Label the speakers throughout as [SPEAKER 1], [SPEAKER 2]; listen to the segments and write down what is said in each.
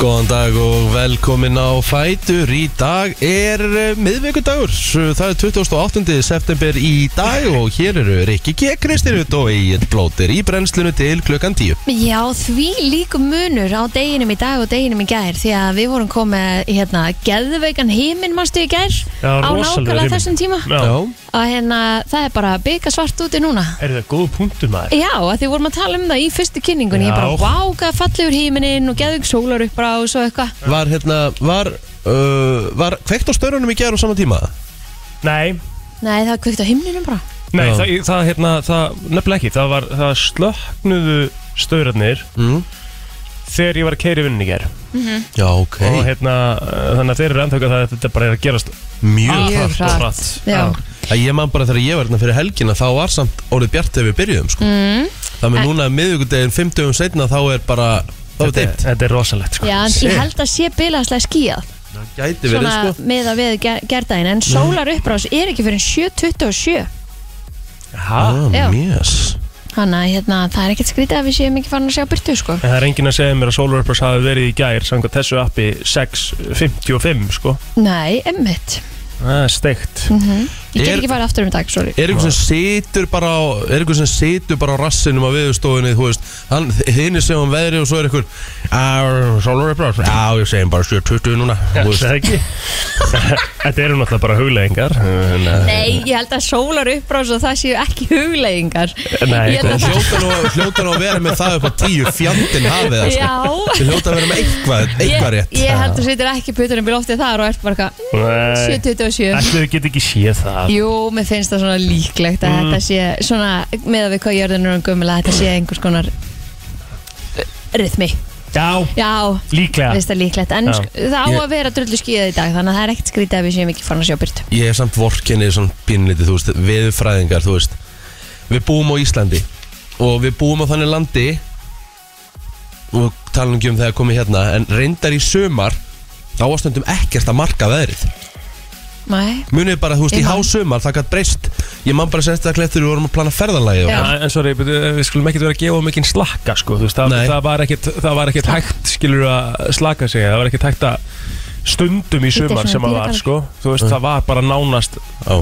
[SPEAKER 1] Góðan dag og velkomin á Fætur. Í dag er eh, miðvikudagur. Það er 28. september í dag og hér eru Rikki G. Kristinut og Egil Blóter í brennslinu til klukkan 10.
[SPEAKER 2] Já, því líku munur á deginum í dag og deginum í gær því að við vorum komið hérna geðveikan heiminn mástu í gær
[SPEAKER 3] Já,
[SPEAKER 2] á
[SPEAKER 3] rosalegur
[SPEAKER 2] nákvæmlega
[SPEAKER 3] himinn.
[SPEAKER 2] þessum tíma
[SPEAKER 3] Já.
[SPEAKER 2] og hérna það er bara byggja svart úti núna
[SPEAKER 3] Er það góð punktur maður?
[SPEAKER 2] Já, að því vorum að tala um það í fyrstu kynningunni ég
[SPEAKER 3] Já.
[SPEAKER 2] bara váka fallegur heiminn og geðveik sólar upp bara og svo eitthvað
[SPEAKER 1] Var hérna, var, uh, var kveikt á störunum í gerð á sama tíma?
[SPEAKER 3] Nei,
[SPEAKER 2] Nei, það er kveikt á himninum bara
[SPEAKER 3] nei
[SPEAKER 1] Já.
[SPEAKER 3] það, það, hérna, það nefnilega ekki Það, var, það slöknuðu staurarnir
[SPEAKER 1] Mm.
[SPEAKER 3] þegar ég var að keiri vinninni ger
[SPEAKER 1] Já, ok.
[SPEAKER 3] og hérna, uh, þannig að þeir eru endtöku að þetta bara er að gerast
[SPEAKER 1] Mjög
[SPEAKER 2] Mjög
[SPEAKER 1] hratt.
[SPEAKER 3] og
[SPEAKER 2] hratt.
[SPEAKER 3] hratt
[SPEAKER 2] Já,
[SPEAKER 1] Að hérna- Ah. Ég man bara þegar ég var hérna fyrir helgina, þá var samt orðið bjart þegar við byrjuðum, sko.
[SPEAKER 2] mm.
[SPEAKER 1] Það með núna miðvikudaginn 50 um setna, þá er bara, þá er
[SPEAKER 3] Þetta,
[SPEAKER 1] dimmt.
[SPEAKER 3] þetta er rosalegt sko.
[SPEAKER 2] Já en
[SPEAKER 1] Shit.
[SPEAKER 2] ég held að sé bilaðslega skíðað
[SPEAKER 1] Það gæti verið,
[SPEAKER 2] svona
[SPEAKER 1] sko.
[SPEAKER 2] með að við ger gerðaðin en
[SPEAKER 3] Mm.
[SPEAKER 2] sólar uppbrás er ekki fyrir 7.27
[SPEAKER 3] Ha?
[SPEAKER 1] Ah,
[SPEAKER 2] Já.
[SPEAKER 1] mjöss.
[SPEAKER 2] Þannig að hérna, það er ekkert skrítið að við séum ekki farin að sjá byrtu sko.
[SPEAKER 3] En það er enginn að segja mér að Solar Uppers hafi verið í gær samkvæmt þessu appi 6.55 sko.
[SPEAKER 2] Nei, emmitt.
[SPEAKER 3] Það er steikt
[SPEAKER 2] Ég get
[SPEAKER 1] Er-
[SPEAKER 2] ekki farið aftur um í dag, sorry.
[SPEAKER 1] er einhver sem situr bara á er einhver sem situr bara á rassinum á viðstofunni þú veist, hann, hinn er sem hann veðri og svo er einhver "Á, Sólur er bara já, ég segjum bara 7.20 núna
[SPEAKER 3] Já,
[SPEAKER 1] þú veist.
[SPEAKER 3] það er ekki Þetta eru náttúrulega bara huglegingar en, uh,
[SPEAKER 2] Nei, ég held að sólar uppbrás og það séu ekki hugleggingar.
[SPEAKER 3] Nei,
[SPEAKER 2] Ég held að það-
[SPEAKER 3] góð.
[SPEAKER 1] hljóta nú, hljóta nú að vera með það upp á 10 fjandinn hafið það sko.
[SPEAKER 2] Já.
[SPEAKER 1] Þið hljóta að vera með eitthvað, eitthvað
[SPEAKER 2] Ég,
[SPEAKER 1] rétt
[SPEAKER 2] ég held að sveitir ekki putunum í loftið þar og ert bara eitthvað "Mm,
[SPEAKER 3] Nei.
[SPEAKER 2] 7.27.
[SPEAKER 3] Ætli þau get ekki séð það
[SPEAKER 2] Jú, mér finnst það svona líklegt að
[SPEAKER 1] Mm.
[SPEAKER 2] þetta sé svona, með að við hvað jörðinu er gummul að þetta sé einhvers konar uh, rytmi.
[SPEAKER 3] Já,
[SPEAKER 2] Já,
[SPEAKER 3] líklega
[SPEAKER 2] finnst það líklegt, en
[SPEAKER 3] Já.
[SPEAKER 2] sk- það á
[SPEAKER 1] Ég-
[SPEAKER 2] að vera drullu skíðað í dag, þannig að það er ekkert skrítið að við séum ekki farin að sjá byrtu.
[SPEAKER 1] ég er samt vorkinni svona pínlítið, þú veist, viðfræðingar, þú veist við búum á Íslandi og við búum á þannig landi og tala ekki um þegar komið hérna en reyndar í sumar þá ástundum ekkert að marka veðrið
[SPEAKER 2] Nei.
[SPEAKER 1] munið bara, þú veist,
[SPEAKER 2] Ég
[SPEAKER 1] í
[SPEAKER 2] man.
[SPEAKER 1] hásumar það gætt breyst, ég man bara sérstaklega eftir við vorum að plana ferðalagi
[SPEAKER 2] Já.
[SPEAKER 3] En sorry, but, uh, við skulum ekkert vera að gefa mikinn slakka sko, þú veist, það,
[SPEAKER 1] Nei.
[SPEAKER 3] það var ekkert, það var ekkert hægt skilur að slaka sig, það var ekkert hægt að stundum í
[SPEAKER 2] er
[SPEAKER 3] sumar
[SPEAKER 2] svona
[SPEAKER 3] sem að var
[SPEAKER 2] dýragarður.
[SPEAKER 3] sko, þú veist, það var bara nánast
[SPEAKER 1] Já.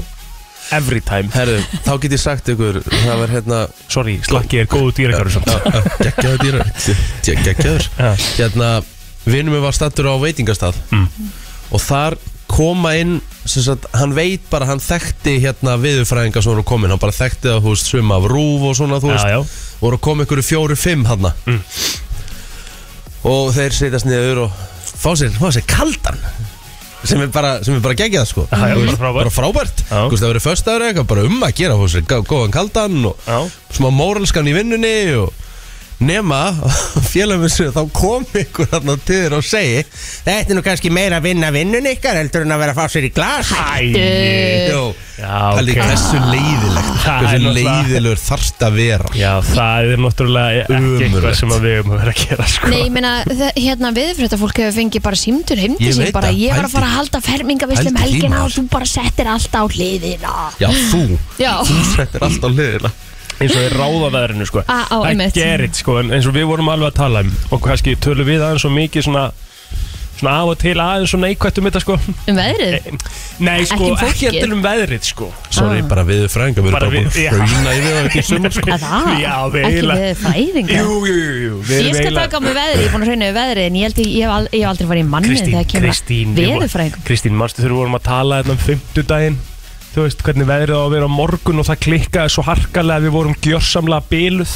[SPEAKER 3] every time,
[SPEAKER 1] herðu, þá get ég sagt ykkur það var hérna
[SPEAKER 3] sorry, slakki er góðu dýragarður samt
[SPEAKER 1] geggjaður dýrar geggjaður
[SPEAKER 3] Já.
[SPEAKER 1] hérna, vinnum við var stattur á veitingastað
[SPEAKER 3] Mm.
[SPEAKER 1] og þar koma inn sem sagt, hann veit bara, hann þekkti hérna viðurfræðinga sem voru komin, hann bara þekkti það, þú veist, svima af rúf og svona, þú
[SPEAKER 3] Já,
[SPEAKER 1] veist
[SPEAKER 3] já,
[SPEAKER 1] voru að koma ykkur fjóru fimm hann
[SPEAKER 3] Mm.
[SPEAKER 1] og þeir setjast niður og fá sér, fá sér kaldan sem er bara, sem er bara geggjað sko
[SPEAKER 3] Já, já,
[SPEAKER 1] Þú
[SPEAKER 3] bara
[SPEAKER 1] veist,
[SPEAKER 3] frábært.
[SPEAKER 1] bara frábært
[SPEAKER 3] Já.
[SPEAKER 1] Þú veist, það verið föstaður eða eitthvað bara um að gera fá sér gá- góðan kaldan og
[SPEAKER 3] já
[SPEAKER 1] smá móralskan í vinnunni og nema félagum sér þá kom ykkur hann til þér og segi þetta er nú kannski meira að vinna vinnunni ykkar heldur en að vera að fá sér í glas
[SPEAKER 3] Æ,
[SPEAKER 1] Jó,
[SPEAKER 3] já,
[SPEAKER 1] okay.
[SPEAKER 3] ok
[SPEAKER 1] hversu leiðilegt
[SPEAKER 3] Það er
[SPEAKER 1] hversu
[SPEAKER 3] náttúrulega-
[SPEAKER 1] leiðilegur þarft að vera
[SPEAKER 3] Já, það er náttúrulega ekki eitthvað
[SPEAKER 1] Ömurlegt.
[SPEAKER 3] sem að við um að vera að gera sko
[SPEAKER 2] Nei, ég meina, þe- hérna viðfréttafólk hefur fengið bara símtur heim til
[SPEAKER 1] Ég
[SPEAKER 2] sín
[SPEAKER 1] veit
[SPEAKER 2] bara,
[SPEAKER 1] það,
[SPEAKER 2] ég var að
[SPEAKER 1] pældi-
[SPEAKER 2] fara að halda fermingavislu
[SPEAKER 1] pældi
[SPEAKER 2] um
[SPEAKER 1] því,
[SPEAKER 2] helgina
[SPEAKER 1] maður.
[SPEAKER 2] og þú bara settir allt á hliðina.
[SPEAKER 1] Já, þú
[SPEAKER 2] Já.
[SPEAKER 1] Þú settir allt á hliðina
[SPEAKER 3] eins og þeir ráða veðrinu sko.
[SPEAKER 2] Ah, Á, á,
[SPEAKER 3] það
[SPEAKER 2] einmitt.
[SPEAKER 3] gerir sko, en eins og við vorum alveg að tala um og kannski tölum við aðeins svo mikið svona, svona af og til aðeins svona neikvætt um þetta sko.
[SPEAKER 2] Um veðrið?
[SPEAKER 3] nei
[SPEAKER 2] Ekki
[SPEAKER 3] sko,
[SPEAKER 2] um fólkið.
[SPEAKER 3] ekki endur um veðrið sko.
[SPEAKER 1] Sorry,
[SPEAKER 2] Ah.
[SPEAKER 1] bara við frænga Við erum
[SPEAKER 3] Bara
[SPEAKER 1] bara búin
[SPEAKER 3] við- já.
[SPEAKER 1] að hrauna yfir það ekki sumar sko.
[SPEAKER 2] Að það?
[SPEAKER 3] Já, við
[SPEAKER 2] Ekki
[SPEAKER 3] eiginlega-
[SPEAKER 2] veðurfræðinga?
[SPEAKER 3] jú, jú, jú, jú við
[SPEAKER 2] Ég skal
[SPEAKER 3] erum eiginlega-
[SPEAKER 2] taka á mig veðrið, ég er búin að hrauna við veðrið en ég held ég, ég, hef al- ég hef aldrei farið í mannið
[SPEAKER 3] Kristín,
[SPEAKER 2] þegar kemur
[SPEAKER 3] Kristín
[SPEAKER 2] að
[SPEAKER 3] við vor-
[SPEAKER 2] veðurfræðingum.
[SPEAKER 3] Kristín, manstu þegar við vorum að tala þetta um fimmtudaginn Þú veist hvernig veðrið á að vera á morgun og það klikkaði svo harkalega að við vorum gjörsamlega biluð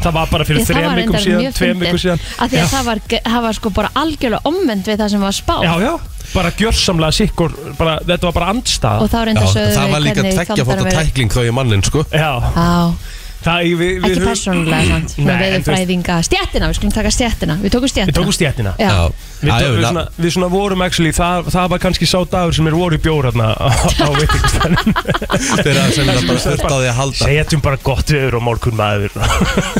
[SPEAKER 3] Það var bara fyrir
[SPEAKER 2] Ég, það
[SPEAKER 3] þrejum
[SPEAKER 2] var
[SPEAKER 3] vikum
[SPEAKER 2] reyndar
[SPEAKER 3] síðan,
[SPEAKER 2] mjög
[SPEAKER 3] tveim vikum
[SPEAKER 2] fyndið,
[SPEAKER 3] síðan
[SPEAKER 2] af því að það var, ge- það var sko bara algjörlega omvend við það sem var spáð
[SPEAKER 3] Já, já, bara gjörsamlega sikkur bara, Þetta var bara andstað
[SPEAKER 2] og þá
[SPEAKER 1] Já,
[SPEAKER 2] reyndar sögðu
[SPEAKER 1] Það var líka tveggja fóta tækling þá ég mannin sko
[SPEAKER 3] Já,
[SPEAKER 2] Já,
[SPEAKER 3] það í við, við
[SPEAKER 2] ekki persónulega samt, svona
[SPEAKER 3] Nei, en þú veist-
[SPEAKER 2] veðurfræðinga, stjættina, við skulum taka stjættina, við tókum
[SPEAKER 3] Við
[SPEAKER 2] stjættina.
[SPEAKER 3] tókum stjættina
[SPEAKER 2] Já.
[SPEAKER 1] Já,
[SPEAKER 3] Við,
[SPEAKER 1] Já,
[SPEAKER 3] tók, við,
[SPEAKER 1] já,
[SPEAKER 3] svona,
[SPEAKER 1] na-
[SPEAKER 3] við svona vorum actually, það, það var kannski sá dagur sem er voru í bjór hérna á, á veitingstæðin
[SPEAKER 1] þeirra sem það bara þurft á því að halda
[SPEAKER 3] Segjum bara gott viður og morgun maður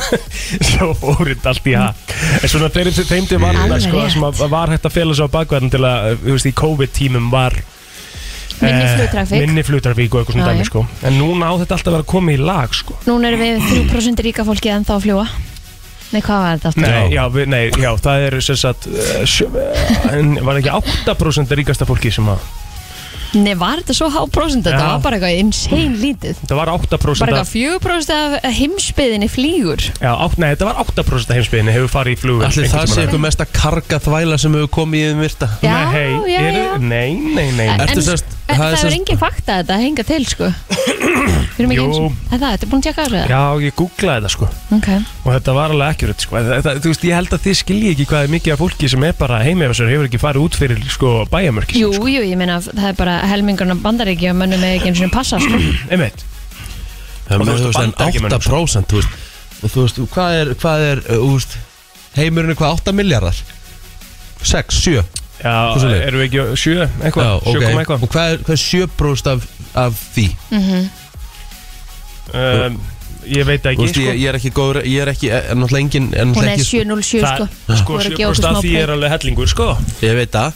[SPEAKER 3] Svo fóruð allt í hak En svona þeirri til þeimdi var
[SPEAKER 2] Alveg
[SPEAKER 3] sko,
[SPEAKER 2] rétt.
[SPEAKER 3] sem að, að var hægt að fela sig á bakverðin til að, þú veist, í COVID-tímum var
[SPEAKER 2] Minni
[SPEAKER 3] eh,
[SPEAKER 2] flugtrafík.
[SPEAKER 3] Minni flugtrafík og eitthvað svona
[SPEAKER 2] Já, já.
[SPEAKER 3] dæmi sko En núna á þetta alltaf að vera komið í lag sko
[SPEAKER 2] Núna erum við 3% ríka fólki ennþá að fljúa Nei, hvað var þetta aftur?
[SPEAKER 3] Nei,
[SPEAKER 1] Já.
[SPEAKER 3] já, við, nei, já, það eru sem sagt eh, sjö, eh, en var ekki 8% ríkasta fólki sem að
[SPEAKER 2] Nei, var þetta svo há prósent? Þetta
[SPEAKER 3] Já.
[SPEAKER 2] var bara eitthvað insane lítið
[SPEAKER 3] þetta var 8%
[SPEAKER 2] Bara
[SPEAKER 3] af-
[SPEAKER 2] eitthvað fjögur prósent af heimsbyðinni flýgur
[SPEAKER 3] já, átt, nei, þetta var 8% af heimsbyðinni hefur farið í flugum
[SPEAKER 1] Allir það sé eitthvað mesta karga þvæla sem hefur komið í þeim virta
[SPEAKER 2] Já,
[SPEAKER 3] nei, hei,
[SPEAKER 2] já,
[SPEAKER 3] eru,
[SPEAKER 2] já.
[SPEAKER 3] nei, nei, nei, nei.
[SPEAKER 1] Ertu
[SPEAKER 2] En,
[SPEAKER 1] sest-
[SPEAKER 2] en
[SPEAKER 1] það er
[SPEAKER 2] það er
[SPEAKER 1] sest-
[SPEAKER 2] engin fakta að þetta henga til sko Við erum ekki
[SPEAKER 3] Jú.
[SPEAKER 2] eins og Er Það, þetta er búin að tjekka á það
[SPEAKER 3] já, ég googlaði þetta sko
[SPEAKER 2] Ok
[SPEAKER 3] og þetta var alveg akkurat sko. þetta, þú veist, ég held að þið skilji ekki hvað er mikið af fólki sem er bara heimefisur hefur ekki farið út fyrir sko, bæjarmörki
[SPEAKER 2] Jú, jú, ég meina það er bara helmingurinn af bandaríkja og mönnum er ekki eins og passa sko
[SPEAKER 3] einmitt
[SPEAKER 1] Það
[SPEAKER 3] Og þú
[SPEAKER 1] er
[SPEAKER 3] veist,
[SPEAKER 1] þú veist, en
[SPEAKER 3] Bandaríkjamönnum,
[SPEAKER 1] 8% þú veist, og þú veist, hvað er, hvað er uh, þú veist, heimurinn er hvað 8 miljardar 6, 7
[SPEAKER 3] já,
[SPEAKER 1] Þú svo leið.
[SPEAKER 3] erum við ekki á sjö eitthvað,
[SPEAKER 1] Já,
[SPEAKER 3] sjö
[SPEAKER 1] ok.
[SPEAKER 3] koma eitthvað
[SPEAKER 1] Og hvað er, hvað er 7% af, af því?
[SPEAKER 3] um, ég veit
[SPEAKER 1] Þú
[SPEAKER 3] það ekki sko.
[SPEAKER 1] veist, ég, ég er ekki góður, ég er ekki, er náttúrulega engin er
[SPEAKER 2] sko. Hún
[SPEAKER 1] náttúrulega
[SPEAKER 2] er
[SPEAKER 1] ekki,
[SPEAKER 2] 707 sko
[SPEAKER 3] Það- sko,
[SPEAKER 2] Þú voru að gefa okkur
[SPEAKER 3] 7%
[SPEAKER 2] smá
[SPEAKER 3] af því
[SPEAKER 2] play.
[SPEAKER 3] er alveg hellingur sko
[SPEAKER 1] Ég veit það,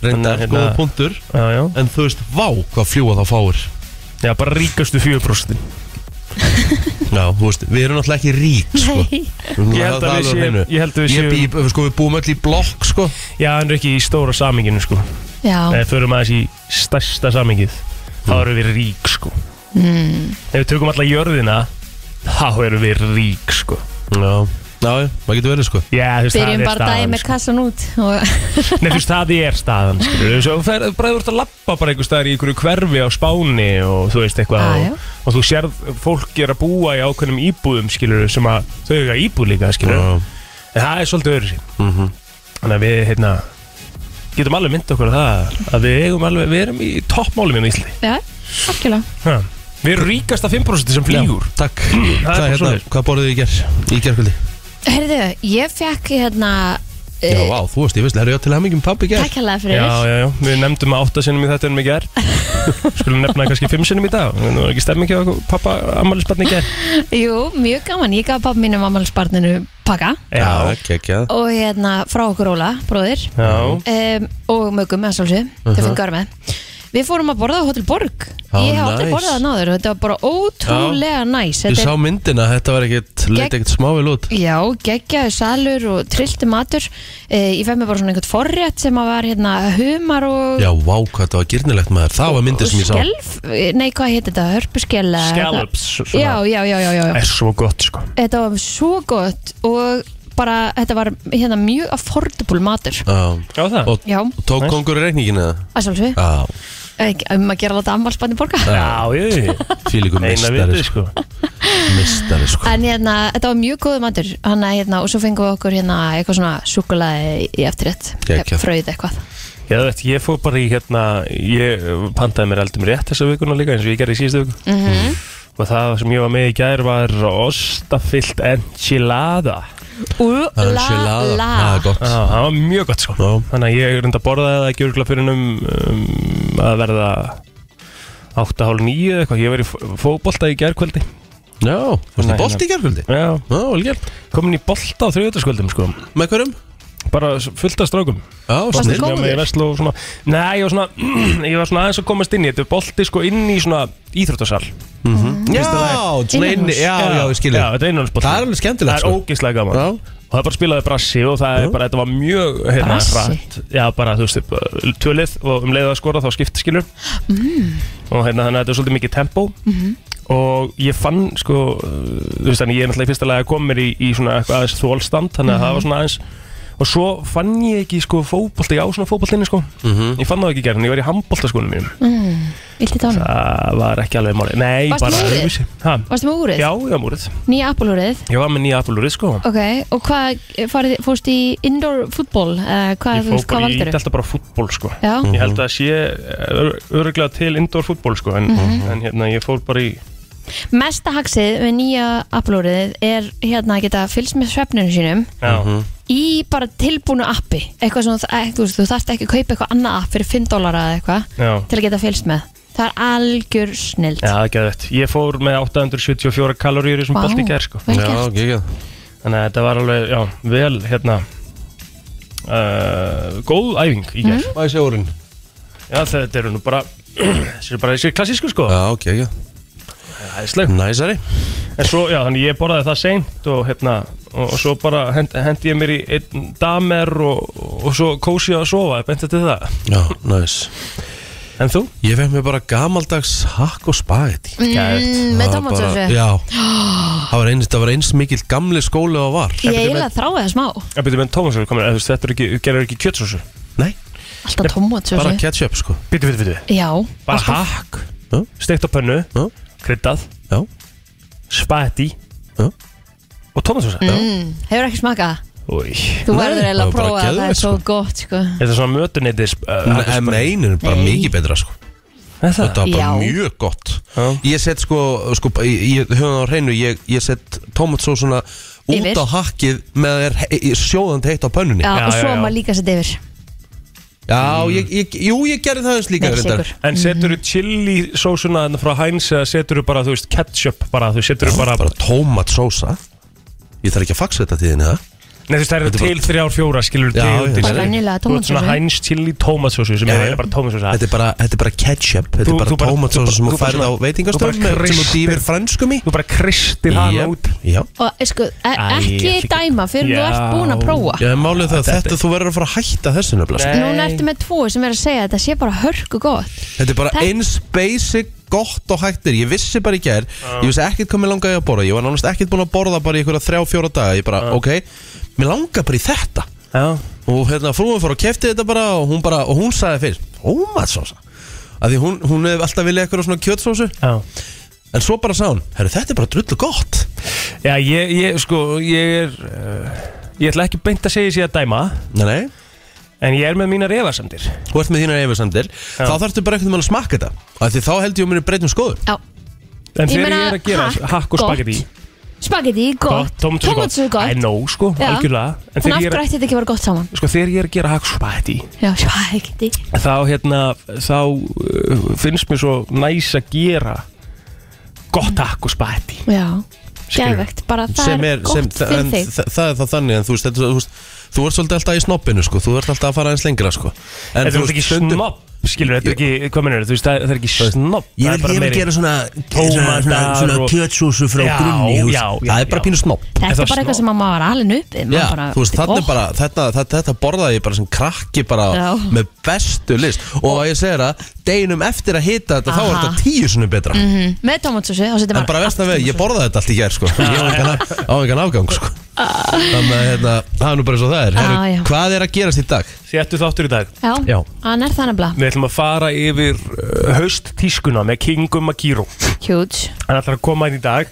[SPEAKER 1] reyndar,
[SPEAKER 3] Þannig að,
[SPEAKER 1] góða
[SPEAKER 3] hérna-
[SPEAKER 1] punktur
[SPEAKER 3] já, já.
[SPEAKER 1] En þú veist, vá, hvað fljúa þá fáir
[SPEAKER 3] já, bara ríkastu 4%
[SPEAKER 1] Já, þú veist, við erum náttúrulega ekki rík, sko
[SPEAKER 2] Nei.
[SPEAKER 3] ég held að við séum ég held að við
[SPEAKER 1] Ég
[SPEAKER 3] séum
[SPEAKER 1] bý, sko, við búum öll í blokk, sko
[SPEAKER 3] já, en ekki í stóra saminginu sko
[SPEAKER 2] Já,
[SPEAKER 3] eða förum aðeins í stærsta samingið þá erum við rík sko
[SPEAKER 2] Hmm.
[SPEAKER 3] ef við tökum alla jörðina þá erum við rík sko
[SPEAKER 1] Já, já, já, það getur verið, sko
[SPEAKER 3] Já, þú veist,
[SPEAKER 2] byrjum
[SPEAKER 3] það er
[SPEAKER 2] bara daginn
[SPEAKER 3] staðan
[SPEAKER 2] með
[SPEAKER 3] sko.
[SPEAKER 2] kassan út og
[SPEAKER 3] Nei, þú veist, það er staðan skilur. Þú veist, þú fer- bara þú ert að lappa bara einhver staðar í einhverju hverfi á Spáni og þú veist eitthvað
[SPEAKER 2] Já, Ah, já.
[SPEAKER 3] og, og þú sérð fólk er að búa í ákveðnum íbúðum skilur, sem að þau eru að íbúð líka skilur
[SPEAKER 1] Já,
[SPEAKER 3] en það er svolítið öðru
[SPEAKER 1] mhm
[SPEAKER 3] þannig að við hérna, getum alveg mynd okkur að það að við, eigum alveg, við erum í toppmálum hérna í Íslandi
[SPEAKER 2] Já, algjörlega
[SPEAKER 3] ha. Við erum ríkasta 5% sem flýgur
[SPEAKER 1] Já, Takk,
[SPEAKER 3] bara
[SPEAKER 1] hvað, hérna,
[SPEAKER 3] svoleiðis.
[SPEAKER 1] hvað borðið þið í ger? Í gerkvöldi?
[SPEAKER 2] Herðu, ég fekk hérna
[SPEAKER 1] Já,
[SPEAKER 2] eh,
[SPEAKER 1] vá, þú veist, ég veist, herru, já, til hamingjum pappi ger
[SPEAKER 2] Takk hérlega
[SPEAKER 3] Já,
[SPEAKER 2] fyrir
[SPEAKER 3] já, já, við nefndum að 8 sinnum í þetta en við ger Skulum nefna kannski 5 sinnum í dag Nú er ekki stemming hjá pappa ammælisbarni ger
[SPEAKER 2] Jú, mjög gaman, ég gaf pappa mínum ammálsbarninu pakka
[SPEAKER 1] Já, geggjað
[SPEAKER 2] og hérna frá okkur Óla, bróðir
[SPEAKER 3] Já,
[SPEAKER 2] um, og mögum með sálsug uh
[SPEAKER 1] Mhm.
[SPEAKER 2] -huh. með. Við fórum að borða á Hotel Borg
[SPEAKER 1] Já,
[SPEAKER 2] Ég hef aldrei
[SPEAKER 1] nice.
[SPEAKER 2] borðað það náður Þetta var bara ótrúlega næs
[SPEAKER 1] Ég sá
[SPEAKER 2] Þetta er,
[SPEAKER 1] myndina, þetta var ekkit,
[SPEAKER 2] Gegg-
[SPEAKER 1] leitt ekkit smávil út
[SPEAKER 2] Já, geggjaði salur og trillti matur eh, Ég fæði mér bara svona einhvern forrétt sem að var hérna humar og
[SPEAKER 1] Já, vá, hvað það var girnilegt maður, það var myndið sem ég sá
[SPEAKER 2] Skelf, nei hvað hétt þetta, hörpuskell eða eitthvað.
[SPEAKER 3] scallops svona.
[SPEAKER 2] Eh, Já, já, já, já, já, já.
[SPEAKER 3] er svo gott sko
[SPEAKER 2] Þetta var svo gott og bara, þetta var hérna mjög affordable matur
[SPEAKER 1] Já,
[SPEAKER 3] Já það
[SPEAKER 1] og
[SPEAKER 2] Já,
[SPEAKER 1] tók
[SPEAKER 3] Nice.
[SPEAKER 1] kongur í reikningin eða?
[SPEAKER 2] að sjálfsög
[SPEAKER 1] Já,
[SPEAKER 2] Um að gera að láta ammalspanni borga
[SPEAKER 3] Já, jú, jú
[SPEAKER 1] fílíkur
[SPEAKER 3] Eina
[SPEAKER 1] mistari,
[SPEAKER 3] vitið sko
[SPEAKER 1] sko Mistari, sko
[SPEAKER 2] En hérna, þetta var mjög góð matur Hanna, hérna, og svo fengum við okkur hérna eitthvað svona súkulaði í eftirrétt
[SPEAKER 1] Geggjað.
[SPEAKER 2] Fröð eitthvað
[SPEAKER 3] Já, þú veit, ég fór bara í hérna Ég pantaði mér eldum rétt þessa vikuna líka eins og ég gerði í síðustu viku
[SPEAKER 2] mm
[SPEAKER 3] Og það sem ég var með í gær var Ostafyllt enchilada
[SPEAKER 1] Það er
[SPEAKER 2] Úla,
[SPEAKER 1] sjölada,
[SPEAKER 2] la
[SPEAKER 1] það er gott
[SPEAKER 3] Já, það var mjög gott sko
[SPEAKER 1] Já.
[SPEAKER 3] Þannig að ég reynda að borða það ekki örgulega fyrir um, um að verða 8.30 eða eitthvað Ég var í fó- fótbolta í gærkvöldi
[SPEAKER 1] Já, fórstu
[SPEAKER 3] Nei,
[SPEAKER 1] í bolti í gerkvöldi?
[SPEAKER 3] Já,
[SPEAKER 1] Já, vel gert
[SPEAKER 3] komin í bolta á þriðutaskvöldum sko
[SPEAKER 1] Með hverjum?
[SPEAKER 3] Bara fullt af strákum
[SPEAKER 1] Já,
[SPEAKER 2] Varstu
[SPEAKER 1] snill
[SPEAKER 2] góð?
[SPEAKER 3] Já, með
[SPEAKER 2] góður?
[SPEAKER 3] veslu og svona Nei, ég var svona, ég var svona aðeins að komast inn í Þetta er bolti sko inn í svona íþróttasal
[SPEAKER 1] Já, svona
[SPEAKER 2] Innanhús.
[SPEAKER 1] inni, já, já, ég skilji
[SPEAKER 3] Já, þetta er einhverjum bolti
[SPEAKER 1] Það er alveg
[SPEAKER 3] Það
[SPEAKER 1] skemmtilegt,
[SPEAKER 3] er
[SPEAKER 1] sko
[SPEAKER 3] ógeðslega gaman
[SPEAKER 1] Já,
[SPEAKER 3] Og það bara spilaði brassi og það er bara, þetta var mjög hérna,
[SPEAKER 2] Brassi?
[SPEAKER 3] hratt. Já, bara, þú veist, bara tölið og um leiðu að skora þá skipt skilur
[SPEAKER 2] Mm.
[SPEAKER 3] Og hérna, þannig að þetta er svolítið mikið tempo
[SPEAKER 2] Mhm.
[SPEAKER 3] Og ég fann, sko, þú veist, þannig ég er náttúrulega í fyrsta lega að koma mér í, í svona eitthvað aðeins þólstand Þannig að það
[SPEAKER 2] Mhm.
[SPEAKER 3] var svona aðeins Og svo fann ég ekki, sko, fótbolta, ég á svona fótboltinni, sko
[SPEAKER 1] mhm
[SPEAKER 3] Ég fann það ekki gerðin, ég var í handboltaskunum mínum
[SPEAKER 2] mm, Vildi dánu
[SPEAKER 3] Það var ekki alveg máli Nei,
[SPEAKER 2] Varstu
[SPEAKER 3] bara
[SPEAKER 2] með úrið?
[SPEAKER 3] öðruvísi. Ha?
[SPEAKER 2] Varstu með úrið?
[SPEAKER 3] Já, já, múrið
[SPEAKER 2] Nýja appulúrið
[SPEAKER 3] Ég var með nýja aflúrið, sko
[SPEAKER 2] Ok, og hvað farið, fórst í indoor fútbol? Uh, hvað,
[SPEAKER 3] Ég
[SPEAKER 2] þú
[SPEAKER 3] fór
[SPEAKER 2] veist, hvað
[SPEAKER 3] bara í
[SPEAKER 2] valdur?
[SPEAKER 3] alltaf bara fútból, sko
[SPEAKER 2] Já,
[SPEAKER 1] Mm.
[SPEAKER 3] Ég held að það sé eh, ör- örugglega til indoor fútból, sko En, en hérna, ég fór bara í
[SPEAKER 2] mesta haxið með nýja appulúrið er hérna að geta fylgst með svefnunum sínum
[SPEAKER 3] Já,
[SPEAKER 2] í bara tilbúnu appi eitthvað svona, eh, þú veist, þú þarft ekki að kaupa eitthvað annað app fyrir 5 dólara eða eitthvað
[SPEAKER 3] já
[SPEAKER 2] til að geta fylgst með það er algjör snild
[SPEAKER 3] Já, það er geðvett. Ég fór með 874 kaloríur í þessum
[SPEAKER 2] Vá.
[SPEAKER 3] bolti gær, sko.
[SPEAKER 2] Vel
[SPEAKER 1] Já,
[SPEAKER 2] gert.
[SPEAKER 1] geggjað
[SPEAKER 3] Þannig að þetta var alveg, já, vel, hérna, uh, góð æfing í
[SPEAKER 2] Mhm.
[SPEAKER 3] gær.
[SPEAKER 1] Má ég sé úrin?
[SPEAKER 3] Já, þetta eru nú bara, þessi eru bara þessi klassísku, sko.
[SPEAKER 1] Já, geggjað
[SPEAKER 3] æðisleg
[SPEAKER 1] Næsari
[SPEAKER 3] En svo, já, þannig ég borðaði það seint og hérna, og, og svo bara hend, hendi ég mér í einn damer og, og svo kósi ég að sofa, ég benti til það.
[SPEAKER 1] Já, næs
[SPEAKER 3] En þú?
[SPEAKER 1] Ég fekk mér bara gamaldags hakk og spagetti
[SPEAKER 3] Gæðvegt.
[SPEAKER 2] Mm, með
[SPEAKER 1] Það var bara-
[SPEAKER 2] tomatsósu
[SPEAKER 1] Já Það var eins, það var eins mikill gamli skóli og var
[SPEAKER 2] Ég eiginlega þrái það smá
[SPEAKER 3] Ég byrju með Tómasur komin, eða þú veist, þetta er ekki, gerir ekki kjötsósu.
[SPEAKER 1] Nei,
[SPEAKER 2] Alltaf
[SPEAKER 1] bara
[SPEAKER 2] tomatsósu
[SPEAKER 1] ketchup sko
[SPEAKER 3] Byrju, byrju, byrju.
[SPEAKER 2] Já,
[SPEAKER 3] Bara
[SPEAKER 2] alltaf
[SPEAKER 3] hakk,
[SPEAKER 1] Já,
[SPEAKER 3] steikt á pönnu,
[SPEAKER 1] já,
[SPEAKER 3] kryddað,
[SPEAKER 1] já,
[SPEAKER 3] spagetti
[SPEAKER 1] já
[SPEAKER 3] og Tómasósa.
[SPEAKER 2] Mm, Hefur ekki smakað það?
[SPEAKER 3] Úi.
[SPEAKER 2] Þú
[SPEAKER 1] Nei,
[SPEAKER 2] verður eiginlega
[SPEAKER 1] það
[SPEAKER 2] að
[SPEAKER 1] var bara
[SPEAKER 2] prófa það, það er
[SPEAKER 1] geðveikt,
[SPEAKER 2] svo
[SPEAKER 1] sko.
[SPEAKER 2] gott sko.
[SPEAKER 3] Þetta er svona mötuneytis. uh,
[SPEAKER 1] Nei, En einu er bara
[SPEAKER 2] Nei.
[SPEAKER 1] mikið betra sko
[SPEAKER 3] Er það?
[SPEAKER 1] Þetta var bara
[SPEAKER 2] Já.
[SPEAKER 1] mjög gott
[SPEAKER 3] Já.
[SPEAKER 1] Ég set sko, sko ég, ég höfum það á hreinu Ég, ég set tomatsósuna
[SPEAKER 2] Yfir.
[SPEAKER 1] út á hakkið með þær he- í- sjóðandi heitt á pönnunni
[SPEAKER 2] Já,
[SPEAKER 3] Já,
[SPEAKER 2] og
[SPEAKER 3] já,
[SPEAKER 2] svo
[SPEAKER 3] já.
[SPEAKER 2] maður líka sér yfir
[SPEAKER 1] Já, ég, ég, jú, ég gerði það eins líka
[SPEAKER 2] Nei,
[SPEAKER 1] reyndar.
[SPEAKER 2] sigur.
[SPEAKER 3] En setur þú chili sósuna þarna frá Heinz eða setur þú bara, þú veist, ketchup bara, þú setur þú bara,
[SPEAKER 1] Bara tómatsósa Ég þarf ekki að faxa þetta tíðinni það
[SPEAKER 3] nei þú veist, það eru
[SPEAKER 1] Þetta er
[SPEAKER 3] til
[SPEAKER 1] bara-
[SPEAKER 3] þrjár, fjóra,
[SPEAKER 1] Já,
[SPEAKER 3] skilur þú
[SPEAKER 1] já.
[SPEAKER 3] til
[SPEAKER 1] Bara
[SPEAKER 2] venjulega
[SPEAKER 3] Þú veist, svona
[SPEAKER 2] tómatsósu.
[SPEAKER 3] Heinz chili tómatsósu sem
[SPEAKER 1] Já,
[SPEAKER 3] er
[SPEAKER 1] já.
[SPEAKER 3] eiginlega bara tómatsósa
[SPEAKER 1] Þetta er bara, þetta er bara ketchup Þetta
[SPEAKER 3] Þú-
[SPEAKER 1] er bara
[SPEAKER 3] þú bara-
[SPEAKER 1] tómatsósa
[SPEAKER 3] þú-
[SPEAKER 1] sem
[SPEAKER 3] þú
[SPEAKER 1] þú
[SPEAKER 3] bara
[SPEAKER 1] færð á
[SPEAKER 3] svona-
[SPEAKER 1] veitingastöðum
[SPEAKER 3] þú
[SPEAKER 1] sem
[SPEAKER 3] bara
[SPEAKER 1] þú
[SPEAKER 3] kreistir-
[SPEAKER 1] dýfir franskum í
[SPEAKER 3] Þú bara kristir hana
[SPEAKER 1] Jep,
[SPEAKER 3] út
[SPEAKER 1] Já,
[SPEAKER 2] Og sko, e
[SPEAKER 3] Æ,
[SPEAKER 2] ekki
[SPEAKER 3] ég ætla ekki-
[SPEAKER 2] dæma fyrir þú
[SPEAKER 3] Já.
[SPEAKER 2] ert búin að prófa
[SPEAKER 1] já en málið er það að
[SPEAKER 3] Þetta-
[SPEAKER 1] þetta þú verður að fara að hætta þessu nefnilega sko.
[SPEAKER 2] Núna ertu með tvo sem er að segja að þetta sé bara hörku gott
[SPEAKER 1] Þetta er bara
[SPEAKER 2] Þetta-
[SPEAKER 1] eins basic gott og hættir Ég vissi bara í gær Ég vissi ekkert hvað mér langaði að borða Ég var nánast ekkert búin að borða bara í einhverja þrjá, fjóra daga Ég bara, ok, mér langar bara í þetta
[SPEAKER 3] Já,
[SPEAKER 1] og hérna frúin fór og kefti þetta bara og hún bara, og hún sagði fyrst tómatsósa að því hún, hún hefði alltaf viljað eitthvað svona kjötsósu
[SPEAKER 3] já
[SPEAKER 1] en svo bara sá hún, herru þetta er bara drullu gott
[SPEAKER 3] Já, ég, ég, sko, ég er uh, Ég ætla ekki beint að segja sér að dæma
[SPEAKER 1] nei nei,
[SPEAKER 3] En ég er með mína refasamdir
[SPEAKER 1] þú ert með þínar efisamdir þá þarftu bara einhvern veginn að smakka þetta að því þá held ég að mér er breytum skoður
[SPEAKER 2] Já,
[SPEAKER 3] En
[SPEAKER 2] Ég
[SPEAKER 3] þegar
[SPEAKER 2] meina,
[SPEAKER 3] ég er að gera
[SPEAKER 2] hakk,
[SPEAKER 3] hakk og
[SPEAKER 2] gott,
[SPEAKER 3] spagetti
[SPEAKER 2] spagetti, gott,
[SPEAKER 3] tómatsósu
[SPEAKER 2] tomatsósu
[SPEAKER 3] I
[SPEAKER 2] gott
[SPEAKER 3] know, sko,
[SPEAKER 2] Já.
[SPEAKER 3] algjörlega En
[SPEAKER 2] Þannig
[SPEAKER 3] þegar
[SPEAKER 2] af
[SPEAKER 3] ég,
[SPEAKER 2] hverju
[SPEAKER 3] er,
[SPEAKER 2] ætti þetta ekki að vera gott saman
[SPEAKER 3] að- sko, þegar ég er að gera hakk og spagetti
[SPEAKER 2] Já, spagetti
[SPEAKER 3] Þá, hérna, þá uh, finnst mér svo næs að gera Gott hakk og spagetti
[SPEAKER 2] Já,
[SPEAKER 3] Skilur.
[SPEAKER 2] geðvegt, bara það
[SPEAKER 1] sem
[SPEAKER 2] er
[SPEAKER 1] er, sem,
[SPEAKER 2] gott fyrir
[SPEAKER 1] en,
[SPEAKER 2] þig
[SPEAKER 1] það, það er það þannig en þú veist, þetta, þú veist þú ert svolítið alltaf í snoppinu sko þú ert alltaf að fara eins lengra sko en
[SPEAKER 3] Þetta er náttúrulega ekki snopp, skilur, þetta er ekki, hvað mennur, þú veist, það það er ekki snopp
[SPEAKER 1] Ég vil, ég vil gera svona, svona,
[SPEAKER 3] tómatar
[SPEAKER 1] svona, svona
[SPEAKER 3] og-
[SPEAKER 1] kjötsúsu frá
[SPEAKER 3] Já,
[SPEAKER 1] grunni þú veist.
[SPEAKER 3] já, já,
[SPEAKER 1] Það er bara
[SPEAKER 3] já.
[SPEAKER 1] pínu snopp
[SPEAKER 2] Þetta
[SPEAKER 3] það
[SPEAKER 2] er bara eitthvað
[SPEAKER 3] snobb?
[SPEAKER 2] sem maður var alveg uppið
[SPEAKER 1] Já, þú veist, þannig bara, þetta, þetta, þetta borðaði ég bara sem krakki bara
[SPEAKER 2] Já.
[SPEAKER 1] með bestu list og ég segir að deginum eftir að hita þetta þá er
[SPEAKER 2] Aha. Mhm.
[SPEAKER 1] þetta tíu sinni betra
[SPEAKER 2] Mm, Með tomatsósu, þá setjum
[SPEAKER 1] en bara veist að veið, ég borðaði þetta allt í gær sko. ég á engan af- á engan afgang sko. þannig að hérna, það er nú bara eins og það er
[SPEAKER 2] Já, Ah. já.
[SPEAKER 1] Heru, hvað er að gerast í dag?
[SPEAKER 3] Settu þáttur í dag
[SPEAKER 2] Já,
[SPEAKER 1] Já.
[SPEAKER 2] hann er það nefnilega
[SPEAKER 3] Við ætlum að fara yfir uh, hausttískuna með King Makiro
[SPEAKER 2] Huge
[SPEAKER 3] Hann ætlar að koma inn í dag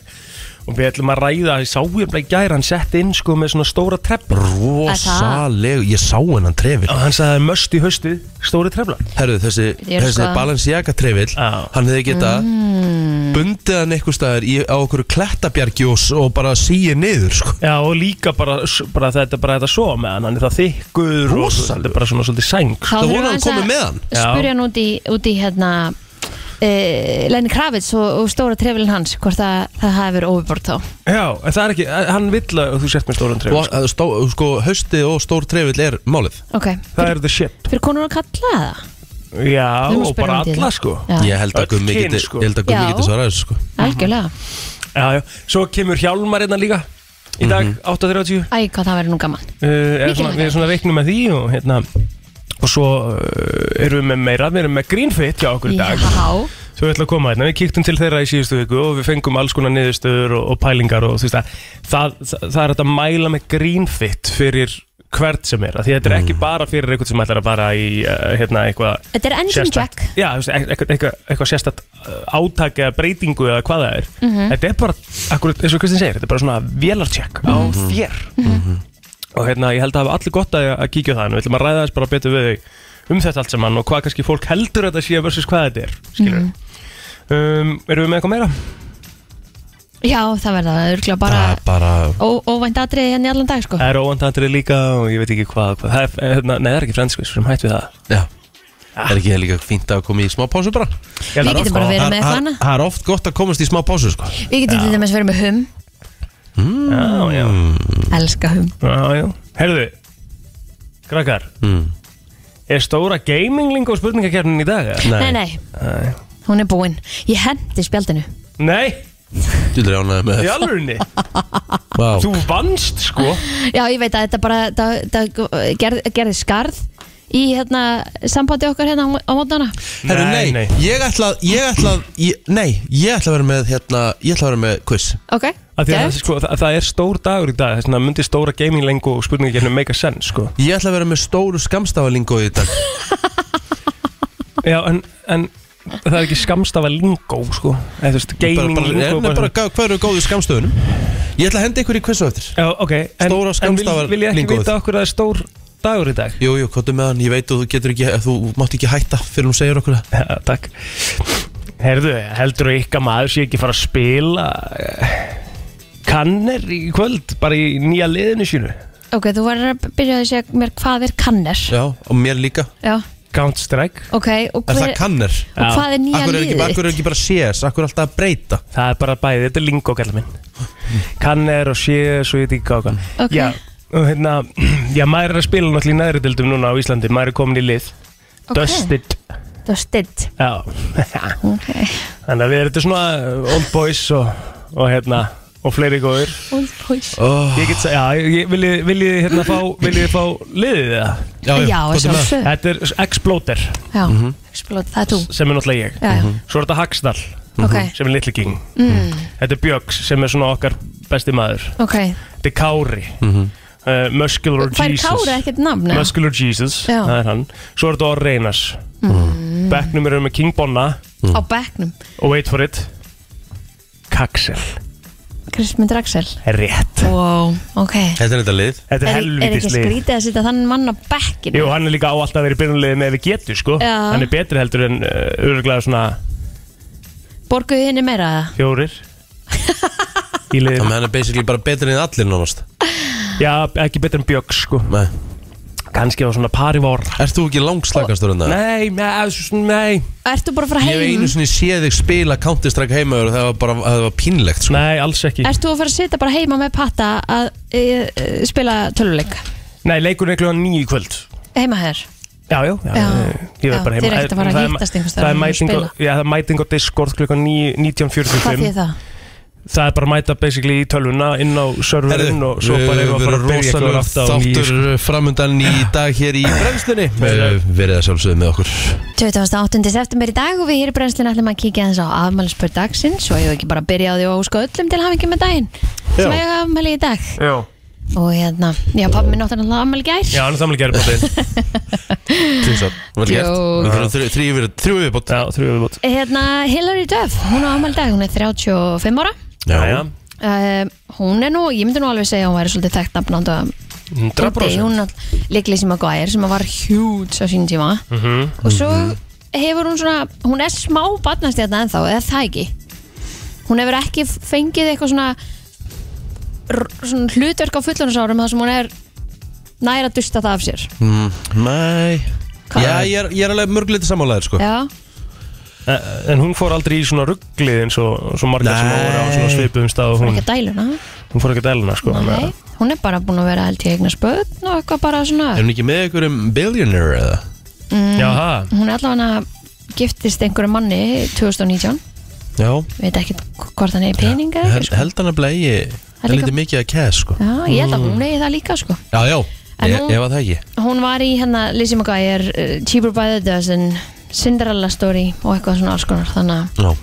[SPEAKER 3] og við ætlum að ræða, ég sá ég bara í gær hann sett inn sko með svona stóra trefla
[SPEAKER 1] rosalegu, ég sá hennan trefil
[SPEAKER 3] og hann sagði að það er möst í haustið, stóri trefla
[SPEAKER 1] Herru, þessi,
[SPEAKER 2] Ég er
[SPEAKER 1] þessi
[SPEAKER 2] sko-
[SPEAKER 1] Balenciaga trefil
[SPEAKER 3] Já.
[SPEAKER 1] hann hefði geta
[SPEAKER 2] Mm.
[SPEAKER 1] bundið hann eitthvað staðar í, á okkur klettabjargi og, s- og bara síið niður sko.
[SPEAKER 3] Já og líka bara, s- bara þetta bara þetta svo með hann, hann er það þykkur og
[SPEAKER 1] Rosalega.
[SPEAKER 3] þetta er bara svona svolítið sæng sko.
[SPEAKER 2] Þá
[SPEAKER 1] Það
[SPEAKER 2] þurfum
[SPEAKER 1] voru
[SPEAKER 2] við
[SPEAKER 1] hann
[SPEAKER 2] aðeins
[SPEAKER 1] komið
[SPEAKER 2] að
[SPEAKER 1] með hann.
[SPEAKER 3] Já.
[SPEAKER 2] Spyrja hann út í, út í hérna Uh, Lenny Kravitz og, og stóra trefilin hans hvort það, það hafi verið overbort þá
[SPEAKER 3] Já, en það er ekki, eh, hann vill að þú sett með stóran trefla
[SPEAKER 1] Og, að stó, sko, haustið og stór trefill er málið
[SPEAKER 2] ok,
[SPEAKER 3] Það er the shit
[SPEAKER 2] fyrir konur að kalla það
[SPEAKER 3] Já
[SPEAKER 2] Við erum að
[SPEAKER 3] og
[SPEAKER 2] spyrja
[SPEAKER 3] bara
[SPEAKER 2] út í
[SPEAKER 3] alla
[SPEAKER 2] það.
[SPEAKER 3] sko
[SPEAKER 2] Já.
[SPEAKER 1] Ég held að
[SPEAKER 3] Öll
[SPEAKER 1] Gummi
[SPEAKER 3] kyn,
[SPEAKER 1] geti,
[SPEAKER 3] sko.
[SPEAKER 1] ég held að
[SPEAKER 2] Já.
[SPEAKER 1] Gummi geti svarað þessu sko
[SPEAKER 2] algjörlega,
[SPEAKER 3] Já, já, svo kemur Hjálmar hérna líka Í dag, 8.30
[SPEAKER 2] æ hvað það verið nú gaman
[SPEAKER 3] uh, er
[SPEAKER 2] Mikil
[SPEAKER 3] svona, Við
[SPEAKER 2] mæta.
[SPEAKER 3] erum svona reiknum með því og, hérna, og svo uh, erum við með meira Við erum með Greenfit hjá okkur í dag
[SPEAKER 2] já,
[SPEAKER 3] Svo við ætlum að koma hérna, við kíktum til þeirra í síðustu viku Og við fengum alls konar niðurstöður og, og pælingar og, þú veist, að, það, það, það er hægt að mæla með Greenfit Fyrir hvert sem er af Því þetta er ekki bara fyrir einhvern sem ætlar að bara í uh, hérna, eitthvað
[SPEAKER 2] þetta er engine
[SPEAKER 3] sérstakt-
[SPEAKER 2] jack
[SPEAKER 3] Já, þú veist, eitthvað, eitthvað, eitthvað, eitthvað sérstætt átak eða breytingu eða hvað það er
[SPEAKER 2] Mhm.
[SPEAKER 3] Þetta er bara, akkurat, eins og Kristinn segir Þetta er bara svona vélartjekk á
[SPEAKER 2] Mhm.
[SPEAKER 3] þér Og hérna, ég held að hafa allir gott að, að kíkja á það En við ætlum að ræða þess bara betur við þau um þetta allt saman Og hvað kannski fólk heldur að þetta sé versus hvað þetta er Skilur
[SPEAKER 2] Mhm.
[SPEAKER 3] um, Erum við með eitthvað meira?
[SPEAKER 2] já, það verða það örgulega bara
[SPEAKER 1] Það er bara
[SPEAKER 2] ó- óvænt atriði hérna í allan dag sko
[SPEAKER 3] Það er óvandandrið líka og ég veit ekki hvað, hvað. Það er, hérna, Nei, það er ekki frendskvist, sem hætt við það
[SPEAKER 1] Já Er ekki líka fínt að koma í smá pásu bara?
[SPEAKER 3] Ég held
[SPEAKER 2] Við
[SPEAKER 3] að
[SPEAKER 2] getum
[SPEAKER 3] það
[SPEAKER 2] bara
[SPEAKER 3] er
[SPEAKER 2] verið-
[SPEAKER 3] oft
[SPEAKER 1] Það-
[SPEAKER 2] með eitthvað
[SPEAKER 1] það-
[SPEAKER 2] annað?
[SPEAKER 1] Það er oft gott að komast í smá pásu sko
[SPEAKER 2] við getum til dæmis verið með hum,
[SPEAKER 3] gott. Já, já
[SPEAKER 2] elska hum
[SPEAKER 3] Já, já. Herðu, krakkar,
[SPEAKER 1] Mm.
[SPEAKER 3] er stóra gaminglinga og spurningakernin í dag? eða?
[SPEAKER 2] nei, nei,
[SPEAKER 3] Nei.
[SPEAKER 2] hún er búinn ég hendi spjaldinu
[SPEAKER 3] Nei,
[SPEAKER 1] Þú er ánægð með
[SPEAKER 3] í
[SPEAKER 1] þetta
[SPEAKER 3] alvörinni
[SPEAKER 1] Vá.
[SPEAKER 3] Þú vannst sko
[SPEAKER 2] Já, ég veit að þetta bara það, það gerð, gerði skarð í hérna, sambandi okkar hérna á á mótnana
[SPEAKER 1] Herru, nei,
[SPEAKER 3] nei.
[SPEAKER 1] ég ætla að, ég ætla að, ég, nei, ég ætla að vera með, hérna, ég ætla að vera með quiz.
[SPEAKER 2] Ok,
[SPEAKER 3] Að að það,
[SPEAKER 2] gæft
[SPEAKER 3] sko, það, það er stór dagur í dag þess vegna myndi stóra gaming lengu og spurningi gennum make a sense sko
[SPEAKER 1] Ég ætla að vera með stóru skamstafalingo í dag.
[SPEAKER 3] Já, en, en það er ekki skamstafa lingó sko eða þú veist,
[SPEAKER 1] Bara,
[SPEAKER 3] gaming
[SPEAKER 1] bara,
[SPEAKER 3] lingó
[SPEAKER 1] en
[SPEAKER 3] bara-
[SPEAKER 1] bara, hvað eru góðu skamstöfunum? Ég ætla að henda ykkur í quiz á eftir.
[SPEAKER 3] Já, ok, en,
[SPEAKER 1] Stóra
[SPEAKER 3] en vil,
[SPEAKER 1] skammstafar-
[SPEAKER 3] vil ég ekki
[SPEAKER 1] lingóið.
[SPEAKER 3] vita okkur að það er stór dagur í dag?
[SPEAKER 1] Jú, jú, kóttu með hann, ég veit að þú getur ekki, þú mátt ekki hætta fyrir hún segir okkur það.
[SPEAKER 3] Já, takk Herðu, heldur þú ykkar maður sé ekki fara að spila kanner í kvöld bara í nýja liðinu sínu
[SPEAKER 2] Ok, þú verður að byrja að segja mér hvað er kanner
[SPEAKER 1] Já, og mér líka.
[SPEAKER 2] Já,
[SPEAKER 3] Count Strike
[SPEAKER 2] ok, og,
[SPEAKER 1] Er
[SPEAKER 2] hver,
[SPEAKER 1] það kanner?
[SPEAKER 2] og
[SPEAKER 3] Já.
[SPEAKER 2] hvað er nýja
[SPEAKER 1] Akkur er ekki,
[SPEAKER 2] liðið
[SPEAKER 1] akkur er
[SPEAKER 2] þitt?
[SPEAKER 1] ekki bara CS, akkur er alltaf að breyta.
[SPEAKER 3] Það er bara bæði, þetta er lingó kallar minn Kanner og sé svo ég tíka okkar
[SPEAKER 2] Ok.
[SPEAKER 3] Já, og hérna, já maður er að spila náttúrulega í næri dildum núna á Íslandi Maður er komin í lið
[SPEAKER 2] Ok.
[SPEAKER 3] Dusted
[SPEAKER 2] Það var stitt
[SPEAKER 3] Já
[SPEAKER 2] okay.
[SPEAKER 3] Þannig að við erum þetta svona uh, old boys og, og hérna og fleiri góður
[SPEAKER 2] Old boys
[SPEAKER 1] Oh,
[SPEAKER 3] Ég get, sa- já, ég, viljið, viljið þið hérna fá, viljið þið fá liðið það?
[SPEAKER 1] já,
[SPEAKER 2] Já,
[SPEAKER 1] komdu með það.
[SPEAKER 2] sjálfsög
[SPEAKER 3] Þetta er Exploder
[SPEAKER 2] Já,
[SPEAKER 3] Mhm.
[SPEAKER 2] explode, það er þú
[SPEAKER 3] sem er náttúrulega ég Mhm.
[SPEAKER 2] Já, já,
[SPEAKER 3] Svo er þetta Hagsdal
[SPEAKER 2] ok, Mm.
[SPEAKER 3] sem er Little King Mhm. Þetta er Björks sem er svona okkar besti maður
[SPEAKER 2] ok
[SPEAKER 3] Þetta er Kári uh, Muscular
[SPEAKER 2] Fær
[SPEAKER 3] Jesus
[SPEAKER 2] Kára ekkert nafn? eða?
[SPEAKER 3] Muscular Jesus,
[SPEAKER 2] Já. Mm.
[SPEAKER 3] það er hann Svo er þetta Orr Reynars Becknum eru með King Bonna
[SPEAKER 2] Á bekknum,
[SPEAKER 3] og wait for it Kaxel,
[SPEAKER 2] Kristmund Raxel
[SPEAKER 3] rétt
[SPEAKER 2] Wow, ok
[SPEAKER 1] Þetta er þetta lið.
[SPEAKER 3] Þetta
[SPEAKER 2] Er, er ekki
[SPEAKER 3] er helvitis lið
[SPEAKER 2] skrítið að setja þann mann á bekkinu?
[SPEAKER 3] Jú, hann er líka á alltaf að vera í byrjunliði með við getur, sko
[SPEAKER 2] Já.
[SPEAKER 3] Hann er betri heldur en uh, örgulega svona
[SPEAKER 2] Borguðu henni meira það?
[SPEAKER 3] fjórir í liðinu
[SPEAKER 1] Þannig að hann er basically bara betri en allir nánast.
[SPEAKER 3] Já, ekki betur en Björk sko
[SPEAKER 1] Nei.
[SPEAKER 3] Kanski var svona pari vor
[SPEAKER 1] Ert þú ekki hérna? langslakastur en það?
[SPEAKER 3] Nei, nei, svona, nei
[SPEAKER 2] Ertu bara að fara
[SPEAKER 1] Ég hef
[SPEAKER 2] heim?
[SPEAKER 1] einu sinni séð þig spila Counter-Strike heimaður og það var bara, það var pínlegt sko.
[SPEAKER 3] Nei, alls ekki
[SPEAKER 2] Ertu að fara að setja bara heima með patta að e, e, spila töluleik?
[SPEAKER 3] Nei, leikurinn er klukkan nýju í kvöld
[SPEAKER 2] Heima hér?
[SPEAKER 3] Já, já, já,
[SPEAKER 2] Já.
[SPEAKER 3] ég
[SPEAKER 2] Já,
[SPEAKER 3] verð bara heima
[SPEAKER 2] þið eru ekkert að fara að
[SPEAKER 3] Það er-
[SPEAKER 2] hittast einhvers staðar
[SPEAKER 3] Það er
[SPEAKER 2] og
[SPEAKER 3] mæting á-
[SPEAKER 2] spila.
[SPEAKER 3] já, það er mæting á Discord klukkan níu-
[SPEAKER 2] Hvað
[SPEAKER 3] 19.45
[SPEAKER 2] þýð það?
[SPEAKER 3] Það er bara að mæta basically í tölvuna inn á serverinn og svo bara erum við að fara að byrja klukkan átta á nýju
[SPEAKER 1] þáttur
[SPEAKER 3] sko.
[SPEAKER 1] framundan í dag hér í brennslunni Eh, Verið að sjálfsögðu með okkur
[SPEAKER 2] 28. september í dag og við hér í brennslinu ætlum að kíkja aðeins á afmælisbörð dagsins og ég ekki bara að byrja á því og óska öllum til hafingjum með daginn sem
[SPEAKER 3] Já.
[SPEAKER 2] eiga afmæli í dag
[SPEAKER 3] Já,
[SPEAKER 2] og hérna, já pappi minn átti náttúrulega afmæli í gær
[SPEAKER 3] já, hann er samlega gerði bótið
[SPEAKER 1] Tvísar, vel gert
[SPEAKER 2] Jó.
[SPEAKER 1] Við þurfum þrjú- Þrjú yfir- þrjú viðbót
[SPEAKER 3] Já, þrjú við bótið
[SPEAKER 2] Hérna, Hillary Duff, hún á afmæli í dag, hún er 35 ára
[SPEAKER 3] Já,
[SPEAKER 2] Uh, hún er nú, ég myndi nú alveg segja að hún væri svolítið þekkt nafnand og
[SPEAKER 3] 100%
[SPEAKER 2] hún er líklega sem að gæðir sem að var hjúts á sín tíma
[SPEAKER 3] Mhm.
[SPEAKER 2] og svo hefur hún svona hún er smá batnast hérna ennþá eða það ekki hún hefur ekki fengið eitthvað svona, r- svona hlutverk á fullunarsárum þar sem hún er nær að dusta það af sér
[SPEAKER 1] Mm, Nei
[SPEAKER 2] Hvað?
[SPEAKER 1] Já, ég er, ég er alveg mörgleiti sammálaðir sko
[SPEAKER 2] já,
[SPEAKER 3] En Eh, en hún fór aldrei í svona rugglið eins og svo margar sem
[SPEAKER 1] Nei.
[SPEAKER 3] voru á svona svipum stað og
[SPEAKER 2] hún er
[SPEAKER 3] hún,
[SPEAKER 2] ekki að dæluna
[SPEAKER 3] hún fór ekki að elna sko þannig
[SPEAKER 2] Nei,
[SPEAKER 3] að-
[SPEAKER 2] hún er bara búin að vera held í eignar spöðn og eitthvað bara svona Mm.
[SPEAKER 1] Er hún ekki með ykkur um billionaire eða?
[SPEAKER 3] Jaha,
[SPEAKER 2] hún er allavega giftist einhverju manni 2019
[SPEAKER 1] Já
[SPEAKER 2] veit ekki hvort hann er peninga
[SPEAKER 1] Hel,
[SPEAKER 2] sko.
[SPEAKER 1] Held hann að blegi
[SPEAKER 2] Það er
[SPEAKER 1] Það lítið mikið að cash sko
[SPEAKER 2] já, ég held að hún eigi það líka sko.
[SPEAKER 1] Já, já
[SPEAKER 2] En
[SPEAKER 1] Ég
[SPEAKER 2] hún-
[SPEAKER 1] var það ekki
[SPEAKER 2] hún var í hérna Lizzie McGuire, uh, Cheaper by the Dozen Cinderella Story og eitthvað svona alls konar þannig að
[SPEAKER 1] Já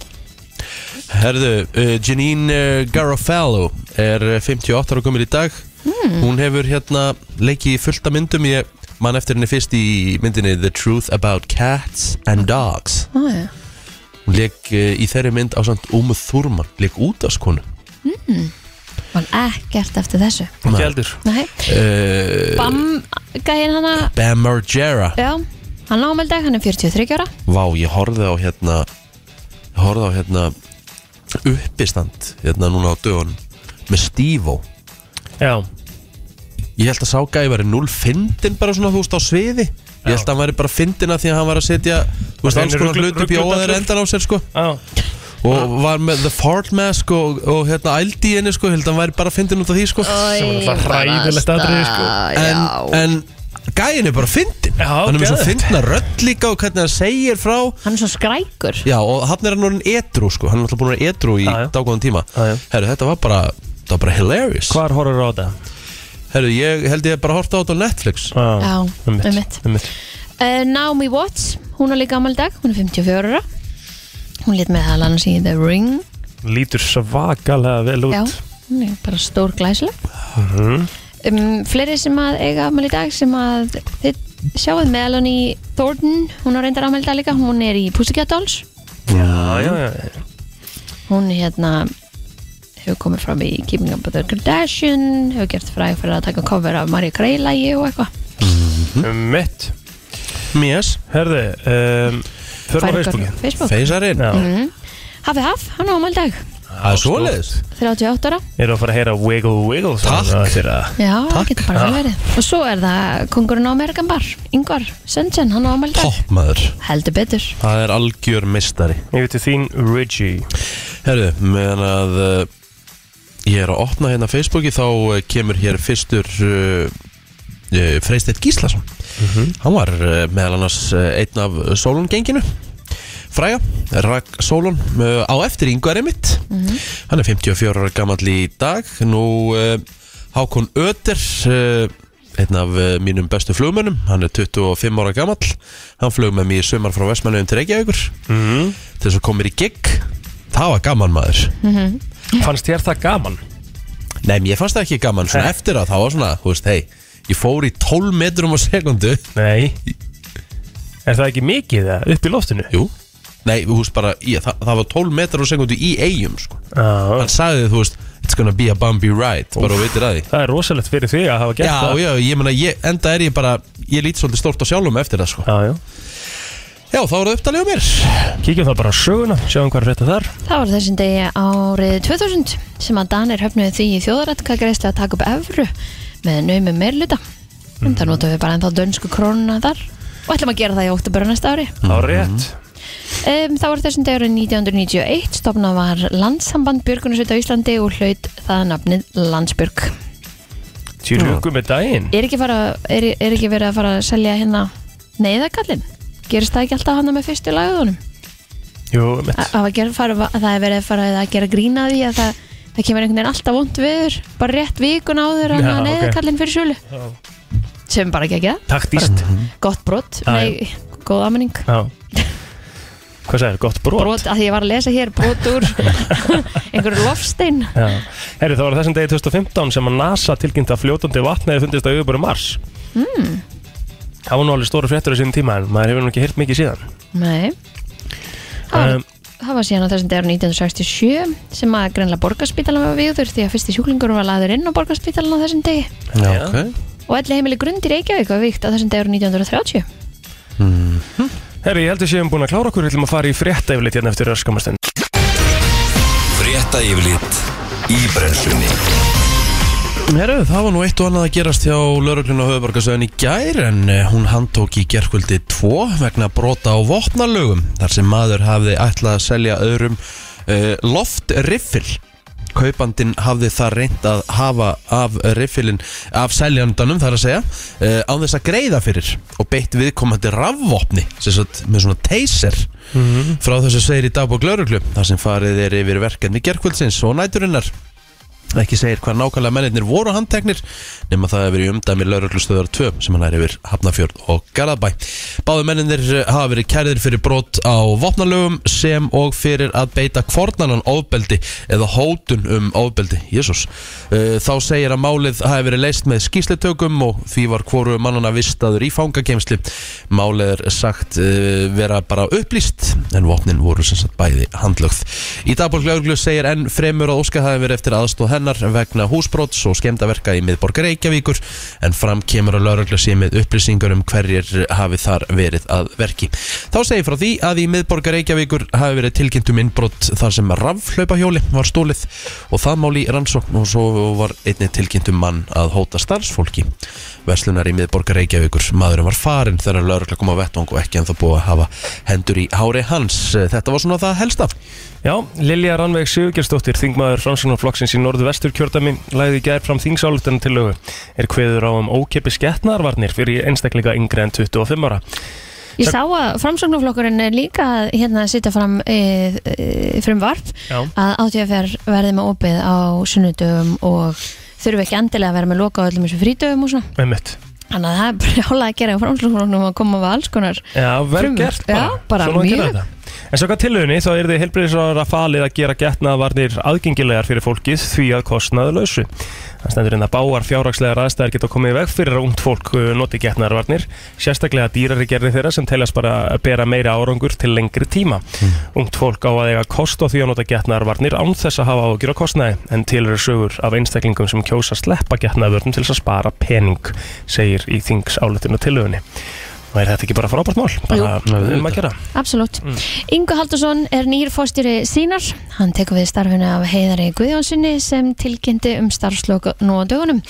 [SPEAKER 1] Herðu, uh, Janine uh, Garofalo er uh, 58 ára komin í dag Hún hefur hérna leikið í fullta myndum Ég man eftir henni fyrst í myndinni The Truth About Cats and Dogs
[SPEAKER 2] Á, já.
[SPEAKER 1] Hún leik uh, í þeirri mynd á samt Ómuð Þúrman Leik út af skonu
[SPEAKER 2] var ekkert eftir þessu
[SPEAKER 3] ekki heldur
[SPEAKER 2] Nei.
[SPEAKER 1] uh,
[SPEAKER 2] Bam gæðin hana
[SPEAKER 1] Bam Margera
[SPEAKER 2] já, hann ámeldag, hann er 43 ára
[SPEAKER 1] Vá, ég horfði á hérna Ég horfði á hérna uppistand Hérna núna á dögun Með Steve-O
[SPEAKER 3] Já,
[SPEAKER 1] Ég held að Ságæi væri null fyndin bara svona, þú veist, á sviði Ég held að hann væri bara fyndin að því að hann var að setja Þú veist,
[SPEAKER 3] Hann
[SPEAKER 1] alls
[SPEAKER 3] er
[SPEAKER 1] konar
[SPEAKER 3] ruglu-
[SPEAKER 1] hlut upp í
[SPEAKER 3] rugludallur.
[SPEAKER 1] óðar endan á sér, sko
[SPEAKER 3] já,
[SPEAKER 1] Og var með The Fart Mask og, og hérna, ældi í henni, sko Ég held að hann væri bara fyndin út af því, sko
[SPEAKER 3] var náttúrulega hræðilegt atriði, sko.
[SPEAKER 2] já,
[SPEAKER 1] En, en gæin er bara fyndin
[SPEAKER 3] Já,
[SPEAKER 1] Hann er með svo
[SPEAKER 3] geðveikt.
[SPEAKER 1] fyndna rödd líka og hvernig hann segir frá
[SPEAKER 2] Hann er svo skrækur
[SPEAKER 1] Já, og hann er hann orðin edru sko Hann er alltaf búin að vera edru í
[SPEAKER 3] Já, já.
[SPEAKER 1] dágóðan tíma
[SPEAKER 3] Já, já.
[SPEAKER 1] Herru, þetta var bara, þetta var bara hilarious
[SPEAKER 3] Hvar horfður á þetta?
[SPEAKER 1] Herru, ég held ég bara horta á þetta á Netflix
[SPEAKER 2] Já, um
[SPEAKER 3] einmitt, um
[SPEAKER 2] einmitt.
[SPEAKER 3] einmitt.
[SPEAKER 2] uh, Naomi Watts, hún er líka gammal dag Hún er 54 ára Hún lét með það annars í The Ring
[SPEAKER 3] Lítur svakalega vel út Mhm.
[SPEAKER 2] Já, hún er bara stór glæsileg um, Fleiri sem að eiga afmæli í dag sem að þið sjáuð Melanie Thornton hún á reyndar afmæli í dag líka, hún er í Pussycat Dolls
[SPEAKER 3] Já, já, já,
[SPEAKER 2] hún hérna hefur komið fram í Keeping Up With The Kardashian hefur gert fræg fyrir að taka cover af Maria Grey lægi og eitthvað
[SPEAKER 3] einmitt
[SPEAKER 1] Mies,
[SPEAKER 3] Herði, um, förum
[SPEAKER 2] Færir
[SPEAKER 3] á Facebooki
[SPEAKER 2] ykkur- Facebook. Mhm.
[SPEAKER 1] feysarinn
[SPEAKER 3] Já,
[SPEAKER 2] Mm. Hafi Haf, hann á afmæli í dag
[SPEAKER 1] Það er svoleiðis
[SPEAKER 2] 38 ára,
[SPEAKER 3] ég er að fara að heyra Wiggle Wiggle
[SPEAKER 1] Takk.
[SPEAKER 3] Takk
[SPEAKER 2] já,
[SPEAKER 1] Takk.
[SPEAKER 2] getur bara vel verið og svo er það kongurinn á Amerikan Bar Ingvar Sundsen, hann á afmæli í dag
[SPEAKER 1] Topp maður
[SPEAKER 2] heldur betur
[SPEAKER 1] Það er algjör mistari
[SPEAKER 3] Yfir til þín, Reggie
[SPEAKER 1] Herru, meðan að uh, ég er að opna hérna Facebooki þá uh, kemur hér fyrstur uh, uh, Freystedt Gíslason Hann var uh, meðal annars uh, einn af Sólongenginu Fræja, Rak Sólon uh, á eftir yngvarið mitt Hann er 54 ára gamall í dag Nú uh, Hákon Öter uh, einn af uh, mínum bestu flugmönnum Hann er 25 ára gamall Hann flög með mér í sumar frá Vestmannum til Reykjavíkur
[SPEAKER 3] mm.
[SPEAKER 1] til þess að komir í gig það var gaman maður
[SPEAKER 3] Fannst þér það gaman?
[SPEAKER 1] nei, mér fannst það ekki gaman svona
[SPEAKER 3] Nei.
[SPEAKER 1] eftir að það var svona, þú veist, hei ég fór í 12 metrum á sekundu
[SPEAKER 3] Nei Er það ekki mikið það, upp í loftinu?
[SPEAKER 1] jú, nei, þú veist bara ég, það, það var 12 metrum á sekundu í eigum sko.
[SPEAKER 3] Já,
[SPEAKER 1] hann sagði, þú veist, it's gonna be a bumpy ride bara og veitir að því
[SPEAKER 3] það er rosalegt fyrir því að hafa gert
[SPEAKER 1] já,
[SPEAKER 3] það
[SPEAKER 1] já, ég meina, ég, enda er ég bara ég lít svolítið stórt á sjálfum eftir það, sko
[SPEAKER 3] já, já.
[SPEAKER 1] já, þá er það upptalið á mér
[SPEAKER 3] Kíkjum það bara á söguna, sjáum hvað er frétta þar
[SPEAKER 2] Það var þessum degi árið 2000 sem að Danir höfnuði því í þjóðaratkagreislu að taka upp evru með naumi meirluta. Mm. Það notum við bara ennþá dönsku krónuna þar og ætlum að gera það í óttubur næsta ári.
[SPEAKER 3] Á rétt
[SPEAKER 2] Um, það var þessum degi árið 1991 stofna var landsamband Björgunarsveit á Íslandi og hlaut það nafnið Landsbjörg.
[SPEAKER 3] Því rúkum með daginn
[SPEAKER 2] Er ekki, fara, er, er ekki verið að fara að selja hérna neyðakallin? Gerist það ekki alltaf hana með fyrstu lagðunum?
[SPEAKER 3] Jú, mitt
[SPEAKER 2] að að gera, fara, að það er verið að fara að gera grína því að það, það kemur einhvern veginn alltaf vond viður bara rétt vikun áður en
[SPEAKER 3] Já,
[SPEAKER 2] að
[SPEAKER 3] ok.
[SPEAKER 2] neyðakallin fyrir sjölu
[SPEAKER 3] Já.
[SPEAKER 2] sem bara ekki ekki það,
[SPEAKER 3] Taktíst
[SPEAKER 2] gott brot
[SPEAKER 3] Já,
[SPEAKER 2] nei, góð aðmenning
[SPEAKER 3] Já Hvað sagði, gott brot?
[SPEAKER 2] brot, að því ég var að lesa hér brot úr einhverju lofstein
[SPEAKER 3] Já Herri, það var á þessum degi 2015 sem að NASA tilkynnt að fljótandi vatn hefði fundist á yfirbúru Mars mm. Það var nú alveg stóru fréttur á sínum tíma en maður hefur nú ekki heyrt mikið síðan
[SPEAKER 2] nei það var,
[SPEAKER 3] Um,
[SPEAKER 2] það var síðan á þessum dagur 1967 sem að greinlega borgarspítalan var viður því að fyrsti sjúklingur var laður inn á borgarspítalan á þessum degi
[SPEAKER 1] já,
[SPEAKER 3] Já.
[SPEAKER 1] ok
[SPEAKER 2] og allir heimili grund í Reykjavík var vikt á þessum dagur 1930
[SPEAKER 3] Herri, ég heldur séum búin að klára okkur, við ætlum að fara í frétta yfirleitt hérna eftir öskamastund
[SPEAKER 4] Frétta yfirlit í brennslunni
[SPEAKER 1] Herru, það var nú eitt og annað að gerast hjá lauruglun á höfuborgarsöðin í gær en eh, hún handtók í gerkvöldi 2 vegna brota á vopnalögum þar sem maður hafði ætlað að selja öðrum uh, loftriffil kaupandin hafði það reynt að hafa af riffilin af seljandanum þar að segja uh, án þess að greiða fyrir og beitt viðkomandi rafvopni sem sagt með svona taser frá þessu segir í dagbók lauruglu þar sem farið er yfir verkefni gerkvöldsins og næturinnar ekki segir hvað nákvæmlega mennirnir voru handteknir nema það hefur verið í umdæmi lauruglustöðar 2 sem hann er yfir Hafnafjörð og Garðabæ. Báðu mennirnir eh, hafa verið kærðir fyrir brot á vopnalögum sem og fyrir að beita kvornanan ofbeldi eða hótun um ofbeldi, jésús. Þá segir að málið hafi verið leist með skýslitökum og því var hvoru mannana vistaður í fangageimsli. Málið er sagt eh, vera bara upplýst en vopnin voru sem sagt bæði handlögð. Í dagbólk lauruglu segir enn fremur að Óska hafi verið eftir aðstóð hennar vegna húsbróts og skemdaverka í miðborg Reykjavíkur en fram kemur að laurugla sé með upplýsingar um hverjir hafi þar verið að verki. Þá segir frá því að í miðborg Reykjavíkur hafi verið tilkynnt um innbrott þar sem rafhlaupahjóli var stólið og það máli rannsókn og svo var einni tilkynnt um mann að hóta starfsfólki. verslunar í miðborgar Reykjavíkur. Maðurinn var farinn þegar lögregla kom á vettvang og ekki en þá búið að hafa hendur í hári hans. Þetta var svona það helsta.
[SPEAKER 3] Já, Lilja Rannveig Sigurgjarsdóttir, þingmaður Rannsóknarflokksins í norðvestur kjördami, lagði í gær fram þingsálutan til lögu. Er kveður á um ókeppis getnaðarvarnir fyrir einstaklinga yngri en 25 ára.
[SPEAKER 2] Ég sá að framsóknarflokkurinn er líka að, hérna að sitja fram e, e, frumvarp
[SPEAKER 3] Já.
[SPEAKER 2] að átíðafjör verði með opið á sunnudöfum og þurfi ekki endilega að vera með loka á öllum þessum frítöfum og svona.
[SPEAKER 3] Einmitt.
[SPEAKER 2] Þannig að það er brjálega að gera á framsóknarflokkurinn og koma með alls konar.
[SPEAKER 3] Já, vel
[SPEAKER 2] Frumvarp.
[SPEAKER 3] gert
[SPEAKER 2] Já, bara
[SPEAKER 3] Svona á að gera
[SPEAKER 2] mjög.
[SPEAKER 3] þetta. En svo hvað tilögunni þá er þið heilbriðisraður að falið að gera getnaðvarnir aðgengilegar fyrir fólkið því að kostnaðu lausu. Það stendur inn að báar fjárhagslegar aðstæðar geta komið í veg fyrir að ungt fólk uh, noti getnaðarvarnir, sérstaklega dýrari gerði þeirra sem teljast bara að bera meira árangur til lengri tíma. Ungt fólk á að eiga kost á því að nota getnaðarvarnir án þess að hafa ágjur á kostnaði, en til eru sögur af einstaklingum sem kjósa að sleppa getnaðarvörnum til þess að spara pening, segir í þings álutinu tilögunni. Og er þetta ekki bara frábært mál? Bara um að gera.
[SPEAKER 2] Absolutt. Mm. Ingu Haldursson er nýr fórstýri sínar. Hann tekur við starfinu af Heiðari Guðjónssoni sem tilkynnti um starfslok nú á dögunum.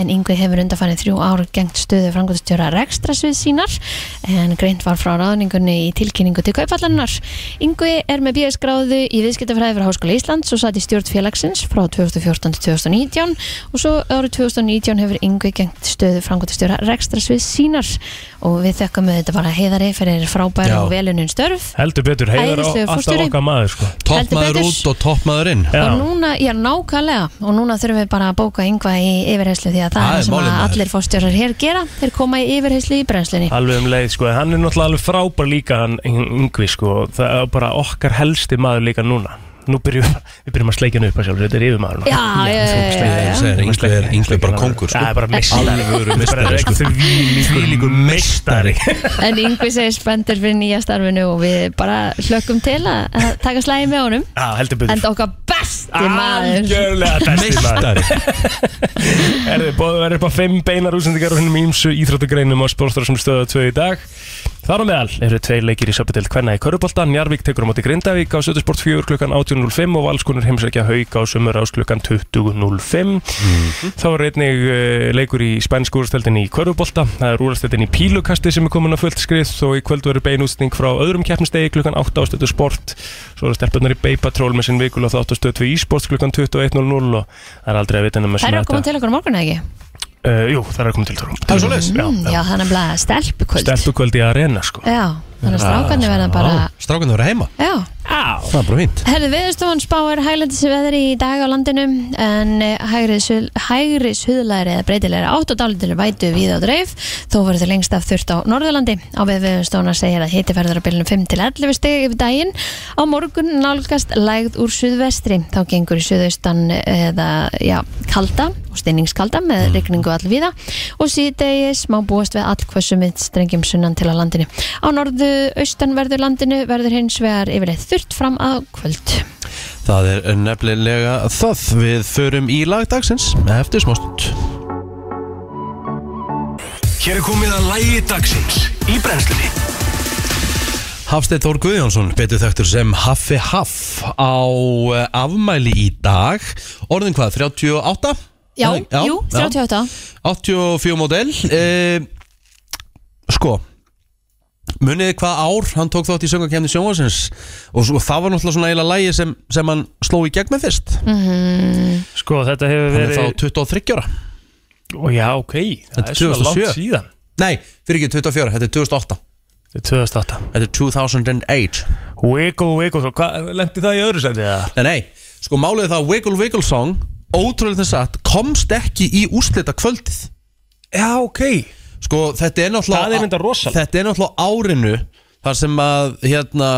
[SPEAKER 2] En Ingu hefur undarfærið þrjú ár gengt stöðu frangotastjóra rekstrasvið sínar en greint var frá ráðningunni í tilkynningu til kaupallannar. Ingu er með BS gráðu í viðskiptafræði frá Háskóla Íslands og satt í stjórn félagsins frá 2014 til 2019 og svo árið 2019 hefur Ingu gengt stöðu frangotastjóra rekstrasvið sínar og við þökkum við þetta bara Heiðari fyrir frábæra
[SPEAKER 1] Já.
[SPEAKER 2] og velunin störf
[SPEAKER 3] Heldur betur, heiðar á
[SPEAKER 2] Æðislegur
[SPEAKER 3] alltaf
[SPEAKER 2] forstjóri.
[SPEAKER 3] okkar maður sko.
[SPEAKER 2] Heldur
[SPEAKER 1] Toppmaður
[SPEAKER 2] betur.
[SPEAKER 1] út og toppmaður inn.
[SPEAKER 3] Já.
[SPEAKER 2] og núna, já nákvæmlega og núna þurfum við bara að bóka yngva í yfirheyslu því að það
[SPEAKER 1] Það
[SPEAKER 2] er
[SPEAKER 1] er
[SPEAKER 2] það sem
[SPEAKER 1] málið,
[SPEAKER 2] að
[SPEAKER 1] maður.
[SPEAKER 2] allir fórstjórar hér gera þeir koma í yfirheyslu í brennslunni
[SPEAKER 3] Alveg um leið sko, hann er náttúrulega alveg frábær líka hann yngvi sko, það er bara okkar helsti maður líka núna Nú byrjum við byrjum að sleikja hann upp að sjálf, þetta er yfirmaður núna.
[SPEAKER 2] Já, já, já,
[SPEAKER 3] þú sleikir-
[SPEAKER 2] já, já.
[SPEAKER 1] Ég segi þér,
[SPEAKER 3] þú
[SPEAKER 1] Yngvi
[SPEAKER 3] sleikir-
[SPEAKER 1] er- Yngvi er bara kóngur, sko.
[SPEAKER 3] Það er bara meistari
[SPEAKER 1] Alvöru meistari,
[SPEAKER 3] Bara
[SPEAKER 1] sko.
[SPEAKER 3] Þvílíkur meistari
[SPEAKER 2] en yngvi segir spenntur fyrir nýja starfinu og við bara hlökkum til að að taka slægi með honum
[SPEAKER 3] Já, heldur betur
[SPEAKER 2] en okkar besti maður
[SPEAKER 3] Algjörlega besti maður
[SPEAKER 1] Meistari.
[SPEAKER 3] Er þið bóðið verið upp á fimm beinar útsendingar og hennum ímsu íþróttagreinum á sportstorsum stöða 2 í dag Þar á meðal eru tveir leikir í Söpidelt Kvenna í Köruboltan Njarvík tekur á móti Grindavík á Sötusport 4 klukkan 18.05 og Valskunur heimsækja Hauk á Sömur ás klukkan 20.05 Þá er einnig eh, leikur í spænsku úrstöldin í Körubolta Það er úrstöldin í Pílukasti sem er komin að fullt skrið og í kvöld verður bein útsending frá öðrum keppnistegi klukkan 8 á Stötu Sport Svo eru stelpunar í Bay Patrol með sinn vikul á þáttu stöð 2 í sport klukkan 21.00 og það er aldrei að vita nema
[SPEAKER 2] Það eru að koma til okkur á morgun eða ekki?
[SPEAKER 3] Uh, jú, það er að koma til Tórum Það er svoleiðis
[SPEAKER 2] Mm, já, þannig að blaða stelpukvöld
[SPEAKER 3] Stelpukvöld í arena sko
[SPEAKER 2] Já, þannig að strákarnir verða bara
[SPEAKER 1] Strákan það voru heima.
[SPEAKER 2] Já,
[SPEAKER 1] Það er bara fínt.
[SPEAKER 2] Herðu viðstofan spáir hæglendisir veðri í dag á landinu en eh, hægri, suð- hægri suðlæri eða breytilegri átt og dálitil vætu við á dreif þó verður þau lengst af þurft á Norðurlandi á við viðstofana segir að hiti verður á bylunum 5 til 11 steg yfir daginn á morgun nálgast lægð úr suðvestri þá gengur í suðaustan eða já, kalda og steiningskalda með
[SPEAKER 1] Mhm.
[SPEAKER 2] rigningu allvíða og síðdegis má búast við allkvössum við strengjum sunnan til á landinu. Á norðu austanverðu landinu verður hins vegar yfirleitt þurrt fram að kvöld.
[SPEAKER 1] Það er nefnilega það við förum í lagdagsins eftir smástund.
[SPEAKER 4] Hér er komið að lægi dagsins í brennslunni
[SPEAKER 1] Hafsteinn Þór Guðjónsson, betur þekktur sem Haffi Haff á eh, afmæli í dag. Orðin hvað, 38?
[SPEAKER 2] Já,
[SPEAKER 1] Nei, já,
[SPEAKER 2] jú,
[SPEAKER 1] já.
[SPEAKER 2] 38.
[SPEAKER 1] 84 modell. E, sko, muniði hvað ár hann tók þátt í söngakefni sjónvarsins og svo, það var náttúrulega svona eiginlega lægi sem, sem hann sló í gegn með fyrst.
[SPEAKER 3] Sko þetta hefur
[SPEAKER 1] Hann er
[SPEAKER 3] verið
[SPEAKER 1] þá 23 ára.
[SPEAKER 3] Ó, Já ok, það
[SPEAKER 1] Þetta
[SPEAKER 3] er
[SPEAKER 1] er
[SPEAKER 3] svona langt
[SPEAKER 1] 2007.
[SPEAKER 3] síðan
[SPEAKER 1] Nei, fyrir ekki 24, þetta er 2008.
[SPEAKER 3] Þetta er 2008
[SPEAKER 1] Þetta er 2008.
[SPEAKER 3] Wiggle Wiggle, svo hvað, lendi það í öðru sendi það?
[SPEAKER 1] Nei, nei, sko málið er það að Wiggle Wiggle Song Ótrúlega þess að komst ekki í úrslita kvöldið
[SPEAKER 3] Já ok
[SPEAKER 1] Sko þetta er náttúrulega
[SPEAKER 3] Það er reyndar rosalegt.
[SPEAKER 1] Þetta er náttúrulega árinu Þar sem að hérna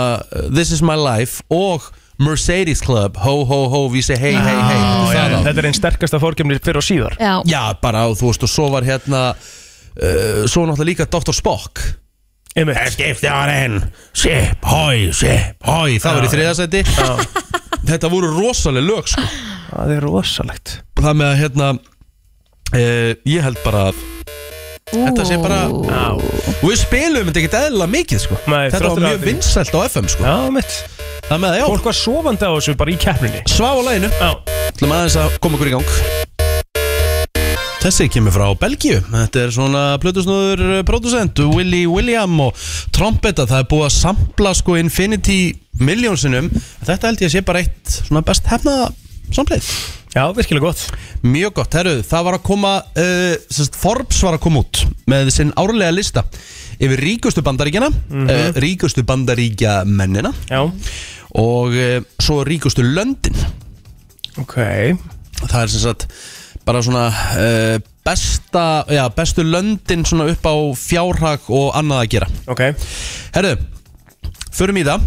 [SPEAKER 1] This is my life og Mercedes Club Ho ho ho, við segi hey hey hey
[SPEAKER 3] Ó,
[SPEAKER 1] Þetta
[SPEAKER 3] já,
[SPEAKER 1] er það á.
[SPEAKER 3] Þetta er einn sterkasta fórkjöfni fyrir og síðar
[SPEAKER 2] Já,
[SPEAKER 1] Já, bara og þú veist og svo var hérna uh, Svo var náttúrulega líka Dr. Spock
[SPEAKER 3] Einmitt.
[SPEAKER 1] Skipti á henn Sip, hoi, sip, hoi Það var í þriðasæti Þetta voru rosaleg lög sko
[SPEAKER 3] Það er rosalegt
[SPEAKER 1] það með að hérna e, ég held bara að þetta sé bara og við spilum þetta ekkert eðla mikið sko.
[SPEAKER 3] Nei,
[SPEAKER 1] þetta
[SPEAKER 3] þrátt
[SPEAKER 1] var
[SPEAKER 3] fyrir
[SPEAKER 1] mjög
[SPEAKER 3] að því.
[SPEAKER 1] vinsælt á FM sko.
[SPEAKER 3] Já mitt
[SPEAKER 1] það með að já,
[SPEAKER 3] Fólk var sofandi á þessu bara í keppninni
[SPEAKER 1] svá á læginu
[SPEAKER 3] Já
[SPEAKER 1] ætlum aðeins að koma ykkur í gang Þessi kemur frá Belgíu Þetta er svona plötusnúður eh, producent Willy William og trompeta Það er búið að sampla sko Infinity Millionsinum Þetta held ég að sé bara eitt svona best hefna samplið
[SPEAKER 3] Já, virkilega gott
[SPEAKER 1] Mjög gott, herru, það var að koma uh, sérst, Forbes var að koma út með sinn árlega lista yfir ríkustu bandaríkjana eh, ríkustu bandaríkja mennina
[SPEAKER 3] Já,
[SPEAKER 1] og uh, svo ríkustu löndin
[SPEAKER 3] ok
[SPEAKER 1] það er sem sagt bara svona uh, besta, já, bestu löndin svona upp á fjárhag og annað að gera
[SPEAKER 3] Ok
[SPEAKER 1] Herru, förum í það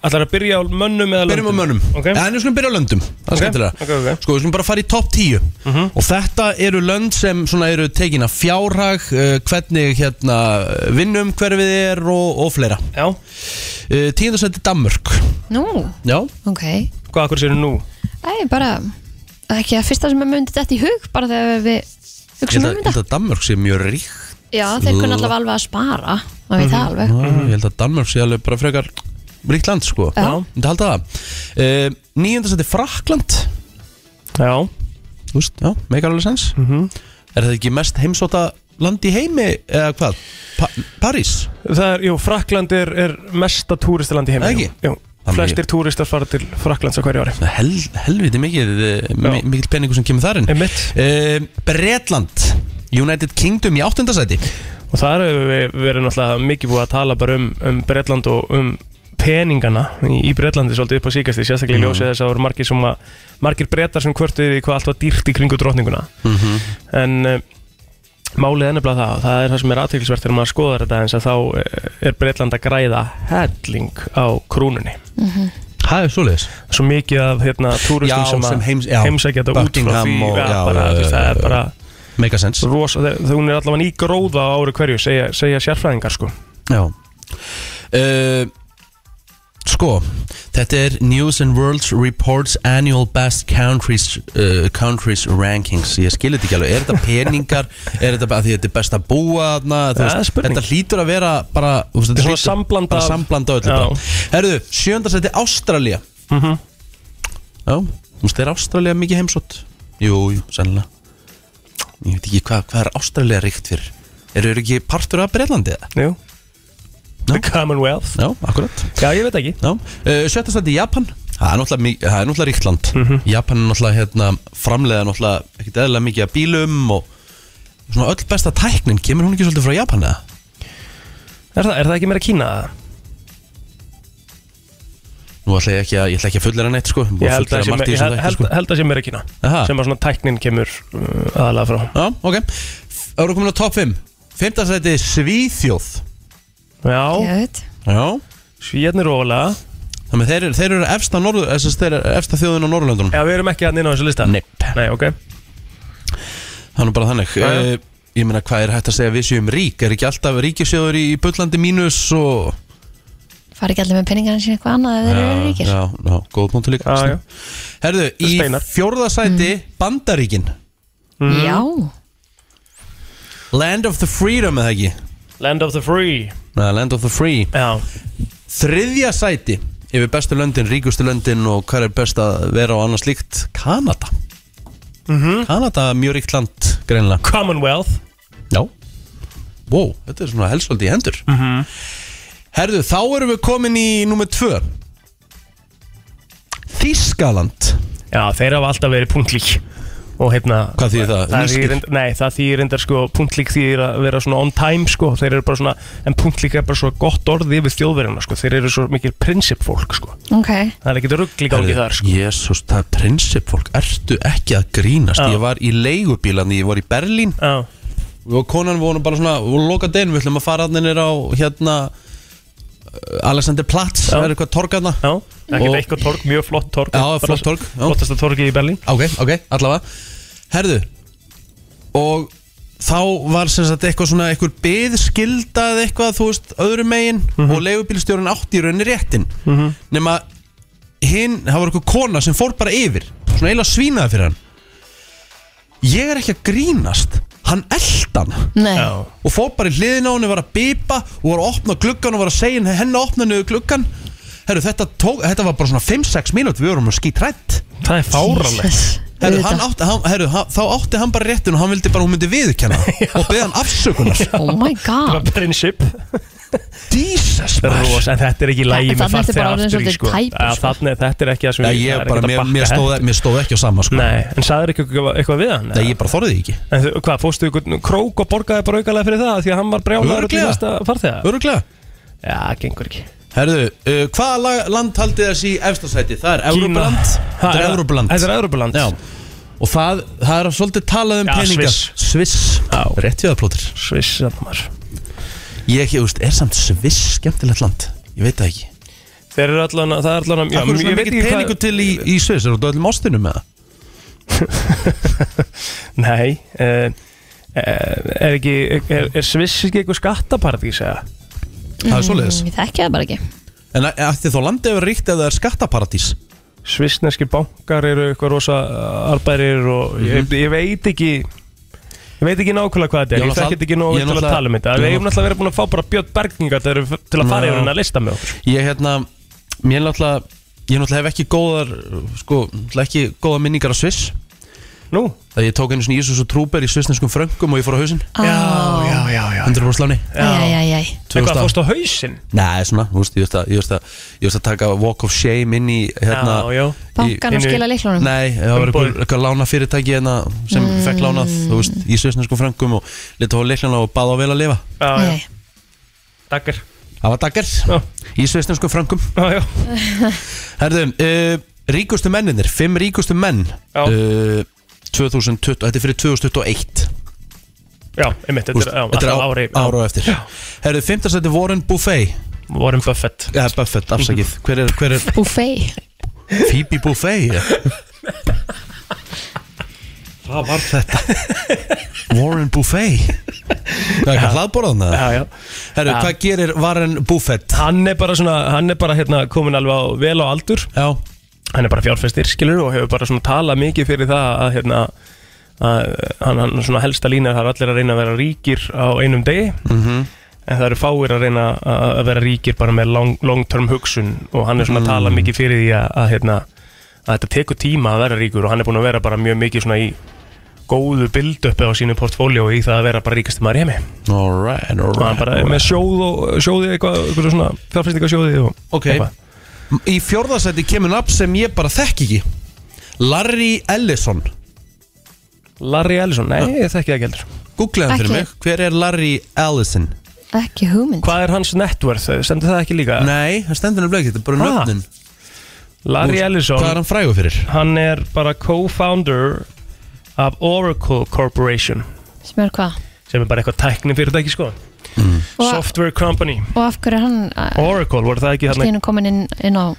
[SPEAKER 3] Ætlar að byrja á mönnum eða
[SPEAKER 1] Byrjum á mönnum Eh.
[SPEAKER 3] Ok.
[SPEAKER 1] En við skulum byrja á löndum Það er
[SPEAKER 3] Ok,
[SPEAKER 1] skemmtilega
[SPEAKER 3] ok, ok. Mhm.
[SPEAKER 1] Sko, við skulum bara fara í topp 10 Og þetta eru lönd sem svona eru tekin af fjárhag uh, Hvernig hérna vinnum hverfið er og, og fleira
[SPEAKER 3] Já,
[SPEAKER 1] uh, Tíðarsætti Danmörk
[SPEAKER 2] Nú,
[SPEAKER 1] Já
[SPEAKER 2] ok
[SPEAKER 3] hvað akkur séu nú?
[SPEAKER 2] Æ, bara, ekki að fyrsta sem er myndið þetta í hug bara þegar við
[SPEAKER 1] Ég held
[SPEAKER 2] hugsaum
[SPEAKER 1] að,
[SPEAKER 2] um
[SPEAKER 1] ég
[SPEAKER 2] þetta
[SPEAKER 1] held að Danmörk sé mjög rík
[SPEAKER 2] Já, þeir kunna allavega alveg að spara
[SPEAKER 1] Mhm.
[SPEAKER 2] maður veit það alveg
[SPEAKER 3] Mhm.
[SPEAKER 1] Ég held að Danmörk sé alveg bara frekar ríkt land sko
[SPEAKER 2] Já.
[SPEAKER 1] Þetta held að það uh, Níðarsætti Frakland
[SPEAKER 3] Já,
[SPEAKER 1] Þú veist, já, meikar alveg sens Er þetta ekki mest heimsóta land í heimi eða hvað? Pa París?
[SPEAKER 3] það er, jú, Frakland er, er mesta túristaland í heim
[SPEAKER 1] Ekki?
[SPEAKER 3] Jú,
[SPEAKER 1] Þannig-
[SPEAKER 3] flestir túristar fara til Fraklands á hverju ári
[SPEAKER 1] Hel, helviti mikið eh, mi-
[SPEAKER 3] Já.
[SPEAKER 1] mikil peningur sem kemur þar inn
[SPEAKER 3] Einmitt.
[SPEAKER 1] Eh, Bretland United Kingdom í áttundasæti
[SPEAKER 3] Og þar hefur við verið náttúrulega mikið búið að tala bara um, um Bretland og um peningana í, í Bretlandi svolítið upp á síkasti sérstaklega í ljósið þess að það voru margir, sem að, margir brettar sem kvörtuði því hvað allt var dýrt í kringu drottninguna en uh, málið er nefnilega það og það er það sem er aðteglisvert þegar maður skoðar þetta eins að þá eh, er Bretland að græða helling á krúnunni
[SPEAKER 1] Það er svoleiðis
[SPEAKER 3] svo mikið af hérna, túristum
[SPEAKER 1] Já, sem
[SPEAKER 3] sem, sem
[SPEAKER 1] heims-
[SPEAKER 3] heims,
[SPEAKER 1] já,
[SPEAKER 3] heimsækja þetta út frá
[SPEAKER 1] Buckingham
[SPEAKER 3] því
[SPEAKER 1] og-
[SPEAKER 3] ja,
[SPEAKER 1] já,
[SPEAKER 3] bara,
[SPEAKER 1] já,
[SPEAKER 3] þú veist,
[SPEAKER 1] já,
[SPEAKER 3] það er
[SPEAKER 1] já,
[SPEAKER 3] bara
[SPEAKER 1] Mega sens
[SPEAKER 3] rosa, þau, þau hún er allavega í gróða á ári hverju segja, segja sérfræðingar sko
[SPEAKER 1] Já uh, Sko Þetta er News and World Reports Annual Best Countries uh, Countries Rankings Ég skil þetta ekki alveg, er þetta peningar er þetta bara því þetta er best að búa þarna þú
[SPEAKER 3] Það
[SPEAKER 1] veist,
[SPEAKER 3] er spurning.
[SPEAKER 1] Þetta hlýtur að vera bara þú veist,
[SPEAKER 3] Þetta er svona
[SPEAKER 1] hlýtur-
[SPEAKER 3] sambland
[SPEAKER 1] bara
[SPEAKER 3] af-
[SPEAKER 1] sambland af öllu
[SPEAKER 3] Já.
[SPEAKER 1] bara. Herðu, sjöndarsætti Ástralía
[SPEAKER 3] Mhm.
[SPEAKER 1] Já, þú veist, er Ástralía mikið heimsótt? Jú, jú, sennilega Ég veit ekki hvað, hvað er Ástralía ríkt fyrir Eru þeir ekki partur af Breitlandi eða?
[SPEAKER 3] Jú
[SPEAKER 1] Já.
[SPEAKER 3] The Commonwealth
[SPEAKER 1] Já, akkurat
[SPEAKER 3] Já, ég veit ekki
[SPEAKER 1] Já, uh, sjötta standi Japan Það er náttúrulega, mi- það er náttúrulega ríkt land
[SPEAKER 3] Mhm.
[SPEAKER 1] Japan er náttúrulega hérna, framleiða náttúrulega ekkert eðlilega mikið af bílum og svona öll besta tæknin kemur hún ekki svolítið frá Japan eða?
[SPEAKER 3] Er það, er það ekki meira Kína?
[SPEAKER 1] Nú ætla ég ekki að, ég ætla ekki að fullera neitt sko
[SPEAKER 3] Ég held að, sé me- ég held, held, held að sé meira Kína
[SPEAKER 1] Aha.
[SPEAKER 3] Sem að svona tæknin kemur uh, aðalega frá
[SPEAKER 1] Já, ok Það eru komin á topp 5 Femta sæti Svíþjóð
[SPEAKER 3] Já, hérna
[SPEAKER 2] Ég veit
[SPEAKER 1] Já
[SPEAKER 3] svíðnir rólega
[SPEAKER 1] Þannig að þeir, eru- þeir eru efsta, norður, þessi, þeir eru efsta þjóðin á Norðurlöndunum
[SPEAKER 3] Já, við erum ekki hann inn á þessu lista
[SPEAKER 1] Nei.
[SPEAKER 3] Nei, ok
[SPEAKER 1] Það er nú bara þannig
[SPEAKER 3] Já, já.
[SPEAKER 1] uh, Ég meina hvað er hægt að segja að við séum rík Er ekki alltaf ríkisjóður í bullandi mínus og
[SPEAKER 2] fara ekki allir með peningarinn sín eitthvað annað ef þeir eru ríkir
[SPEAKER 1] Já, já, góð punktu líka
[SPEAKER 3] Já, já.
[SPEAKER 1] Herðu, í
[SPEAKER 3] Steinar.
[SPEAKER 1] fjórðasæti mm. Bandaríkin
[SPEAKER 3] Mm.
[SPEAKER 2] Já,
[SPEAKER 1] Land of the Freedom eða ekki
[SPEAKER 3] Land of the Free
[SPEAKER 1] Nei, Land of the Free
[SPEAKER 3] Já,
[SPEAKER 1] Þriðja sæti yfir bestu löndin, ríkustu löndin og hvað er best að vera á annars líkt Kanada
[SPEAKER 3] Mhm.
[SPEAKER 1] Kanada, mjög ríkt land, greinlega
[SPEAKER 3] Commonwealth
[SPEAKER 1] Já Wow, þetta er svona helsvöldi í hendur
[SPEAKER 3] Mhm.
[SPEAKER 1] Herðu, þá erum við komin í Númer tvö Þískaland
[SPEAKER 3] Já, þeir hafa alltaf verið punktlík Og hérna
[SPEAKER 1] Hvað þýðir það?
[SPEAKER 3] Það
[SPEAKER 1] Nýskir?
[SPEAKER 3] þýðir, reynd- nei, það þýðir reyndar sko Punktlík þýðir að vera svona on time sko Þeir eru bara svona En punktlík er bara svo gott orð yfir þjóðverjuna sko Þeir eru svo mikil prinsip fólk sko
[SPEAKER 2] ok
[SPEAKER 3] Það er ekki ruggli gangi þar sko
[SPEAKER 1] Jésús, það er prinsip fólk Ertu ekki að grínast
[SPEAKER 3] Já.
[SPEAKER 1] Ég var í leigubílandi, ég var í Berlín
[SPEAKER 3] Já,
[SPEAKER 1] Og konan voru bara svona Og loka den, við ætlum að fara hann á hérna uh, Alexander Platz
[SPEAKER 3] Já.
[SPEAKER 1] Það er eitthvað torgaðna
[SPEAKER 3] já, ekkert
[SPEAKER 1] Og-
[SPEAKER 3] eitthvað torg, mjög flott torg
[SPEAKER 1] Já, flott torg, já.
[SPEAKER 3] Flottasta torgi í Berlín
[SPEAKER 1] Ok, ok, allavega Herðu Og þá var sem sagt eitthvað svona Eitthvað byðskildað eitthvað Þú veist, öðrum megin Og leigubílstjórinn átti í rauninni réttin Nema hinn, það var eitthvað kona Sem fór bara yfir Svona eiginlega svínaði fyrir hann Ég er ekki að grínast Hann eld hann
[SPEAKER 2] Nei,
[SPEAKER 3] Já,
[SPEAKER 1] Og fór bara í hliðin á henni, var að bipa Og var að opna gluggan og var að segja henni- henni að opna niður gluggan Herru, þetta, tók, þetta var bara svona 5-6 mínút Við vorum að skítrætt
[SPEAKER 3] það er fáránlegt
[SPEAKER 2] Jesus.
[SPEAKER 1] Herru,
[SPEAKER 2] Auðvitað.
[SPEAKER 1] hann átti, hann, herru, hann, þá átti hann bara réttin og hann vildi bara að hún myndi viðurkenna það og beða hann afsökunar
[SPEAKER 2] Oh my god
[SPEAKER 3] Prinsip
[SPEAKER 1] Jesus maður.
[SPEAKER 3] Ros, en þetta er ekki lægi
[SPEAKER 2] en þarna ertu bara orðin svolítið tæpur, sko.
[SPEAKER 3] Þannig þetta er ekki það sem
[SPEAKER 1] Já,
[SPEAKER 3] það
[SPEAKER 1] ég bara,
[SPEAKER 3] er ekkert að
[SPEAKER 1] mér,
[SPEAKER 3] bakka
[SPEAKER 1] mér, stóð,
[SPEAKER 3] þetta.
[SPEAKER 1] mér stóð ekki á sama sko.
[SPEAKER 3] Nei, en sagður ekki eitthvað, eitthvað við hann?
[SPEAKER 1] Nei, ég bara þorði því ekki
[SPEAKER 3] En þú- hvað, fórstu ykkur krók og borgaði bara aukalega fyrir það Því að hann var brjálaður út í
[SPEAKER 1] Örugglega.
[SPEAKER 3] næsta farþega
[SPEAKER 1] Öruglega
[SPEAKER 3] Já, gengur ekki
[SPEAKER 1] Herðu, uh, hvaða lag- land haldið þessi í efstasæti? Það er
[SPEAKER 3] Kína.
[SPEAKER 1] Európland
[SPEAKER 3] Ha,
[SPEAKER 1] Þetta er
[SPEAKER 3] er það-
[SPEAKER 1] Európland
[SPEAKER 3] Þetta er Evrópuland
[SPEAKER 1] Já Og það, það er svolítið talað um
[SPEAKER 3] Já,
[SPEAKER 1] peningar
[SPEAKER 3] Sviss.
[SPEAKER 1] Sviss
[SPEAKER 3] Já.
[SPEAKER 1] Rétt við að plótir
[SPEAKER 3] Sviss þarna maður.
[SPEAKER 1] Ég ekki, þú veist, er samt Sviss skemmtilegt land? Ég veit það ekki
[SPEAKER 3] Þeir eru allan að, það er allan að
[SPEAKER 1] Akkur er svona mikið peningur til í, í Sviss Er það öllum ástinum með það?
[SPEAKER 3] Nei, uh, er ekki, er, er Sviss ekki eitthvað skattaparadís eða?
[SPEAKER 1] Það er svoleiðis
[SPEAKER 2] Mm, Ég þekki það bara ekki
[SPEAKER 1] En að- ætti þá landið að vera ríkt eða það er skattaparadís
[SPEAKER 3] Svissneskir bankar eru eitthvað rosa eh, arbærir og ég, ég veit ekki Ég veit ekki nákvæmlega hvað þetta
[SPEAKER 1] Mhm. Ég
[SPEAKER 3] er, ég
[SPEAKER 1] náttúrulega-
[SPEAKER 3] þekki ekki nóg
[SPEAKER 1] ég
[SPEAKER 3] til að
[SPEAKER 1] náttúrulega-
[SPEAKER 3] tala um þetta
[SPEAKER 1] ég
[SPEAKER 3] Við hefum náttúrulega verið búin að fá bara Björn Bergninga til að- til að fara
[SPEAKER 1] Já.
[SPEAKER 3] yfir hennar lista með okkur
[SPEAKER 1] Ég hérna, mér náttúrulega Ég náttúrulega hef ekki góðar Sko, náttúrulega ekki góða minningar á Sviss
[SPEAKER 3] Nú?
[SPEAKER 1] Það ég tók einu svona Jísus og Trúber í svissneskum fröngum og ég fór á hausinn
[SPEAKER 2] Á,
[SPEAKER 3] já, já, já
[SPEAKER 1] 100% láni
[SPEAKER 2] Æjæjæjæj
[SPEAKER 1] 2000.
[SPEAKER 3] Eitthvað fórst á hausinn?
[SPEAKER 1] Nei, svona, þú veist, ég veist að, ég veist að, ég veist að taka walk of shame inn í hérna
[SPEAKER 3] Já, já
[SPEAKER 2] Bankan að
[SPEAKER 3] Í-
[SPEAKER 2] skila leiklunum
[SPEAKER 1] Nei, það var
[SPEAKER 3] Umboðið.
[SPEAKER 1] eitthvað, eitthvað lána fyrirtæki hérna sem fekk lánað, þú veist, í svissnesku fröngum og leta á leiklana og baða á vel að lifa
[SPEAKER 3] Já, já,
[SPEAKER 2] Nei
[SPEAKER 3] takkar
[SPEAKER 1] Það var daggar
[SPEAKER 3] Já,
[SPEAKER 1] í svissnesku fröngum
[SPEAKER 3] já, já
[SPEAKER 1] Herðum, uh, ríkustu menninir, fimm ríkustu menn
[SPEAKER 3] Já.
[SPEAKER 1] uh, 2020, þetta er fyrir 2021
[SPEAKER 3] Já, einmitt,
[SPEAKER 1] þú veist,
[SPEAKER 3] þetta er, já, alltaf ári já.
[SPEAKER 1] ára á eftir Herðu, fimmtarsætti Warren Buffet
[SPEAKER 3] Warren Buffett
[SPEAKER 1] eða Buffett, afsakið, hver er, hver er
[SPEAKER 2] Buffet
[SPEAKER 1] Phoebe Buffet Hvað var þetta? Warren Buffet Hvað er ekki hlaðborðan það?
[SPEAKER 3] Já, já
[SPEAKER 1] Herru,
[SPEAKER 3] Já.
[SPEAKER 1] hvað gerir Warren Buffett?
[SPEAKER 3] Hann er bara svona, hann er bara hérna komin alveg á, vel á aldur
[SPEAKER 1] Já,
[SPEAKER 3] Hann er bara fjárfæstir, skilur og hefur bara svona talað mikið fyrir það að hérna að hann, hann svona helsta lína er það er allir að reyna að vera ríkir á einum degi Mhm. en það eru fáir að reyna að að vera ríkir bara með long, long term hugsun og hann er svona að tala mikið fyrir því að, að hérna að þetta tekur tíma að vera ríkur og hann er búin að vera bara mjög mikið svona í góðu build-upi á sínu portfólió í það að vera bara ríkasti maður í heimi
[SPEAKER 1] alright,
[SPEAKER 3] og hann
[SPEAKER 1] alright
[SPEAKER 3] bara er með sjóð og sjóði eitthvað, eitthvað svona fjárfæstingasjóði og
[SPEAKER 1] Ok.
[SPEAKER 3] eitthvað.
[SPEAKER 1] Í fjórðasætti kemur nafn sem ég bara þekk ekki Larry Ellison
[SPEAKER 3] Larry Ellison, nei, ég þekki það ekki heldur
[SPEAKER 1] Googlaði hann fyrir
[SPEAKER 2] Ekki.
[SPEAKER 1] mig, hver er Larry Ellison?
[SPEAKER 2] Ekki hugmynd
[SPEAKER 3] Hvað er hans net worth, stendur það ekki líka?
[SPEAKER 1] Nei, það stendur nefnilega ekki, þetta er bara
[SPEAKER 3] Ha?
[SPEAKER 1] nöfnin
[SPEAKER 3] Larry Ellison,
[SPEAKER 1] Hvað er hann frægur fyrir?
[SPEAKER 3] hann er bara co-founder af Oracle Corporation
[SPEAKER 2] Sem er hvað
[SPEAKER 3] sem er bara eitthvað tækni fyrirtæki sko
[SPEAKER 2] Og,
[SPEAKER 3] Software Company,
[SPEAKER 2] og af hverju er hann
[SPEAKER 3] Oracle, voru það ekki hérna
[SPEAKER 2] Stínu komin inn, inn á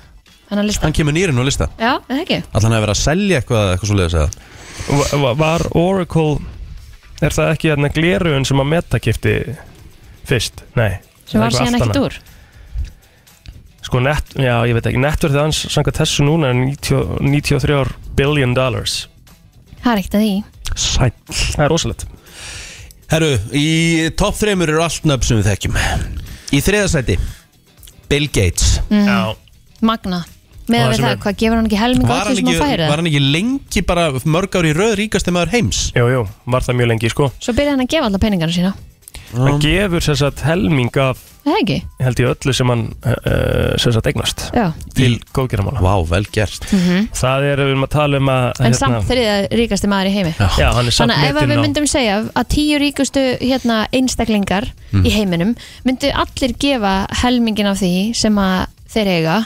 [SPEAKER 2] hennar lista
[SPEAKER 1] Hann kemur nýrinn á lista
[SPEAKER 2] Já, er það ekki
[SPEAKER 1] Allan að vera að selja eitthvað, eitthvað svo leiðis eða
[SPEAKER 3] va- va- Var Oracle, er það ekki hérna gleruðun sem að meta kipti fyrst, nei
[SPEAKER 2] Sem
[SPEAKER 3] það er
[SPEAKER 2] var
[SPEAKER 3] eitthvað
[SPEAKER 2] síðan
[SPEAKER 3] allt
[SPEAKER 2] ekkert
[SPEAKER 3] annað.
[SPEAKER 2] úr
[SPEAKER 3] Sko, net, já, ég veit ekki, netverðið hans samkvæmt þessu núna er 90, 93 billion dollars
[SPEAKER 2] Það er ekkert að því
[SPEAKER 3] Sæll Það er rosalegt
[SPEAKER 1] Herru, í topp þreymur eru allt nöfn sem við þekkjum Í þriðasæti Bill Gates
[SPEAKER 2] Mm.
[SPEAKER 3] Já,
[SPEAKER 2] Magna Með
[SPEAKER 3] Og það
[SPEAKER 2] við
[SPEAKER 3] sem
[SPEAKER 2] það,
[SPEAKER 3] er-
[SPEAKER 2] hvað gefur hann ekki helming á
[SPEAKER 1] var,
[SPEAKER 2] því
[SPEAKER 1] hann
[SPEAKER 2] sem
[SPEAKER 1] ekki,
[SPEAKER 2] hann færi
[SPEAKER 1] var hann ekki lengi bara mörg ári í röð ríkasti maður heims
[SPEAKER 3] jú, jú, var það mjög lengi, sko
[SPEAKER 2] Svo byrjaði hann að gefa alla peningarna sína
[SPEAKER 3] Hann
[SPEAKER 2] Um.
[SPEAKER 3] gefur sér satt helming af,
[SPEAKER 2] Er Það ekki
[SPEAKER 3] held ég öllu sem hann uh, sér satt eignast
[SPEAKER 2] Já
[SPEAKER 3] Til góðgerðamála
[SPEAKER 1] Vá, vel gert
[SPEAKER 2] Mhm.
[SPEAKER 3] Það er, við erum að tala um að
[SPEAKER 2] Mm. En samt þriða ríkasti maður í heimi
[SPEAKER 3] Já, hann er samt
[SPEAKER 2] Þannig að ef að
[SPEAKER 3] metinn
[SPEAKER 2] við
[SPEAKER 3] á-
[SPEAKER 2] myndum segja að tíu ríkustu hérna, einstaklingar í heiminum myndu allir gefa helmingin af því sem að þeir eiga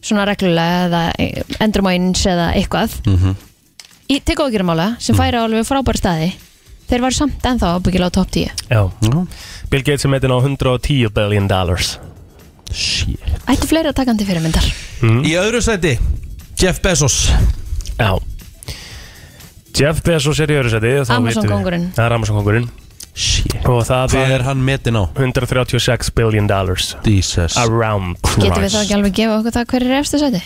[SPEAKER 2] svona reglulega eða eh, endrum á eins eða eitthvað mm
[SPEAKER 1] Mhm.
[SPEAKER 2] -hmm. í tegóðgjörumála sem færa alveg frábæra staði þeir var samt ennþá ábyggilega á topp 10
[SPEAKER 3] Já, Bill Gates er metin á 110 billion dollars
[SPEAKER 2] Ættu fleiri að taka hann til fyrirmyndar
[SPEAKER 1] Í öðru sæti Jeff Bezos
[SPEAKER 3] Já Jeff Bezos er í öðru seti
[SPEAKER 2] Amazon-kóngurinn.
[SPEAKER 3] Það er Amazon-kongurinn
[SPEAKER 1] Shit.
[SPEAKER 3] Og það
[SPEAKER 1] Hvað
[SPEAKER 3] er
[SPEAKER 1] er hann metin á?
[SPEAKER 3] 136 billion dollars
[SPEAKER 1] Jesus
[SPEAKER 3] Around
[SPEAKER 2] Getum við þá ekki
[SPEAKER 3] Christ
[SPEAKER 2] alveg að gefa okkur það hverju er efstu sæti?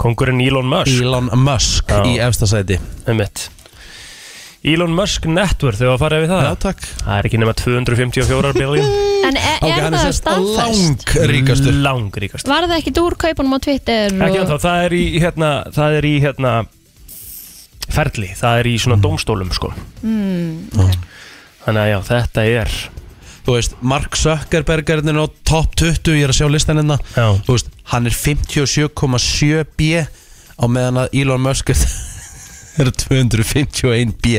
[SPEAKER 3] Kongurinn Elon Musk
[SPEAKER 1] Elon Musk
[SPEAKER 3] Já.
[SPEAKER 1] í efsta sæti
[SPEAKER 3] einmitt. Elon Musk network þegar að fara við það
[SPEAKER 1] Já, takk
[SPEAKER 3] Það er ekki nema 254 billion
[SPEAKER 2] En er,
[SPEAKER 1] Ok,
[SPEAKER 2] er
[SPEAKER 1] hann
[SPEAKER 2] það
[SPEAKER 1] er sérst
[SPEAKER 2] staðfest?
[SPEAKER 1] lang ríkastur
[SPEAKER 3] Mm. Langríkast
[SPEAKER 2] Var það ekki dúr kaupunum á Twitter? og...
[SPEAKER 3] Ekki ennþá, það er í hérna Það er í hérna ferli, það er í svona dómstólum sko
[SPEAKER 2] Mm,
[SPEAKER 3] Þannig að já, þetta er
[SPEAKER 1] Þú veist, Mark Zuckerberg er hérna á top 20 Ég er að sjá listan hérna
[SPEAKER 3] Já.
[SPEAKER 1] Þú veist, hann er 57,7 B Á meðan að Elon Musk er er 251 B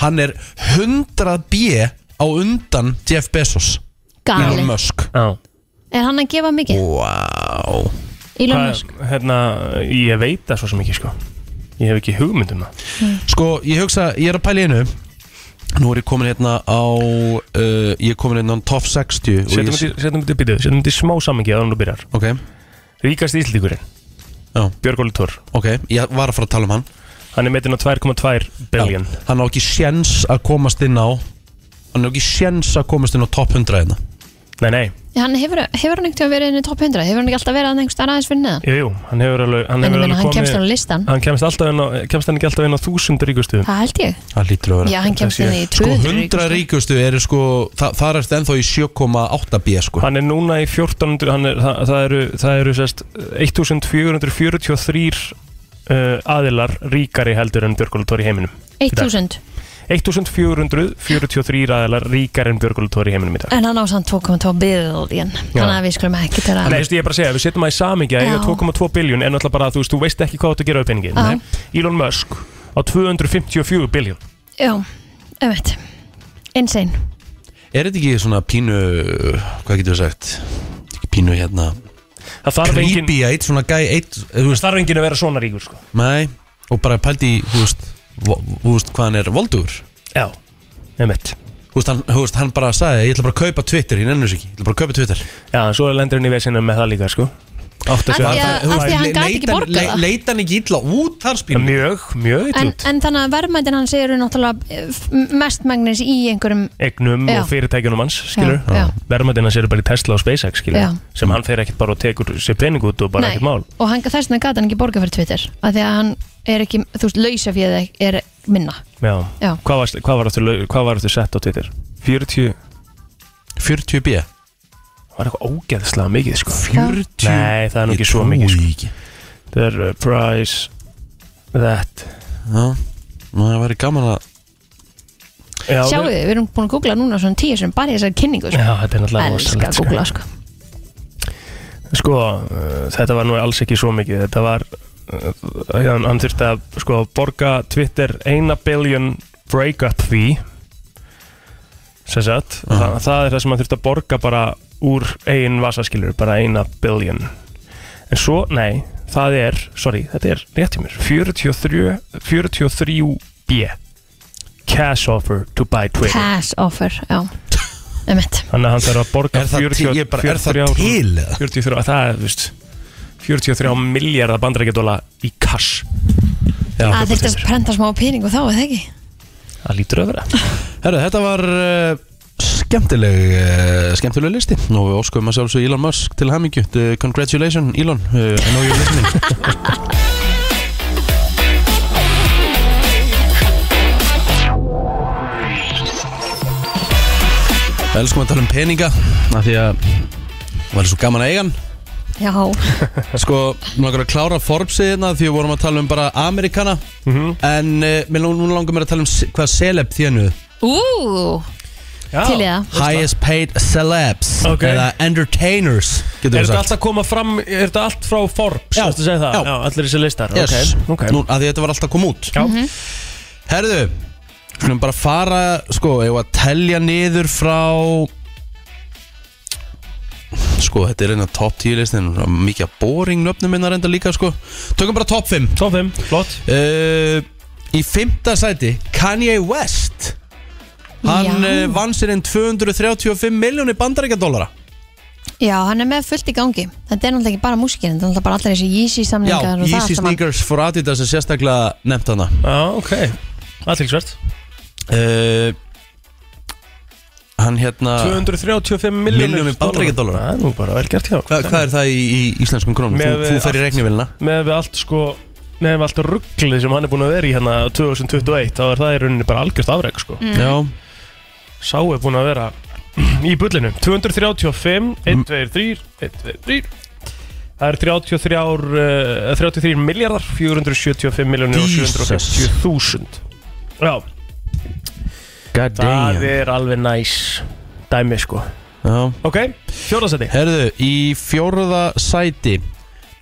[SPEAKER 1] Hann er 100 B á undan Jeff Bezos Elon
[SPEAKER 2] Gali,
[SPEAKER 1] Musk
[SPEAKER 3] Já,
[SPEAKER 2] er hann að gefa mikið?
[SPEAKER 1] Wow
[SPEAKER 2] Elon
[SPEAKER 3] það,
[SPEAKER 2] Musk
[SPEAKER 3] hérna, ég veit það svo sem ekki sko Ég hef ekki hugmynd um það
[SPEAKER 1] Sko, ég hugsa, ég er að pæla í einu Nú er ég komin hérna á uh, Ég er komin hérna á top 60 og
[SPEAKER 3] Setjum
[SPEAKER 1] ég,
[SPEAKER 3] þetta í- setjum þetta í byrjuð, setjum þetta í smá sammingi að hann þú byrjar
[SPEAKER 1] Ok,
[SPEAKER 3] Ríkast íslíkurinn,
[SPEAKER 1] já,
[SPEAKER 3] Björg Óli Tór
[SPEAKER 1] ok Ég var að fara að tala um hann
[SPEAKER 3] Hann er metinn á 2,2 billion
[SPEAKER 1] Já, Hann á ekki sjens að komast inn á Hann á ekki sjens að komast inn á top 100 hérna
[SPEAKER 3] Nei, nei,
[SPEAKER 2] Hann hefur, hefur hann einhvern veginn verið inn í top 100 Hefur hann ekki alltaf verið að einhvers staðar aðeins fyrir neðan
[SPEAKER 3] jú, jú, hann hefur alveg
[SPEAKER 2] En
[SPEAKER 3] Hann,
[SPEAKER 2] ég
[SPEAKER 3] hefur
[SPEAKER 2] meina,
[SPEAKER 3] alveg
[SPEAKER 2] hann kemst
[SPEAKER 3] komið-
[SPEAKER 2] hann á listan
[SPEAKER 3] Hann kemst, alltaf inn á, kemst hann ekki alltaf inn á þúsund ríkustuðum
[SPEAKER 2] Það held ég
[SPEAKER 1] Það lítur að vera
[SPEAKER 2] Já, hann kemst inn í
[SPEAKER 1] Sko,
[SPEAKER 2] 200
[SPEAKER 1] 100
[SPEAKER 2] ríkustu.
[SPEAKER 1] ríkustu eru sko Það, það er ennþá í 7,8 B sko
[SPEAKER 3] Hann er núna í 1400 hann er, það, það eru, það eru sest, 1443 uh, aðilar ríkari heldur en björgulitóri í heiminum
[SPEAKER 2] 1000
[SPEAKER 3] 1443 aðilar ríkari en björgulitóri í heiminum í dag
[SPEAKER 2] En hann á samt 2,2 billion Þannig að við skulum ekki tala
[SPEAKER 3] Nei, veistu, ég er bara að segja, við setjum það í samingi að eiga
[SPEAKER 2] Já.
[SPEAKER 3] 2,2 biljón en alltaf bara að þú veist, þú veist ekki hvað þú átt að gera á peningin
[SPEAKER 2] Já.
[SPEAKER 3] Elon Musk á 254 biljón
[SPEAKER 2] Já, auðvitað Insane
[SPEAKER 1] Er þetta ekki svona pínu Hvað getur við sagt Ekki Pínu hérna
[SPEAKER 3] Það þarf engin,
[SPEAKER 1] Creepy að eitt svona gæ eitt, Þú veist
[SPEAKER 3] það þarf engin að vera svona ríkur sko.
[SPEAKER 1] Nei, og bara pældi í, þú veist, vo- þú veist hvað hann er voldugur
[SPEAKER 3] Já, nefnitt
[SPEAKER 1] Þú veist, hann, þú veist, hann bara sagði, ég ætla bara að kaupa Twitter, ég nennur þessu ekki, ég ætla bara að kaupa Twitter
[SPEAKER 3] Já, en svo lendur henni í vesinu með það líka sko.
[SPEAKER 1] Átt
[SPEAKER 2] Af því að- af því að hann gat ekki borgað það.
[SPEAKER 1] Leita hann ekki illa út þar spínum
[SPEAKER 3] Mjög, mjög illa
[SPEAKER 2] en,
[SPEAKER 3] út.
[SPEAKER 2] en þannig að verðmætin hans eru náttúrulega eh, mestmagnis í einhverjum
[SPEAKER 3] egnum
[SPEAKER 2] Já.
[SPEAKER 3] og fyrirtækjunum hans skilur,
[SPEAKER 2] Já, já.
[SPEAKER 3] verðmættina sér bara í Tesla og SpaceX skilur,
[SPEAKER 2] Já.
[SPEAKER 3] sem hann fer ekkert bara og tekur sér pening út og bara ekkert mál
[SPEAKER 2] og hann, þess vegna gæti hann ekki borga fyrir Twitter af því að hann er ekki, þú veist, lausa fyrir það er minna
[SPEAKER 3] já.
[SPEAKER 2] Já.
[SPEAKER 3] Hvað, var, hvað, var aftur, lau- hvað var aftur sett á Twitter? 40,
[SPEAKER 1] 40 b
[SPEAKER 3] var eitthvað ógeðslega mikið sko.
[SPEAKER 1] 40
[SPEAKER 3] Nei, það er nú
[SPEAKER 1] Ég
[SPEAKER 3] ekki svo
[SPEAKER 1] trúi
[SPEAKER 3] mikið sko.
[SPEAKER 1] ekki.
[SPEAKER 3] það er uh, price that
[SPEAKER 1] Já, nú það væri gaman að
[SPEAKER 3] já,
[SPEAKER 2] sjáu
[SPEAKER 3] við-
[SPEAKER 2] þið, við erum búin að googla núna svona tíu sem bara í þessari kynningu
[SPEAKER 3] já,
[SPEAKER 2] sko.
[SPEAKER 3] þetta er náttúrulega
[SPEAKER 2] elska
[SPEAKER 3] rosalegt,
[SPEAKER 2] að googla sko.
[SPEAKER 3] Sko, uh, þetta var nú alls ekki svo mikið Þetta var uh, hann, hann þurfti að sko, borga Twitter 1 billion breakup fee sem sagt Þa, það er það sem hann þurfti að borga bara úr eigin vasaskilur, bara 1 billion en svo, nei það er, sorry, þetta er rétt í mér 43, 43 B cash offer to buy Twitter
[SPEAKER 2] cash offer, já Einmitt.
[SPEAKER 3] Þannig að hann þarf að borga
[SPEAKER 1] Er það til- ég bara- er það til, eða?
[SPEAKER 3] 43, það er, þú veist 43 miljardar bandarækjadóla í kass
[SPEAKER 2] að þetta prenta smá pening og þá er það ekki
[SPEAKER 3] Það lítur öfra
[SPEAKER 1] Herru, þetta var uh, skemmtileg uh, skemmtileg listi og við óskuðum að sjálfsög Elon Musk til hamingju Uh, Congratulations Elon, uh, I know you're listening Við elskum að tala um peninga af því að var svo gaman að eiga hann
[SPEAKER 2] já,
[SPEAKER 1] Sko, nú langar að klára Forbes-ið hérna því við vorum að tala um bara Amerikana
[SPEAKER 3] Mhm.
[SPEAKER 1] en uh, mér lang- nú langar mér að tala um se- hvað celeb þjánuð
[SPEAKER 2] ú til í það
[SPEAKER 1] Highest paid celebs
[SPEAKER 3] Ok.
[SPEAKER 1] eða entertainers getur við
[SPEAKER 3] Er þetta
[SPEAKER 1] sagt
[SPEAKER 3] allt að koma fram, er þetta allt frá Forbes?
[SPEAKER 1] Já.
[SPEAKER 3] Ertu að segja það?
[SPEAKER 1] Já.
[SPEAKER 3] Já, allir þessi listar
[SPEAKER 1] yes.
[SPEAKER 3] Ok, ok
[SPEAKER 1] Nú, að því þetta var alltaf kom út
[SPEAKER 3] Já. Mhm.
[SPEAKER 1] Herðu, skulum bara fara sko, ef að telja niður frá sko, þetta er eina top 10 listin mikið boring nöfnum minna reynda líka sko. tökum bara top 5
[SPEAKER 3] Top 5, flott
[SPEAKER 1] uh, í fymta sæti Kanye West hann
[SPEAKER 2] Já.
[SPEAKER 1] uh, vann sér inn 235 miljónir bandaríkjadólara
[SPEAKER 2] já, hann er með fullt í gangi þetta er náttúrulega ekki bara músikinn, þetta er náttúrulega bara allir þessi Yeezy
[SPEAKER 1] Já,
[SPEAKER 2] samlingar og það
[SPEAKER 1] Yeezy
[SPEAKER 2] allt saman.
[SPEAKER 1] Sneakers for Adidas er sérstaklega nefnt hana
[SPEAKER 3] Já, ok Allíksvert
[SPEAKER 1] uh, Hann hérna
[SPEAKER 3] 235
[SPEAKER 1] Milljónir
[SPEAKER 3] miljónir
[SPEAKER 1] bandaríkjadollara.
[SPEAKER 3] Það er nú bara vel gert hjá
[SPEAKER 1] hva,
[SPEAKER 3] okkur.
[SPEAKER 1] Hvað er það í, í íslenskum krónum?
[SPEAKER 3] Með
[SPEAKER 1] Þú, þú
[SPEAKER 3] við
[SPEAKER 1] fer í regnivillina
[SPEAKER 3] Með við allt sko Með við allt rugglið sem hann er búin að vera í hérna 2021 Þá er það í rauninni bara algjört afreg sko
[SPEAKER 2] Mm.
[SPEAKER 1] Já,
[SPEAKER 3] Sá er búin að vera í bullinu 235, 1, 2, 3, 1, 2, 3 Það er 33, ár, uh, 33 miljardar 475 miljonir og 750.000 Já,
[SPEAKER 1] God
[SPEAKER 3] það
[SPEAKER 1] damn
[SPEAKER 3] er alveg næs dæmi sko
[SPEAKER 1] Já.
[SPEAKER 3] Ok, fjóðarsæti
[SPEAKER 1] Herðu, í fjórða sæti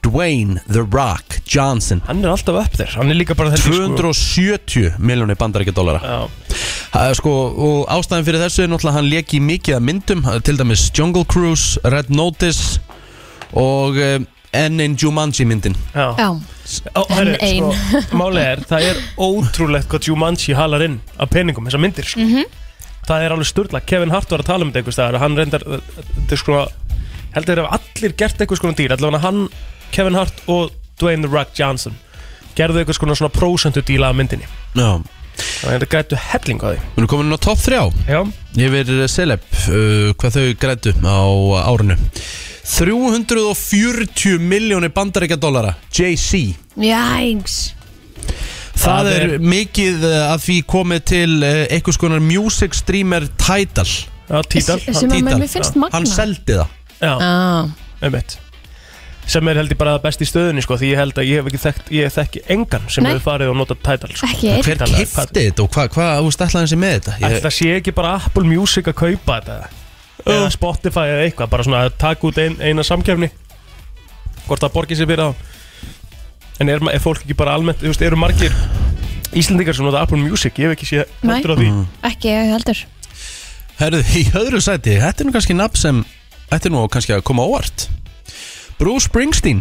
[SPEAKER 1] Dwayne The Rock Johnson
[SPEAKER 3] Hann er alltaf upp þér, hann er líka bara þessi sko.
[SPEAKER 1] 270 miljónir bandaríkja dólara
[SPEAKER 3] Já,
[SPEAKER 1] Það er sko, og ástæðan fyrir þessu er náttúrulega að hann leki mikið af myndum til dæmis Jungle Cruise, Red Notice og eh, enn einn Jumanji myndin
[SPEAKER 3] já
[SPEAKER 2] Já,
[SPEAKER 3] Ó, herri,
[SPEAKER 2] Enn ein.
[SPEAKER 3] sko, Málið er, það er ótrúlegt hvað Jumanji halar inn af peningum þessar myndir sko.
[SPEAKER 2] Mhm.
[SPEAKER 3] Það er alveg sturla Kevin Hart var að tala um þetta einhvers staðar og hann reyndar, þetta er sko heldur þeir hafa allir gert einhvers konar dýr allavega hann, Kevin Hart og Dwayne The Rock Johnson gerðu einhvers konar svona prósentu díla af myndinni
[SPEAKER 1] Já,
[SPEAKER 3] þannig að þetta gætu helling á því
[SPEAKER 1] við erum komin á topp 3
[SPEAKER 3] Já,
[SPEAKER 1] yfir Celeb uh, hvað þau grætu á árinu 340 miljónir bandaríkja dólara JC
[SPEAKER 2] jængs
[SPEAKER 1] Það
[SPEAKER 3] Það
[SPEAKER 1] er
[SPEAKER 3] er-
[SPEAKER 1] mikið eh, að því komið til eh, einhvers konar music streamer Tidal
[SPEAKER 3] já títal
[SPEAKER 2] Sem að
[SPEAKER 1] Títal.
[SPEAKER 2] mér finnst magna
[SPEAKER 1] Hann seldi það
[SPEAKER 3] Já,
[SPEAKER 2] Já,
[SPEAKER 3] einmitt sem er held ég bara best í stöðunni sko, því ég held að ég hef ekki þekkt, ég þekki engan sem
[SPEAKER 2] Nei.
[SPEAKER 3] hefur farið og notað tætal sko.
[SPEAKER 2] ekki einn
[SPEAKER 1] Hver
[SPEAKER 3] Tidal, hvað-
[SPEAKER 1] kifti þetta og hvað hva, hva, ætlaði hans í með þetta?
[SPEAKER 3] Ætli Það sé ekki bara Apple Music að kaupa þetta eða Spotify eða eitthvað bara svona að taka út ein, eina samkefni hvort það borgi sér fyrir þá en er, ma- er fólk ekki bara almennt þú veist, eru margir Íslendingar sem nota Apple Music ég hef ekki séð
[SPEAKER 2] Nei.
[SPEAKER 3] heldur á því
[SPEAKER 1] Mm.
[SPEAKER 2] Ekki ég heldur
[SPEAKER 1] Herðu, í öðru sæti, þetta er nú kannski nafn sem Þetta er nú kannski að koma á óvart Bruce Springsteen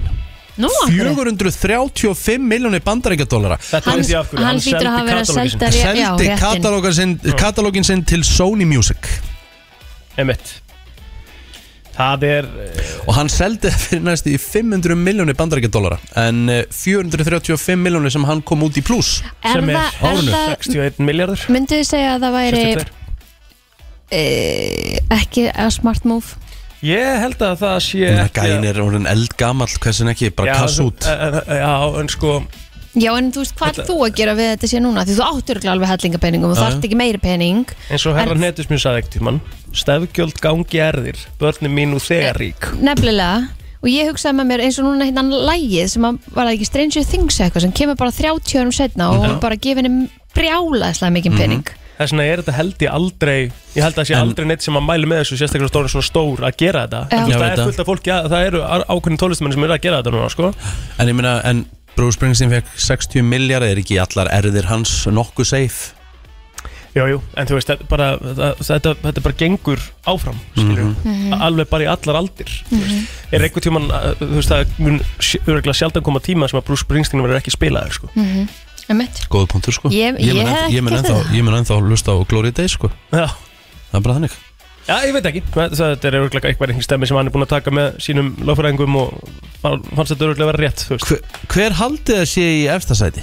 [SPEAKER 2] Nú, af hverju?
[SPEAKER 1] 435 miljónir bandaríkja dólara
[SPEAKER 3] þetta
[SPEAKER 2] Hann,
[SPEAKER 3] veit ég af hverju,
[SPEAKER 2] hann hlýtur að hafa verið að
[SPEAKER 3] katalóginn
[SPEAKER 2] selda ré- já,
[SPEAKER 1] Seldi
[SPEAKER 2] réttinn.
[SPEAKER 1] katalógan sinn, katalógin sinn til Sony Music
[SPEAKER 3] sinn. Einmitt. það er eh,
[SPEAKER 1] Og hann seldi það fyrir næstu í 500 miljónir bandaríkja dólara En eh, 435 miljónir sem hann kom út í pluss
[SPEAKER 2] Er
[SPEAKER 3] sem
[SPEAKER 2] það, er
[SPEAKER 3] er
[SPEAKER 2] það
[SPEAKER 3] 61 miljardur
[SPEAKER 2] Myndu þið segja að það væri e, Ekki að smart move
[SPEAKER 3] ég held að það sé
[SPEAKER 1] Þannig að
[SPEAKER 3] ekki
[SPEAKER 1] gæin er orðin eldgamall, hversin ekki, bara kass út
[SPEAKER 3] já, eh. en- en- já en sko
[SPEAKER 2] Já, en þú veist, hvað ert þú að gera við þetta sé núna? Því þú áttur alveg hellingapeningum og þarft ekki meiri pening
[SPEAKER 3] eins og herra
[SPEAKER 2] En-
[SPEAKER 3] netus mjög sagði ekkert tímann stefgjöld gangi erðir, börnum mín og þegar rík
[SPEAKER 2] Nefnilega Og ég hugsaði með mér eins og núna hérna lægið sem að var það ekki Stranger Things eitthvað sem kemur bara 30 árum setna og hún bara gefið henni brjálaðislega mikið pening
[SPEAKER 3] þess vegna er þetta held ég aldrei ég held að það sé aldrei neitt sem að mæli með þessu sérstaklega stóri svona stór að gera þetta
[SPEAKER 2] Já.
[SPEAKER 3] en þú
[SPEAKER 1] Já,
[SPEAKER 3] veist
[SPEAKER 1] veit
[SPEAKER 3] það er
[SPEAKER 1] það.
[SPEAKER 3] fullt af fólki að, það eru ákveðin tólistamenn sem eru að gera þetta núna sko
[SPEAKER 1] En ég meina, en Bruce Springsteen fekk 60 miljard Er ekki allar erðir hans nokkuð safe?
[SPEAKER 3] jú, jú. en þú veist þetta bara, það, þetta, þetta bara gengur áfram mm
[SPEAKER 1] Mhm.
[SPEAKER 2] Mhm.
[SPEAKER 3] alveg bara í allar aldir mm -hmm. er einhvern tíman þú veist það mun sj- örugglega sjaldan koma tíma sem að Bruce Springsteen verður ekki spilaður sko
[SPEAKER 2] Mhm. Einmitt.
[SPEAKER 1] Góða punktur sko
[SPEAKER 2] Ég-
[SPEAKER 1] Ég mun
[SPEAKER 2] ég
[SPEAKER 1] ennþá- ég mun
[SPEAKER 2] ekki
[SPEAKER 1] ennþá- ég mun ennþá lusta á Glory Day sko
[SPEAKER 3] já.
[SPEAKER 1] Það er bara þannig
[SPEAKER 3] já, ég veit ekki Það- þetta er örugglega eitthvað einhver stemmi sem hann er búin að taka með sínum lögfræðingum og fann- fannst þetta örugglega vera rétt þú veist.
[SPEAKER 1] Hver, hver haldið það sé í efstasæti?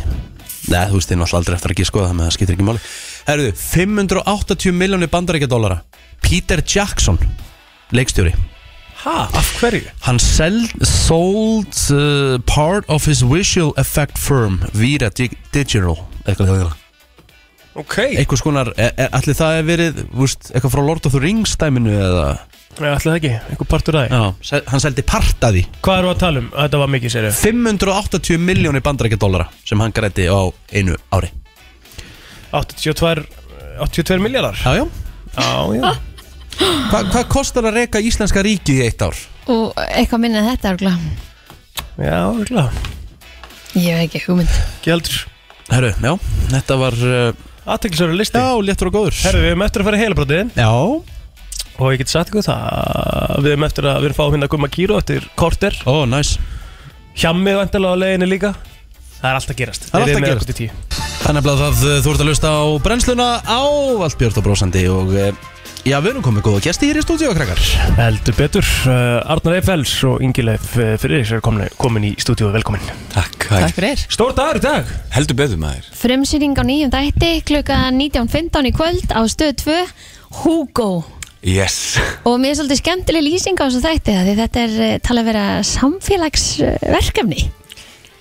[SPEAKER 1] Nei, þú veist, ég er náttúrulega aldrei eftir að ekki skoða það með það skiptir ekki máli Herðu, 580 miljónir bandarækja dólara Peter Jackson, leikstjóri
[SPEAKER 3] ha, af hverju?
[SPEAKER 1] Hann seld, sold uh, part of his visual effect firm Vira Dig- Digital eitthvað, eitthvað, eitthvað.
[SPEAKER 3] ok,
[SPEAKER 1] Eitthvað skonar, er, er, allir e- það er verið vúst, eitthvað frá Lord of the Rings dæminu eða
[SPEAKER 3] Nei, ætli það ekki, einhver partur að því
[SPEAKER 1] Já, sel, hann seldi part af því
[SPEAKER 3] Hvað eru að tala um? Þetta var mikið sérið
[SPEAKER 1] 580 miljónir bandarækja dólara sem hann græti á einu ári
[SPEAKER 3] 82, 82 miljardar
[SPEAKER 1] Já, já
[SPEAKER 3] Já, já
[SPEAKER 1] Hva, hvað kostar að reka íslenska ríkið í eitt ár?
[SPEAKER 2] Og eitthvað minna en þetta örgulega
[SPEAKER 3] Já, örgulega
[SPEAKER 2] Ég hef ekki hugmynd
[SPEAKER 3] Ekki heldur
[SPEAKER 1] Herru, já, þetta var uh,
[SPEAKER 3] Aðteklisverður listi
[SPEAKER 1] Já, léttur og góður
[SPEAKER 3] Herru, við hefum eftir að fara í heilabrótið
[SPEAKER 1] Já,
[SPEAKER 3] Og ég get sagt ykkur það að Við hefum eftir að við erum fáið hérna að gumma kýru eftir korter
[SPEAKER 1] ó, næs
[SPEAKER 3] Hjammið vandilega á leiðinni líka Það er alltaf gerast
[SPEAKER 1] Það er allt að
[SPEAKER 3] Eruð með
[SPEAKER 1] gerast.
[SPEAKER 3] okkur til tíu.
[SPEAKER 1] Þannig að það uh, þú ert að lusta á brennsluna á allt björnt og brósandi og uh, já, við erum komið góða gæsti hér í stúdíu, krakkar
[SPEAKER 3] Heldur betur uh, Arnar Eiffels og Ingileif uh, fyrir þess að komin í stúdíu Velkomin
[SPEAKER 5] Takk, hæ.
[SPEAKER 6] Takk fyrir
[SPEAKER 3] Stór dagur í dag
[SPEAKER 5] heldur betur maður
[SPEAKER 2] Frumsýning á nýjum dætti klukkan 19.15 í kvöld á stöð 2 Hugo
[SPEAKER 5] Yes,
[SPEAKER 2] Og mér er svolítið skemmtileg lýsing á þessu þætti af Því þetta er eh, talað að vera samfélagsverkefni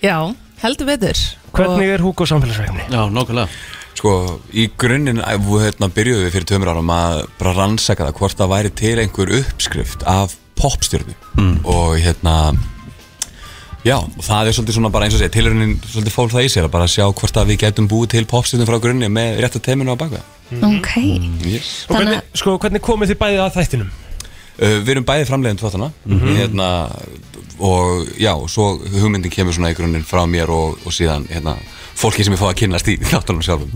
[SPEAKER 6] Já, heldur betur
[SPEAKER 3] Hvernig er Hugo samfélagsvegni?
[SPEAKER 1] Já, nokkulega
[SPEAKER 5] sko í grunninn æ, við, hérna, byrjuðum við fyrir tömur árum að bara rannsaka
[SPEAKER 3] Hmm.
[SPEAKER 5] það hvort það væri til einhver uppskrift af popstjörnu og hérna Já, og það er svolítið svona bara eins og segja, tilraunin svolítið fól það í sér að bara sjá hvort að við getum búið til popstjórnum frá grunni með rétt að teiminu á baka.
[SPEAKER 2] Ok,
[SPEAKER 5] Yes.
[SPEAKER 3] Og
[SPEAKER 2] þannig
[SPEAKER 3] hvernig, sko, hvernig komið þið bæðið að þættinum?
[SPEAKER 5] Uh, við erum bæði framleiðin þáttana
[SPEAKER 3] Mhm.
[SPEAKER 5] hérna, og já, og svo hugmyndin kemur svona í grunninn frá mér og, og síðan hérna, fólki sem ég fá að kynnast í þáttunum sjálfum.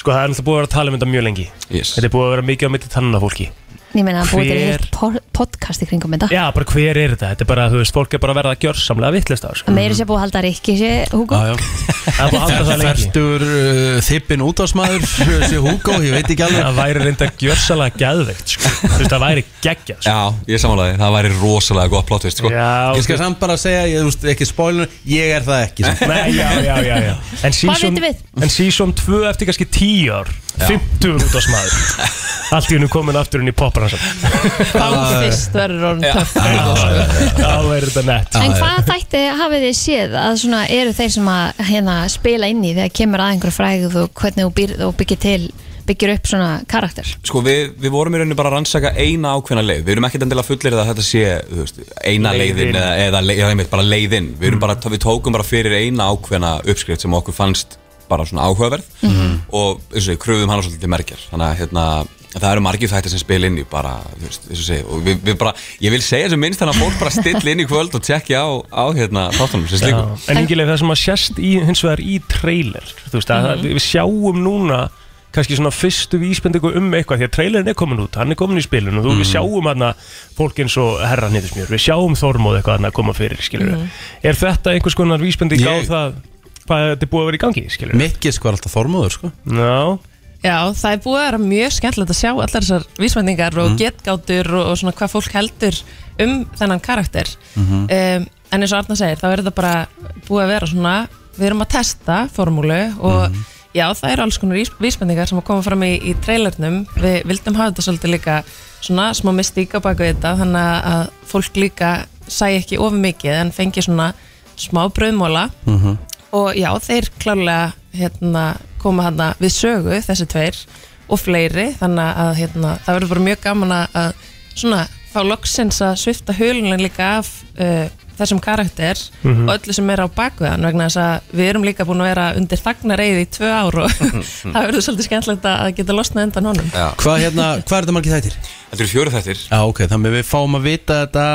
[SPEAKER 3] Sko, það er alltaf búið að vera að tala um þetta mjög lengi
[SPEAKER 5] Yes.
[SPEAKER 3] Þetta er búið að vera mikið á mitt tannana fólki
[SPEAKER 2] að ég meina að búið til
[SPEAKER 3] Hver-
[SPEAKER 2] eitt por- podcast í kringum þetta
[SPEAKER 3] Já, bara hver er þetta? Þetta er bara, þú veist, fólk er bara að verða að gjör samlega vittlist á
[SPEAKER 2] að
[SPEAKER 3] þessu
[SPEAKER 2] meiri sé búið að halda Rikki sé Hugo
[SPEAKER 7] já.
[SPEAKER 3] Það er búið að halda það lengi
[SPEAKER 7] Fertur uh, þippin útvarsmaður
[SPEAKER 1] uh,
[SPEAKER 7] sé Hugo, ég veit ekki alveg
[SPEAKER 3] Það væri reynda gjörsalega geðveikt sko. Þú veist, það væri geggja sko.
[SPEAKER 5] Já, ég samanlega, það væri rosalega gott plottvist sko.
[SPEAKER 3] Já,
[SPEAKER 7] Ég skal
[SPEAKER 3] ok.
[SPEAKER 7] samt bara segja, ég, þú veist, ekki spoiler Ég er það ekki
[SPEAKER 1] sko.
[SPEAKER 7] samt.
[SPEAKER 3] Nei, já, já, já, já. En season,
[SPEAKER 2] vitum við?
[SPEAKER 3] en season 2 eftir kannski 10 ár 50 út á smaður Allt í hennu komin aftur inn í popransan
[SPEAKER 6] Þá fyrst verður orðin töff
[SPEAKER 3] Það væri þetta nett
[SPEAKER 2] En hvað þætti hafið þið séð að svona eru þeir sem að hérna spila inn í þegar kemur að einhver frægð og hvernig þú, býr, þú byggir til byggir upp svona karakter
[SPEAKER 5] Sko, við, við vorum í rauninni bara að rannsaka eina ákveðna leið. Við erum ekkert endilega fullir að þetta sé þú veist, eina
[SPEAKER 3] Leiðin.
[SPEAKER 5] leiðin eða, eða, leið, eða einmitt, bara leiðin. Við, mm. bara, við tókum bara fyrir eina ákveðna uppskrift sem okkur fannst bara svona áhugaverð og eins og ég kröfum hana svolítið merkjar. Þannig að hérna, það eru margir þættir sem spila inn í bara, þú veist, eins og segja. Og við, við bara, ég vil segja sem minnst þannig að fólk bara still inn í kvöld og tekja á, á hérna, þáttunum sem
[SPEAKER 3] Já,
[SPEAKER 5] slíku.
[SPEAKER 3] En yngileg það sem að sérst í, hins vegar í trailer Þú veist að
[SPEAKER 2] Mhm.
[SPEAKER 3] mm við sjáum núna kannski svona fyrstu vísbendingu um eitthvað því að trailerin er komin út, hann er komin í spilun og þú,
[SPEAKER 2] Mhm.
[SPEAKER 3] við sjáum hann fólk eins og herra nýðismjör, við sjáum þormóð eitthvað hann að koma fyrir, skilur
[SPEAKER 2] Mhm.
[SPEAKER 3] Er þetta einhvers konar vísbending á
[SPEAKER 7] Ég-
[SPEAKER 3] það hvað þetta er búið að vera í gangi, skilur við?
[SPEAKER 7] Mikkis var alltaf þormóður, sko
[SPEAKER 3] Ná,
[SPEAKER 6] Já, það er búið að vera mjög skemmtilegt að sjá allar þessar vísmendingar og getgátur og, og svona hvað fólk heldur um þennan karakter um, en eins og Arna segir, þá er þetta bara búið að vera svona, við erum að testa formúlu og já, það eru alls konar ís- vísmendingar sem að koma fram í, í trailernum, við vildum hafa þetta svolítið líka svona smá mystík á baku þetta, þannig að- að fólk líka sæ ekki of mikið en fengi svona smá brauðmóla og já, þeir klálega hérna, koma hérna við sögu þessi tveir og fleiri þannig að hérna, það verður bara mjög gaman að- að svona fá loksins að svifta hulunum líka af uh, þessum karakter
[SPEAKER 5] Mhm.
[SPEAKER 6] og öllu sem er á bakveðan vegna þess að við erum líka búin að vera undir þagnareið í tvö ár og það verður svolítið skemmtilegt að að geta losnað undan honum
[SPEAKER 5] Já.
[SPEAKER 7] Hvað hérna, hvað er þetta margir þættir?
[SPEAKER 5] Þetta eru fjóru þættir.
[SPEAKER 7] Já, ok, þannig við fáum að vita þetta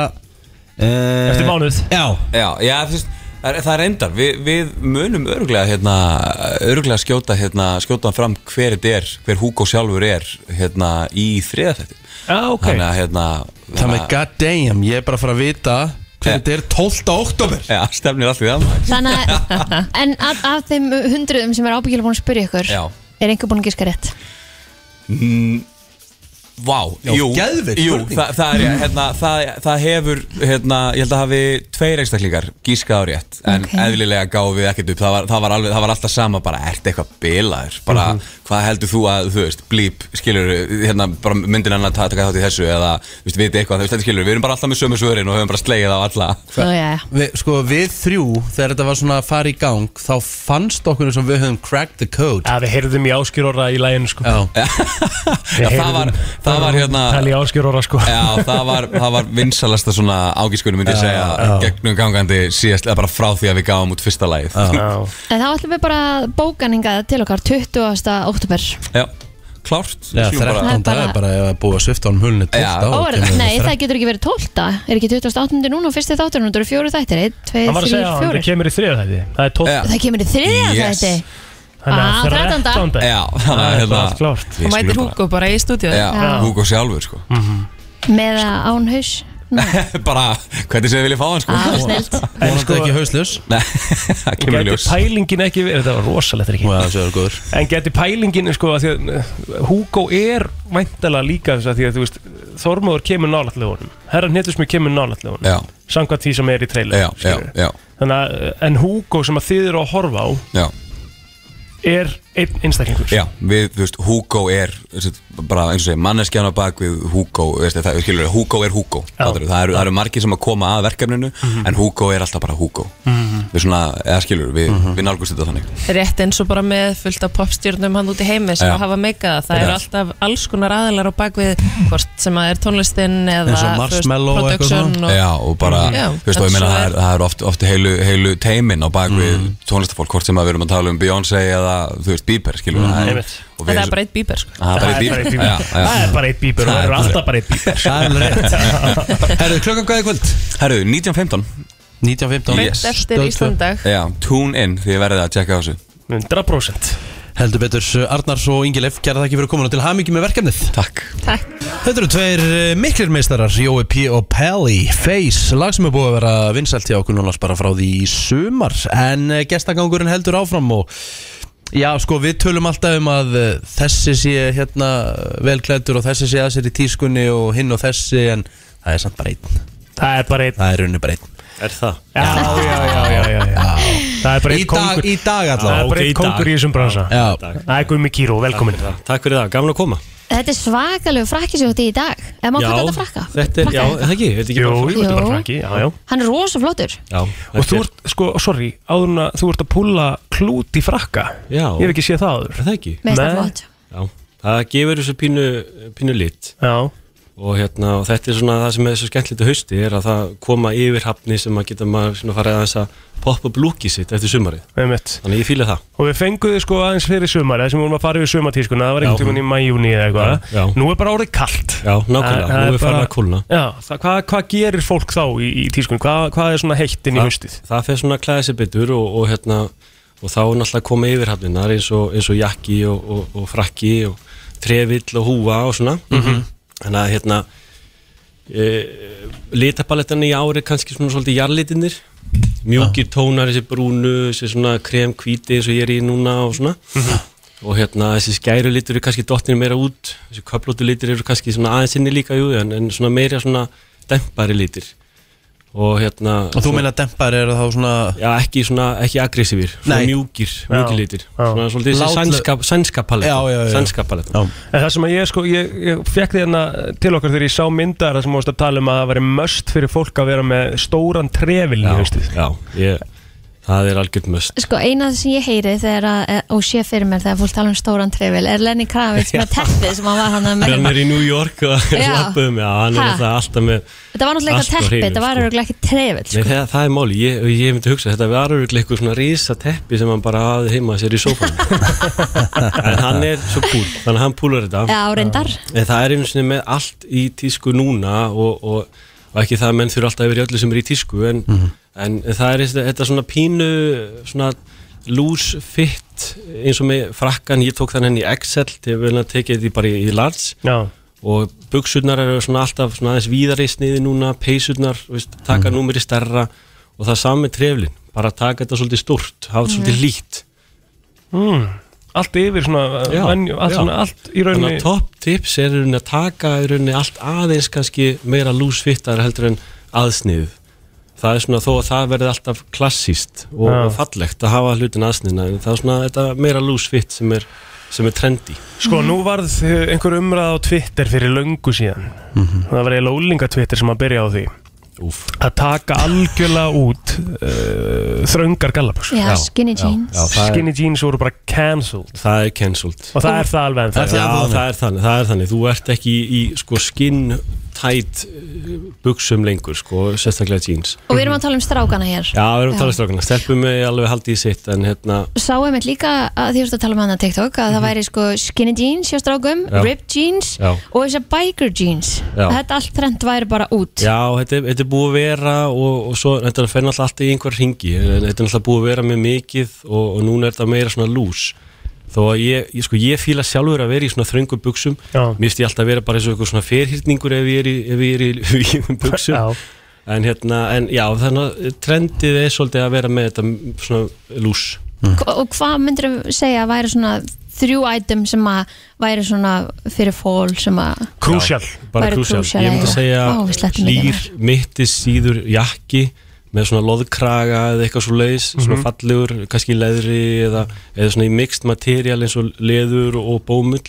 [SPEAKER 7] uh,
[SPEAKER 3] eftir mánuð
[SPEAKER 7] Já,
[SPEAKER 5] Já, já þú veist, það, er- það er endar Vi, Við munum öruglega, hérna, öruglega skjóta, hérna, skjóta fram hver þetta er, hver Hugo sjálfur er hérna, í þriða þetta
[SPEAKER 3] Já, ok
[SPEAKER 5] Þannig að hérna,
[SPEAKER 7] það með god damn, ég er bara að fara að vita
[SPEAKER 5] Ja.
[SPEAKER 7] Hvernig þetta er 12. oktober
[SPEAKER 5] Já, stefnir allt í það maður.
[SPEAKER 2] Þannig að, en af, af þeim hundruðum sem er ábyggilega búin að spyrja ykkur
[SPEAKER 5] Já.
[SPEAKER 2] er einhver búin að gíska rétt
[SPEAKER 5] Vá,
[SPEAKER 7] Já,
[SPEAKER 5] jú,
[SPEAKER 7] geðveik
[SPEAKER 5] jú
[SPEAKER 7] spurning.
[SPEAKER 5] það, það, er, hérna, það, það hefur hérna, ég held að hafi tveir einstaklingar gískað á rétt, en
[SPEAKER 2] Ok.
[SPEAKER 5] eðlilega gáðum við ekkert upp, það var, það, var alveg, það var alltaf sama bara, ert eitthvað bilaður, bara hvað heldur þú að, þú veist, blíp skilur, hérna, bara myndin hann að ta- taka þátt í þessu, eða, þú veist, viti eitthvað þú veist, þetta skilur, við erum bara alltaf með sömu svörin og höfum bara slegið á alla,
[SPEAKER 2] Nú, já, já.
[SPEAKER 7] við, Sko, við þrjú, þegar þetta var svona að fara í gang Þá fannst okkur sem við höfum cracked the code
[SPEAKER 3] Já, við heyrðum í áskjörorra í læginu sko
[SPEAKER 7] Já,
[SPEAKER 5] Já, það var, það var hérna
[SPEAKER 3] Það er í áskjörorra sko
[SPEAKER 5] Já, það var, það var vinsalasta svona ágískunum myndi ég segja gegnum gangandi síðast, eða bara frá því að við gáum út fyrsta lagið
[SPEAKER 3] Já.
[SPEAKER 2] En þá ætlum við bara að bóka hann hingað til okkar 20. óttúber
[SPEAKER 5] Já, klárt
[SPEAKER 7] Já,
[SPEAKER 5] Við skulum bara-
[SPEAKER 7] 13. dag
[SPEAKER 2] bara-
[SPEAKER 7] er bara ef að búa að svifta honum hulni 12.
[SPEAKER 5] Já.
[SPEAKER 7] á
[SPEAKER 2] Óvar, Nei, það getur ekki verið 12. Er ekki 28. núna og fyrsti þáttur núna, það eru fjóru þættir 1, 2,
[SPEAKER 3] Hann var
[SPEAKER 2] 3,
[SPEAKER 3] að segja að það
[SPEAKER 2] 4
[SPEAKER 3] kemur í þriða þætti Það er tótt
[SPEAKER 5] Já.
[SPEAKER 2] Það kemur í þriðja
[SPEAKER 5] Yes.
[SPEAKER 2] þætti Ah,
[SPEAKER 3] Þannig að
[SPEAKER 2] 13.
[SPEAKER 3] 13.
[SPEAKER 5] Já, þannig að
[SPEAKER 3] Það er
[SPEAKER 5] hérna
[SPEAKER 3] allt klárt.
[SPEAKER 5] við
[SPEAKER 6] og mætir
[SPEAKER 5] skulum
[SPEAKER 6] Hugo bara í stúdíu
[SPEAKER 5] bara- Já,
[SPEAKER 2] Já.
[SPEAKER 5] Hugo sjálfur sko
[SPEAKER 2] með að án haus
[SPEAKER 3] Mm.
[SPEAKER 5] Bara, hvernig sem við viljum fá hann sko
[SPEAKER 2] Ah, snillt
[SPEAKER 7] Vonandi
[SPEAKER 3] sko-
[SPEAKER 7] ekki hauslaus
[SPEAKER 5] Nei, það kemur í
[SPEAKER 3] Gæti
[SPEAKER 5] ljós
[SPEAKER 3] pælingin ekki verið, þetta var rosalegt ekki
[SPEAKER 7] Já, það er góður
[SPEAKER 3] En gæti pælingin, sko, að því að uh, Hugo er væntalega líka þess að því að þú veist Þormóður kemur nálætlega honum Herra Hnetusmi kemur nálætlega honum
[SPEAKER 5] Já.
[SPEAKER 3] Samkvæmt því sem er í trailer
[SPEAKER 5] Já, já,
[SPEAKER 3] skilurðu. eh,
[SPEAKER 5] já,
[SPEAKER 3] Þannig að, uh, en Hugo sem að þið eru að horfa á
[SPEAKER 5] já
[SPEAKER 3] er einn einstaklingur
[SPEAKER 5] Já, við, þú veist, Hugo er þú veist, bara eins og segja, manneskjana bak við Hugo, þú veist, það, skilur, Hugo er Hugo Fattarðu? það eru, það eru margir sem að koma að verkefninu
[SPEAKER 3] Mhm.
[SPEAKER 5] en Hugo er alltaf bara Hugo við svona, eða skilur, við,
[SPEAKER 3] Mhm.
[SPEAKER 5] við nálgumst þetta þannig
[SPEAKER 6] Rétt eins og bara með fullt af popstjörnum hann út í heimi sem
[SPEAKER 5] Já.
[SPEAKER 6] hafa meikað það Það eru
[SPEAKER 5] Já.
[SPEAKER 6] alltaf alls konar aðilar á bakvið hvort sem að er tónlistinn eða
[SPEAKER 7] Eins og
[SPEAKER 6] þú veist,
[SPEAKER 7] Marshmello og eitthvað
[SPEAKER 6] production
[SPEAKER 7] svona.
[SPEAKER 6] og,
[SPEAKER 5] Já, og bara,
[SPEAKER 6] Já,
[SPEAKER 5] þú veist, og ég
[SPEAKER 6] en
[SPEAKER 5] meina
[SPEAKER 6] svo
[SPEAKER 5] það er,
[SPEAKER 6] er-
[SPEAKER 5] það er oft, oft heilu, heilu teimin á bak við
[SPEAKER 6] Mm.
[SPEAKER 5] tónlistafólk, hvort sem að við erum að tala um Beyoncé eða, þú veist, Bieber, skilur mm -hmm.
[SPEAKER 3] Einmitt.
[SPEAKER 5] og
[SPEAKER 6] En
[SPEAKER 5] við
[SPEAKER 6] það er bara eitt bíber sko
[SPEAKER 5] Það er bara
[SPEAKER 3] Það er
[SPEAKER 5] eitt
[SPEAKER 3] bara einn
[SPEAKER 5] Bieber
[SPEAKER 3] bíber.
[SPEAKER 5] Já, já.
[SPEAKER 3] Það er bara eitt bíber og
[SPEAKER 5] Það
[SPEAKER 3] það
[SPEAKER 5] er
[SPEAKER 3] eru alltaf bara eitt bíber
[SPEAKER 7] Það er alveg rétt Herðu, klukkan hvað í kvöld?
[SPEAKER 5] Herru, 1915,
[SPEAKER 7] 19.15
[SPEAKER 5] Yes.
[SPEAKER 6] Beint eftir
[SPEAKER 7] Stöð tvö.
[SPEAKER 6] Íslandag
[SPEAKER 5] já, tune in því ég verðið að tjekka á þessu
[SPEAKER 3] 100%
[SPEAKER 7] Heldur betur Arnars og Ingilef Kæra þakki fyrir komuna til hamingi með verkefnið
[SPEAKER 5] Takk
[SPEAKER 6] Takk
[SPEAKER 7] Þetta eru tveir eh, miklir meistarar Jói P. og Pelli Face Lag sem er búið að vera vinsælt hjá okkur Nónast bara frá því í sumar En eh, gestagangurinn heldur áfram og Já, sko, við tölum alltaf um að eh, þessi sé hérna velklættur og þessi sé að sér í tískunni og hinn og þessi en það er samt bara einn
[SPEAKER 3] Það er bara eitt
[SPEAKER 7] Það er runni bara einn
[SPEAKER 8] Er það?
[SPEAKER 3] Já, já, já, já, já, já. Það er
[SPEAKER 7] Í
[SPEAKER 3] bara eitt
[SPEAKER 7] dag,
[SPEAKER 3] kongur
[SPEAKER 7] í dag
[SPEAKER 3] Það
[SPEAKER 7] allavega
[SPEAKER 3] er bara
[SPEAKER 8] Ok, í
[SPEAKER 3] eitt
[SPEAKER 8] dag.
[SPEAKER 3] kongur í þessum bransa
[SPEAKER 7] Já,
[SPEAKER 3] Það er Gumi Kíró, velkomin
[SPEAKER 8] Takk fyrir það, gaman að koma
[SPEAKER 2] Þetta er svakalegu frakki sem þú átti í dag Er maður hvað þetta frakka?
[SPEAKER 8] þetta er,
[SPEAKER 2] Frakka
[SPEAKER 8] já,
[SPEAKER 2] þetta?
[SPEAKER 8] það ekki, þetta er
[SPEAKER 3] Jú,
[SPEAKER 8] ekki bara-
[SPEAKER 3] jú, þetta er bara
[SPEAKER 2] Jú.
[SPEAKER 3] fræki, já, já
[SPEAKER 2] Hann er rosa flottur
[SPEAKER 8] Já,
[SPEAKER 3] Og
[SPEAKER 8] þetta
[SPEAKER 3] þú
[SPEAKER 8] er-
[SPEAKER 3] ert, sko, sorry, áður en að þú ert að púlla klút í frakka
[SPEAKER 8] Já.
[SPEAKER 3] Ég hef ekki séð það áður
[SPEAKER 8] Er það ekki?
[SPEAKER 2] Með þetta
[SPEAKER 3] Nei.
[SPEAKER 2] flott
[SPEAKER 8] Já, það gefur þessu pínu, pínu lit
[SPEAKER 3] Já,
[SPEAKER 8] og hérna, og þetta er svona það sem er þessu skemmtilegt að hausti er að það koma yfir hafni sem að geta maður svona farið aðeins að poppa upp lúkið sitt eftir sumarið
[SPEAKER 3] einmitt
[SPEAKER 8] þannig að ég fýla það
[SPEAKER 3] Og við fengum þið sko aðeins fyrir sumari Það sem við vorum að fara við sumartískuna Það var einhvern
[SPEAKER 8] Já.
[SPEAKER 3] tímann í mæjúni eða
[SPEAKER 8] Já, já.
[SPEAKER 3] eitthvað Nú er bara árið kallt
[SPEAKER 8] Já, nákvæmlega,
[SPEAKER 3] Það- það er
[SPEAKER 8] nú er farin
[SPEAKER 3] bara-
[SPEAKER 8] að kólna
[SPEAKER 3] Já, það, hvað, hvað gerir fólk þá í, í tískunni? Hvað, hvað er svona heitt inn í
[SPEAKER 8] Það-
[SPEAKER 3] haustið?
[SPEAKER 8] Það fer svona að klæða sér betur og, og hérna og þá er náttúrulega að koma yfir hafninar eins og, eins og jakki og, og, og frakki og trefill og húa og svona
[SPEAKER 3] Mhm.
[SPEAKER 8] þannig að hérna e, litapalettan í ári er kannski svona svolítið jarlitinir mjúkir tónar, þessi brúnu þessi svona krem hvíti eins og ég er í núna og svona
[SPEAKER 3] Mhm.
[SPEAKER 8] og hérna þessi skæru litur eru kannski dottinu meira út þessi köplótu litur eru kannski svona aðeins inni líka jú, en, en svona meira svona dempari litir og hérna
[SPEAKER 7] og þú
[SPEAKER 8] svo-
[SPEAKER 7] meina dempar eru þá svona
[SPEAKER 8] Já, ekki svona, ekki aggressífir Svona
[SPEAKER 7] Nei.
[SPEAKER 8] mjúkir,
[SPEAKER 3] Já,
[SPEAKER 8] mjúkir litir
[SPEAKER 3] já.
[SPEAKER 8] Svona svolítið þessi
[SPEAKER 7] Látlö-
[SPEAKER 8] sænska, sænska paletta
[SPEAKER 7] Já, já, já.
[SPEAKER 8] Sænska paletta
[SPEAKER 7] Já.
[SPEAKER 3] En það sem að ég sko, ég, ég fekk því hérna til okkar þegar ég sá myndar Það sem mást að tala um að það væri möst fyrir fólk að vera með stóran trefil í haustið
[SPEAKER 8] já ég, Það er algjörn möst
[SPEAKER 2] Sko einað sem ég heyri þegar að, eh, og sé fyrir mér þegar fólk tala um stóran trefil er Lenny Kravitz með teppið sem hann var hann með
[SPEAKER 8] Hann er í New York og
[SPEAKER 2] Já.
[SPEAKER 8] slappum Já, hann er
[SPEAKER 2] Ha.
[SPEAKER 8] alltaf, alltaf með
[SPEAKER 2] Þetta var náttúrulega
[SPEAKER 8] Allt á
[SPEAKER 2] eitthvað teppið,
[SPEAKER 8] hreinu,
[SPEAKER 2] þetta var
[SPEAKER 8] sko.
[SPEAKER 2] örgulega ekki trefil
[SPEAKER 8] Nei,
[SPEAKER 2] sko.
[SPEAKER 8] það, það er máli, ég, og ég myndi hugsa Þetta var auðvitað eitthvað svona risa teppi sem hann bara hafði heima sér í sófanum En hann er svo cool Þannig að hann púlar þetta
[SPEAKER 2] Já, reyndar
[SPEAKER 8] En það er einu sinni með allt í tísku núna og, og, og ekki það að menn þurfa alltaf yfir í öllu sem er í tísku en, en, það er þetta, þetta svona pínu svona loose fit eins og með frakkan, ég tók þann henni í Excel til að tekið því bara í, í lands
[SPEAKER 3] Já,
[SPEAKER 8] og buksurnar eru svona alltaf svona aðeins víðari í sniði núna, peysurnar þú veist, taka mm. númeri stærra og það sami treflin, bara taka þetta svolítið stórt hafa þetta svolítið lít
[SPEAKER 3] allt yfir svona,
[SPEAKER 8] Já,
[SPEAKER 3] venju- allt,
[SPEAKER 8] já.
[SPEAKER 3] svona allt í
[SPEAKER 8] Þannig
[SPEAKER 3] rauninni
[SPEAKER 8] að topp tips er í rauninni að taka í rauninni allt aðeins kannski meira lúsfittar heldur en aðsnið það er svona þó að það verði alltaf klassíst og,
[SPEAKER 3] Já.
[SPEAKER 8] og fallegt að hafa hlutin aðsniðna en það er svona þetta meira lúsfitt sem er, sem er trendy
[SPEAKER 3] Sko, nú varð eh, einhver umræð á Twitter fyrir löngu síðan
[SPEAKER 8] Mhm.
[SPEAKER 3] Það var eiginlega ólinga Twitter sem að byrja á því
[SPEAKER 8] Úf.
[SPEAKER 3] Að taka algjörlega út uh, þröngar gallabus
[SPEAKER 2] Já, skinny jeans
[SPEAKER 8] já, það,
[SPEAKER 3] Skinny jeans voru bara cancelled
[SPEAKER 8] er, það er cancelled
[SPEAKER 3] Og það er það alveg ennþá
[SPEAKER 8] Já, það er þannig, það er þannig, þú ert ekki í, í sko skinn tætt buksum lengur sko, sérstaklega jeans
[SPEAKER 2] Og við erum að tala um strákana hér
[SPEAKER 8] Já, við erum
[SPEAKER 2] Já.
[SPEAKER 8] að tala strákana, stelpum við alveg haldið í sitt en hérna,
[SPEAKER 2] Sá einmitt líka að því vorstu að tala um hana TikTok að það væri sko skinny jeans hjá strákum,
[SPEAKER 8] Mhm. Já.
[SPEAKER 2] ripped jeans
[SPEAKER 8] Já.
[SPEAKER 2] og þess að biker jeans
[SPEAKER 8] Já.
[SPEAKER 2] Þetta allt trend væri bara út
[SPEAKER 8] Já, þetta, er- þetta er búið að vera og, og svo, þetta fer náttúrulega alltaf í einhver ringi þetta er náttúrulega búið að vera með mikið og, og núna er þetta meira svona lús þó að ég, ég, sko, ég fíla sjálfur að vera í svona þröngum buksum,
[SPEAKER 3] Já.
[SPEAKER 8] mér finnst ég alltaf að vera bara eins og eitthvað svona ferhýrningur ef ég er í, ef ég er í, í, í buksum
[SPEAKER 3] Já.
[SPEAKER 8] en hérna, en já, þannig að trendið er svolítið að vera með þetta svona lús
[SPEAKER 2] Hva- Og hvað myndir þú segja að væri svona þrjú item sem að væri svona fyrir fól sem að
[SPEAKER 3] Crucial
[SPEAKER 8] bara
[SPEAKER 2] Væri
[SPEAKER 8] krúsjál,
[SPEAKER 2] crucial,
[SPEAKER 8] ég myndi
[SPEAKER 2] já.
[SPEAKER 8] að segja
[SPEAKER 2] Ó, við slettum ekki
[SPEAKER 8] hlýr, mittis, síður, jakki með svona loðkraga eða eitthvað svo leis svona fallegur, kannski í leðri eða, eða svona í mixt material eins og leður og bómull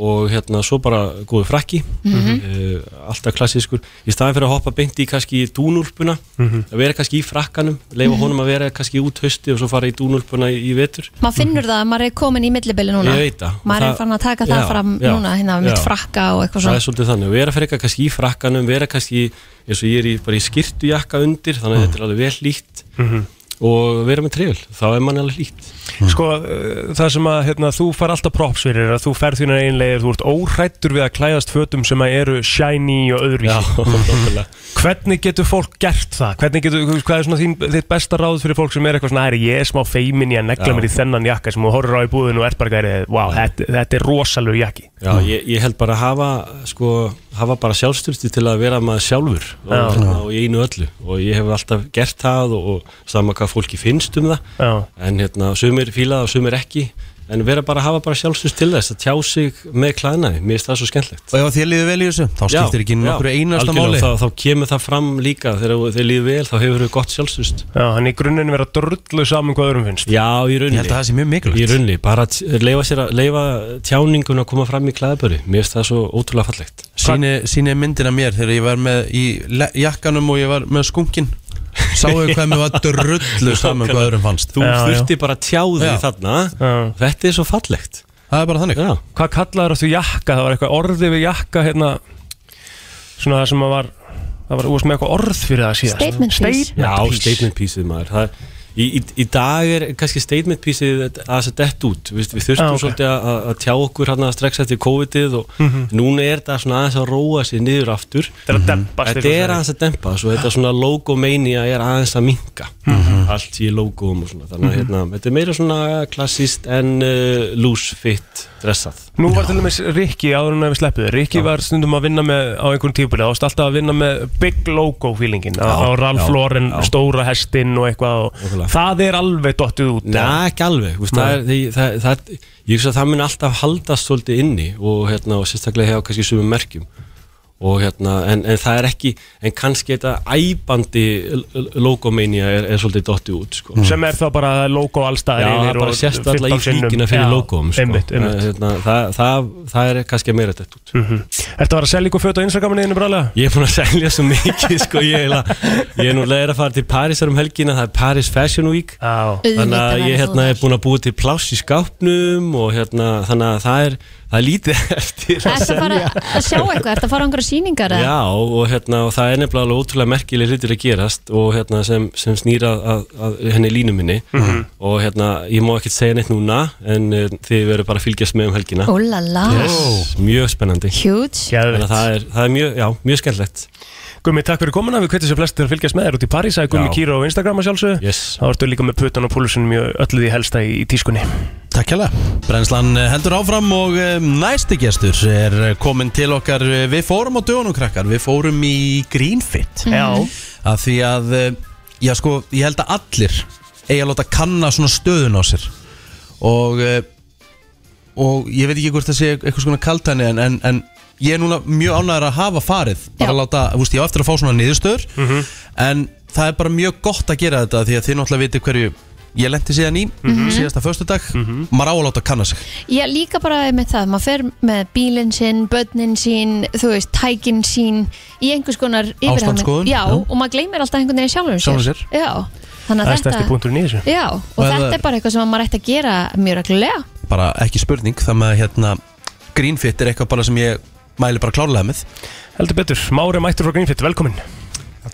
[SPEAKER 8] og hérna svo bara góðu frakki
[SPEAKER 2] Mhm.
[SPEAKER 8] eh, alltaf klassískur í staðin fyrir að hoppa beint í kannski í dúnúlpuna að vera kannski í frakkanum
[SPEAKER 2] Mhm.
[SPEAKER 8] leifa honum að vera kannski út hausti og svo fara í dúnúlpuna í, í vetur
[SPEAKER 2] Maður finnur það að maður er komin í millibili núna
[SPEAKER 8] Mhm. Ég veit það. Og
[SPEAKER 2] Maður er
[SPEAKER 8] það-
[SPEAKER 2] farin að taka það
[SPEAKER 8] Já,
[SPEAKER 2] fram
[SPEAKER 8] já,
[SPEAKER 2] núna hérna með mitt
[SPEAKER 8] já.
[SPEAKER 2] frakka og eitthvað
[SPEAKER 8] það
[SPEAKER 2] svona
[SPEAKER 8] er svolítið þannig, vera fyrir eitthvað kannski í frakkanum vera kannski, eins og ég er í, bara í skirtujakka undir, þannig að þetta er alveg vel líkt og vera með trefil þá er mann alveg líkt
[SPEAKER 3] Sko, uh, það sem að hérna, þú far alltaf props fyrir er að þú ferð þínar einlegir, þú ert órættur við að klæðast fötum sem að eru shiny og öðruvísi.
[SPEAKER 8] nákvæmlega.
[SPEAKER 3] Hvernig getur fólk gert það? Hvernig getur, hvað er svona þín, þitt besta ráð fyrir fólk sem er eitthvað svona, "Æ, ég er smá feimin, ég negla
[SPEAKER 8] Já.
[SPEAKER 3] mér í þennan jakka sem þú horfir á í búðinu og ert bara gærið, wow, þetta, þetta er rosalur jakki.
[SPEAKER 8] Já, ég, ég held bara að hafa, sko, hafa bara sjálfstyrsti til að vera maður sjálfur
[SPEAKER 3] Já.
[SPEAKER 8] og, hérna, og í einu öllu og ég hef alltaf gert það og, og sama hvað fólki finnst um það
[SPEAKER 3] Já.
[SPEAKER 8] en hérna, sumir fíla það og sumir ekki en vera bara hafa bara sjálfstyrst til þess að tjá sig með klæðnaði, mér finnst það svo skemmtlegt
[SPEAKER 1] Og ef að þér líður vel í þessu, þá skiptir ekki nokkru einasta máli
[SPEAKER 8] þá, þá kemur það fram líka þegar þú- þeir líður vel, þá hefur þau gott sjálfstyrst
[SPEAKER 3] Já, hann í grunninn vera drullu saman hvað öðrum finnst.
[SPEAKER 8] Já, í
[SPEAKER 1] Ég
[SPEAKER 8] rauninni
[SPEAKER 1] held að það sé mjög
[SPEAKER 8] Í
[SPEAKER 1] mikilvægt
[SPEAKER 8] rauninni, bara að leifa, sér að, leifa tjáningun að koma fram í klæðaböri Mér finnst það svo ótrúlega fallegt
[SPEAKER 1] Sýni, sýni myndina mér þegar ég var með í le- jakkanum og ég var með skunkin Sáu hvað mér var drullu saman hvað öðrum fannst
[SPEAKER 8] þú
[SPEAKER 3] Já, já.
[SPEAKER 8] þurfti bara að tjá þig
[SPEAKER 1] Já.
[SPEAKER 8] þarna
[SPEAKER 3] Já.
[SPEAKER 8] þetta er svo fallegt
[SPEAKER 1] Það er bara þannig
[SPEAKER 8] já,
[SPEAKER 3] Hvað kallaður þú jakka? Það var eitthvað orði við jakka, hérna, svona það sem að var, það var, þú varst með eitthvað orð fyrir það síðast.
[SPEAKER 2] Statement piece.
[SPEAKER 8] já statement pieceið maður það, í, í, í dag er kannski statement pieceið að þess að dett út við, við þurftum
[SPEAKER 3] Já, ok.
[SPEAKER 8] svolítið að, að- að tjá okkur hérna strax eftir COVID-ið og
[SPEAKER 3] Mhm.
[SPEAKER 8] núna er það svona aðeins að róa sér niður aftur
[SPEAKER 3] Þetta er að dempast
[SPEAKER 8] Mhm. þetta er aðeins að dempa svo þetta svona logomania er aðeins að minka allt í logom og svona þannig að hérna, þetta er meira svona klassist en uh, loose fit dressað
[SPEAKER 3] Nú var til dæmis Rikki áður en að við sleppuðu Rikki var stundum að vinna með á einhvern típili Það varst alltaf að vinna með big logo feelingin á, á
[SPEAKER 8] Já,
[SPEAKER 3] Ralph
[SPEAKER 8] já,
[SPEAKER 3] Lauren,
[SPEAKER 8] já.
[SPEAKER 3] stóra hestinn og eitthvað og
[SPEAKER 8] Nákvæmlega.
[SPEAKER 3] Það er alveg dottið út
[SPEAKER 8] Nei, ekki alveg þú veist, það er, því, það, það, Ég hugsa að það mun alltaf haldast svolítið inni og, hérna, og sérstaklega hjá kannski sumum merkjum og, hérna, en, en það er ekki en kannski þetta æbandi l- l- logomania er, er svolítið dotti út sko.
[SPEAKER 3] Sem er þá bara logo
[SPEAKER 8] Já,
[SPEAKER 3] allstaðar
[SPEAKER 8] það
[SPEAKER 3] yfir
[SPEAKER 8] bara
[SPEAKER 3] og
[SPEAKER 8] sérst alltaf í
[SPEAKER 3] 15 sinnum.
[SPEAKER 8] flíkina fyrir
[SPEAKER 3] Já,
[SPEAKER 8] logom sko.
[SPEAKER 3] Einmitt,
[SPEAKER 8] Það,
[SPEAKER 3] einmitt
[SPEAKER 8] hérna, það, það, það er kannski meira dett út
[SPEAKER 3] Þetta var Mhm. að selja ykkur föt á Instagraminu einu brálega
[SPEAKER 8] Ég er búin að selja svo mikið sko, ég, eiginlega- ég er nú leður að fara til Parísar um helgina það er Paris Fashion Week
[SPEAKER 3] Já
[SPEAKER 2] Auðvitað
[SPEAKER 8] Þannig að
[SPEAKER 2] verður
[SPEAKER 8] ég
[SPEAKER 2] þú
[SPEAKER 8] hérna,
[SPEAKER 2] þar.
[SPEAKER 8] er búin að búa til pláss í skápnum og hérna, þannig að það er, það er lítið eftir að
[SPEAKER 2] Ertu að fara
[SPEAKER 8] selja.
[SPEAKER 2] að sjá eitthvað, ertu að fara á einhverja sýningar eða?
[SPEAKER 8] Já, og, hérna, og það er nefnilega alveg ótrúlega merkileg hlutir að gerast og hérna, sem, sem snýra að, að henni línu minni
[SPEAKER 3] Mhm.
[SPEAKER 8] og hérna, ég má ekkert segja neitt núna en uh, þið verður bara að fylgjast með um helgina.
[SPEAKER 2] Ó la la,
[SPEAKER 8] Yes, mjög spennandi.
[SPEAKER 2] huge
[SPEAKER 3] Geðveikt.
[SPEAKER 8] Þannig að það er, það er mjög, já, mjög skemmtlegt.
[SPEAKER 3] Gummi, takk fyrir komuna, við hvetjum sér flest til að fylgjast með þér út í París Það er Gummi
[SPEAKER 8] Já.
[SPEAKER 3] Kýra á Instagram að sjálfsög
[SPEAKER 8] Yes.
[SPEAKER 3] Það vartu líka með putan og púlusunum í öllu því helsta í, í tískunni
[SPEAKER 1] Takk hérlega. Brennslan eh, heldur áfram og eh, næsti gestur er eh, kominn til okkar. Eh, Við fórum á dögunum krakkar, við fórum í Greenfit.
[SPEAKER 3] Mhm. Já,
[SPEAKER 1] Af því að, eh, já sko, ég held að allir eigi að láta kanna svona stöðun á sér. Og, eh, og ég veit ekki hvort það sé eitthvað svona kaltæni en, en, en ég er núna mjög ánægður að hafa farið. Bara
[SPEAKER 2] Já.
[SPEAKER 1] að láta, þú veist, ég á eftir að fá svona niðurstöður. En það er bara mjög gott að gera þetta því að þið náttúrulega viti hverju ég lendi síðan í síðasta föstudag. Maður á að láta kanna sig.
[SPEAKER 2] Já, líka bara með það, maður fer með bílinn sinn, börnin sín, þú veist, tækin sín í einhvers konar yfirhafning.
[SPEAKER 1] Ástandsskoðun,
[SPEAKER 2] Já,
[SPEAKER 1] já.
[SPEAKER 2] og maður gleymir alltaf einhvern veginn sjálfum sér.
[SPEAKER 1] Sjálfum sér.
[SPEAKER 2] Já, þannig
[SPEAKER 3] það
[SPEAKER 2] að
[SPEAKER 3] er stærsti
[SPEAKER 2] þetta,
[SPEAKER 3] punkturinn í þessu
[SPEAKER 2] já, og
[SPEAKER 1] Og ef
[SPEAKER 2] þetta
[SPEAKER 1] það-
[SPEAKER 2] er bara eitthvað sem maður ætti að gera mjög reglulega.
[SPEAKER 1] bara ekki spurning það með hérna Greenfit er eitthvað bara sem ég mæli bara klárlega með
[SPEAKER 3] Heldur betur, Mári mættur frá Greenfit, velkomin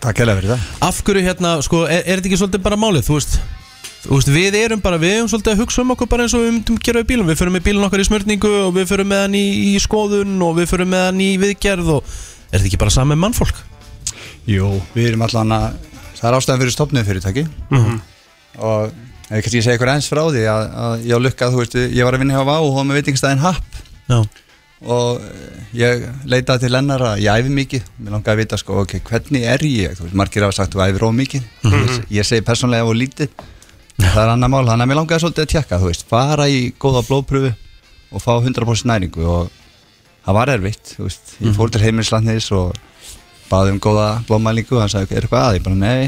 [SPEAKER 9] Takk hella fyrir það
[SPEAKER 1] af hverju hérna, sko, er, er þetta ekki svolítið bara málið þú veist, þú veist, við erum bara við erum svolítið að hugsa um okkur bara eins og við myndum gera í bílum, við förum með bílun okkar í smörningu og við förum með hann í, í skoðun og við förum með hann í viðgerð og er þetta ekki bara saman með mannfólk?
[SPEAKER 9] Jú, við erum allan að það er ástæðan fyrir stopnum fyrirtæki og ef ég kannski segja eitthvað eins frá því að, að ég á lukka, þú veist, ég var að vinna hjá VÁ og var með veitingstæðin HAP
[SPEAKER 1] Já,
[SPEAKER 9] og eh, ég leitaði til hennar að ég æfi mikið, mér langaði að vita sko, ok, hvernig er ég, þú veist, margir hafa sagt þú æfir of mikið, ég, ég segi persónlega og lítið, það er annar mál þannig að mér langaði svolítið að tjekka, þú veist, fara í góða blóðpröfu og fá 100% næringu og það var erfitt þú veist, ég fór til heimilislandis og baði um góða blóðmælingu og hann sagði, er eitthvað að, ég bara nei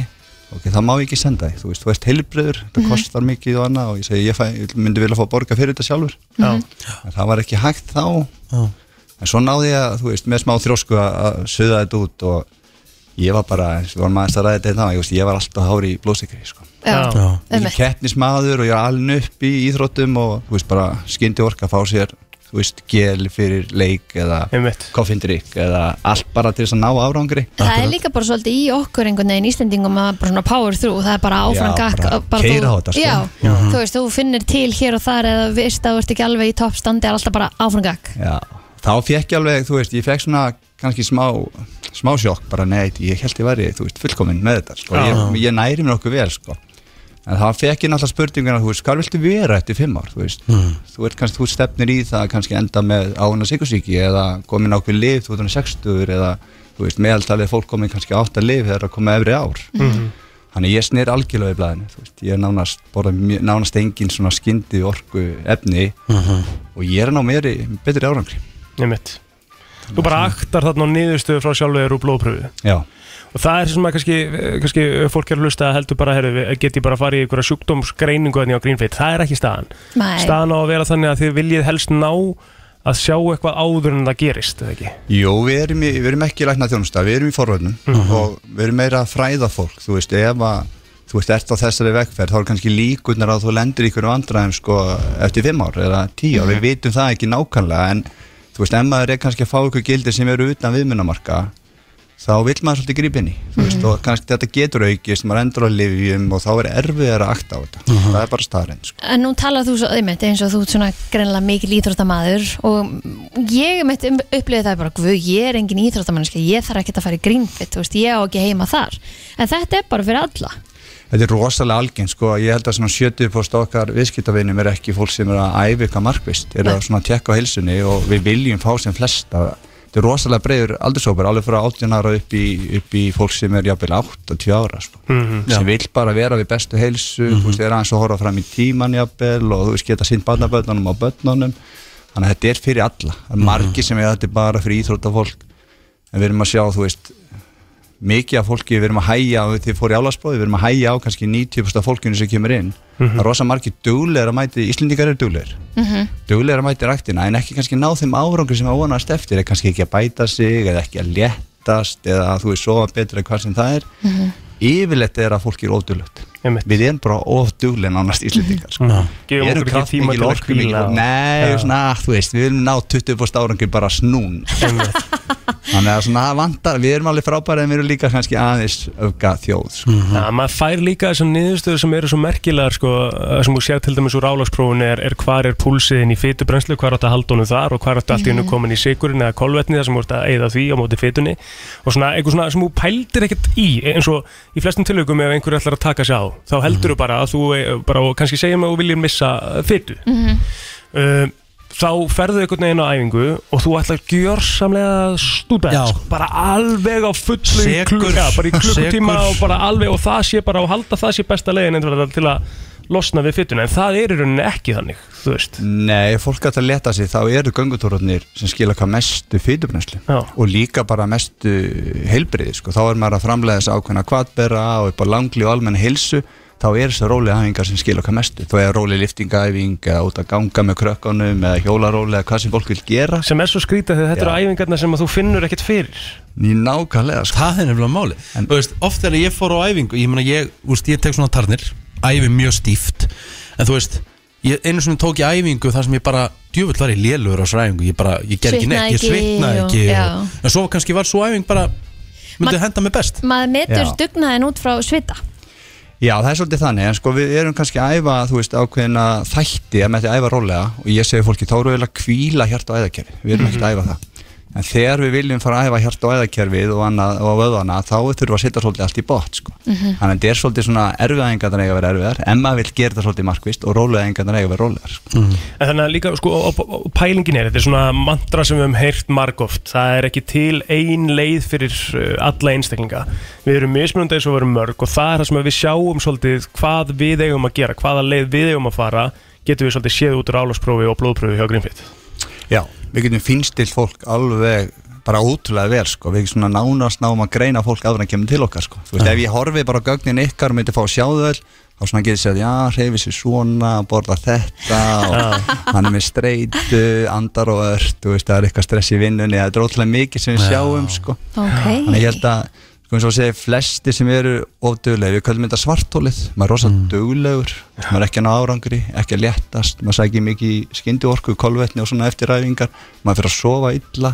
[SPEAKER 9] ok, það má ég ekki senda þig, þú veist, þú ert heilbröður, þetta kostar mikið og annað og ég segi, ég, fæ, ég myndi vilja fá að borga fyrir þetta sjálfur en það var ekki hægt þá en svo náði ég að, þú veist, með smá þrósku að að suða þetta út og ég var bara, eins og við varum aðeins að ræða þetta þá, ég, veist, ég var alltaf hári í blóðsikri sko.
[SPEAKER 3] Já.
[SPEAKER 2] já,
[SPEAKER 9] Ég er
[SPEAKER 2] einmitt.
[SPEAKER 9] keppnismadur og ég er alin upp í íþróttum og þú veist, bara skyndi orka að fá sér þú veist, gel fyrir leik eða
[SPEAKER 3] Einmitt.
[SPEAKER 9] koffindrykk eða allt bara til þess að ná árangri
[SPEAKER 2] Það er líka bara svolítið í okkur einhvern veginn Íslendingum að bara svona power through það er bara áfram
[SPEAKER 9] Já,
[SPEAKER 2] gakk
[SPEAKER 9] bara
[SPEAKER 2] bara þú-
[SPEAKER 9] keyra á þetta, sko.
[SPEAKER 2] Já, þú veist, þú finnir til hér og þar eða veist að þú ert ekki alveg í toppstandi er alltaf bara áfram gakk
[SPEAKER 9] Já, þá fekk ég alveg, þú veist, ég fekk svona kannski smá, smá sjokk bara neitt, ég held ég væri, þú veist, fullkominn með þetta, sko, ég, ég næri mér okkur vel, sko en þá fekk ég náttúrulega spurninguna, þú veist, hvað viltu vera eftir fimm ár, þú veist
[SPEAKER 1] Hmm. Mm.
[SPEAKER 9] þú ert kannski, þú stefnir í það að kannski enda með ána sikursíki eða komin ákveð lif, þú ert hann 60 eða, þú veist, meðaltalið fólk komin kannski átt að lif þegar að koma efri ár Þannig ég snýr algjörlega í blæðinu, þú veist, ég er nánast, borða mjö- nánast engin svona skyndi orku efni og ég er að ná meiri, betri árangri.
[SPEAKER 3] einmitt. Þú bara aktar þarna á niðurstöðu frá sjálfur úr blóðpröfu
[SPEAKER 9] Já,
[SPEAKER 3] og það er sem að kannski, eh, kannski fólk er að lusta að heldur bara, heyrðu, við- get ég bara að fara í einhverja sjúkdómsgreiningu þannig á Greenfit, það er ekki staðan
[SPEAKER 2] Nei.
[SPEAKER 3] staðan á að vera þannig að þið viljið helst ná að sjá eitthvað áður en það gerist eða ekki?
[SPEAKER 9] Jó, við erum, í, við erum ekki í lækna þjónusta, við erum í forvörnum og við erum meira að fræða fólk, þú veist, ef að þú veist, ert á þessari vegferð, þá er kannski líkunar að þú lendir í hverju vandræðum sko eftir 5 ár eða 10 ár, við vitum það ekki nákvæmlega en þú veist, ef maður er kannski að fá ykkur gildir sem eru utan viðmunamarka þá vill maður svolítið grípa inn í þú veist, og kannski þetta getur aukist, maður endur á lifjum og þá er erfiðar að akta á þetta það er bara starinn, sko.
[SPEAKER 2] En nú talar þú svo, einmitt, eins og þú ert svona greinlega mikil íþróttamaður og ég mitt upplifið það bara, guð, ég er engin íþróttamanniski, ég þarf ekki að fara í grínfitt, þú veist, ég á ekki heima þar. En þetta er bara fyrir alla.
[SPEAKER 9] Þetta er rosalega algeng sko, ég held að svona 70% okkar viðskiptavinum er ekki fólk sem er að æfa eitthvað markvist, er að
[SPEAKER 2] Nei.
[SPEAKER 9] svona tekka á heilsunni og við viljum fá sem flesta þetta er rosalega breyður aldursópar alveg frá 18 ára upp í, upp í fólk sem er jafnvel 8 og 20 ára sko. sem vill bara vera við bestu heilsu þú veist, er aðeins að horfa fram í tíman jafnvel og þú veist, geta sínt barnaböndunum á börnunum þannig að þetta er fyrir alla það er margi sem er þetta er bara fyrir íþróttafólk en við erum að sjá, þú veist mikið af fólki, við erum að hæja og þið fóru í álagsbóði, við erum að hæja á kannski 90% af fólkinu sem kemur inn það er rosa margir duglegar að mæti, Íslendingar eru duglegar mm -hmm. duglegar að mæti ræktina en ekki kannski ná þeim árangur sem að vonast eftir er kannski ekki að bæta sig eða ekki að léttast eða að þú er sofa betur eða hvað sem það er yfirleitt er að fólki er óduglegt
[SPEAKER 3] Einmitt.
[SPEAKER 9] við erum bara óduglega nánast Íslendingar sko.
[SPEAKER 3] Gefum
[SPEAKER 9] Við erum
[SPEAKER 3] okkur ekki tíma
[SPEAKER 9] kraftmikil,
[SPEAKER 3] til að
[SPEAKER 9] orkumikil
[SPEAKER 3] hvíla og-
[SPEAKER 9] nei,
[SPEAKER 3] Já.
[SPEAKER 9] svona, þú veist, við viljum ná 20% árangur bara snún Þannig að svona það vantar, við erum alveg frábæri en við erum líka kannski aðeins öfga þjóð sko.
[SPEAKER 7] Mhm.
[SPEAKER 3] Já, maður fær líka þessum niðurstöðu sem eru svo merkilegar sko, eh, sem þú sér til dæmis úr álagsprófun er, er hvar er púlsiðin í fytubrennslu, hvar átt að halda honum þar og hvar átt allt í hennu komin í sigurinn eða kolvetni þar sem þú ert að eyða því á móti fytunni og svona eitthvað svona sem þú pældir ekkert í eins og í flestum tilögum ef einhver ætlar að taka sig á þá
[SPEAKER 7] Mhm.
[SPEAKER 3] heldur þú bara að þú eh, bara, og kannski segjum að þú viljir missa eh, fytu um, þá ferðu einhvern veginn á æfingu og þú ætlar gjörsamlega að stúta
[SPEAKER 7] Já.
[SPEAKER 3] sko, bara alveg á fullu í
[SPEAKER 7] Sekur.
[SPEAKER 3] klukk- já, bara í klukkutíma
[SPEAKER 7] Sekur.
[SPEAKER 3] og bara alveg og það sé bara og halda það sé besta leiðin einfaldlega til að losna við fytuna en það er í rauninni ekki þannig þú veist
[SPEAKER 9] Nei, ef fólk ætti að leta sig, þá eru göngutúrarnir sem skila hvað mestu fytubrennslu
[SPEAKER 3] Já.
[SPEAKER 9] og líka bara mestu heilbriði, sko. þá er maður að framlega þess ákveðna kvatbera og upp á langli og almenna heilsu, þá er þess að róli æfingar sem skila hvað mestu, þá er róli liftingaæfing eða út að ganga með krökkunum eða hjólaróli eða hvað sem fólk vil gera
[SPEAKER 3] sem er svo skrítið þegar þetta
[SPEAKER 9] Já.
[SPEAKER 3] eru æfingarna sem að þú finnur ekkert fyrir
[SPEAKER 9] Ný nákvæmlega, sko.
[SPEAKER 7] Það er nefnilega máli
[SPEAKER 9] En-
[SPEAKER 7] Þú veist, oft þegar ég fór á æfingu Ég meina, ég, úst, ég tek svona tarnir Æfi mjög stíft En þú veist, ég, einu svona tók ég æfingu þar sem ég bara, djöfull var ég lélugur á svo æfingu Ég bara, ég ger ekki
[SPEAKER 2] Svitnaði
[SPEAKER 7] neitt, ég
[SPEAKER 2] ekki
[SPEAKER 7] svitnaði
[SPEAKER 2] og-
[SPEAKER 7] ekki
[SPEAKER 2] já.
[SPEAKER 7] og, En svo kannski var svo æfing bara Myndi
[SPEAKER 2] Ma-
[SPEAKER 7] henda mig best
[SPEAKER 2] Maður metur
[SPEAKER 9] Já.
[SPEAKER 2] dugnaðin út frá svita.
[SPEAKER 9] Já, það er svolítið þannig, en sko við erum kannski að æfa, þú veist, ákveðina þætti að með því að æfa rólega og ég segi fólki, þá eru við að kvíla hjart og æðakerfi, við erum ekkert að æfa það. En þegar við viljum fara að æfa hjart og æðakerfið og, annað, og vöðana, þá þurfum við að setja svolítið allt í bótt, sko. Þannig að þetta er svolítið svona erfiðaðingar þannig að vera erfiðar, en maður vil gera þetta svolítið markvist og rólegaðingar þannig að vera rólegar, sko.
[SPEAKER 3] En þannig að líka, sko, og- og- og pælingin er, þetta er svona mantra sem við höfum heyrt margóft, það er ekki til ein leið fyrir uh, alla einstaklinga. Við erum mismunandi eins og við erum mörg og það er það sem við sjáum svolítið hvað við eigum að gera, hvaða leið við eigum að fara, getum við svolítið séð út úr álagsprófi og blóðprófi hjá Grimfitt.
[SPEAKER 9] Já, við getum finnstilt fólk alveg bara ótrúlega vel sko, við svona nánast náum að greina fólk áður en kemur til okkar sko. Þú veist, ef ég horfi bara á gögnin ykkar og myndi fá að sjá þau öll, þá svona getur sér að já, reyfi sér svona, borða þetta og hann er með streitu andar og ört, þú veist, það er eitthvað stress í vinnunni, það er ótrúlega mikið sem við sjáum sko.
[SPEAKER 2] Ok
[SPEAKER 9] Þannig ég held að, sko eins og að segja, flesti sem eru óduglegir, við kallum þetta svartólið, maður er rosa
[SPEAKER 2] Mm.
[SPEAKER 9] duglegur, maður er ekki að ná árangri, ekki að léttast, maður sækir mikið í skyndi orku, kolvetni og svona eftir ræfingar, maður fyrir að sofa illa,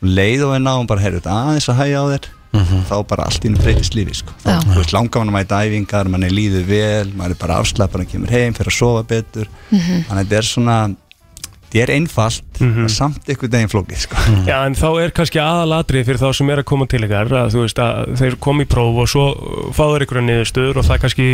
[SPEAKER 9] og leið og við náum bara, heyrðu, þetta aðeins að hægja á þér, þá bara allt ínum breytist lífi, sko. Þá,
[SPEAKER 2] Mhm. Já.
[SPEAKER 9] þú veist, langar mann að mæta æfingar, mann er líður vel, maður er bara afslapar, hann kemur heim, fyrir að sofa betur,
[SPEAKER 2] Mhm.
[SPEAKER 9] þannig að þetta er svona, þetta er einfalt, mm samt einhvern veginn flókið, sko.
[SPEAKER 3] Já, en þá er kannski aðalatrið fyrir þá sem er að koma til ykkar að þú veist að þeir koma í próf og svo fáður ykkur niðurstöður og það kannski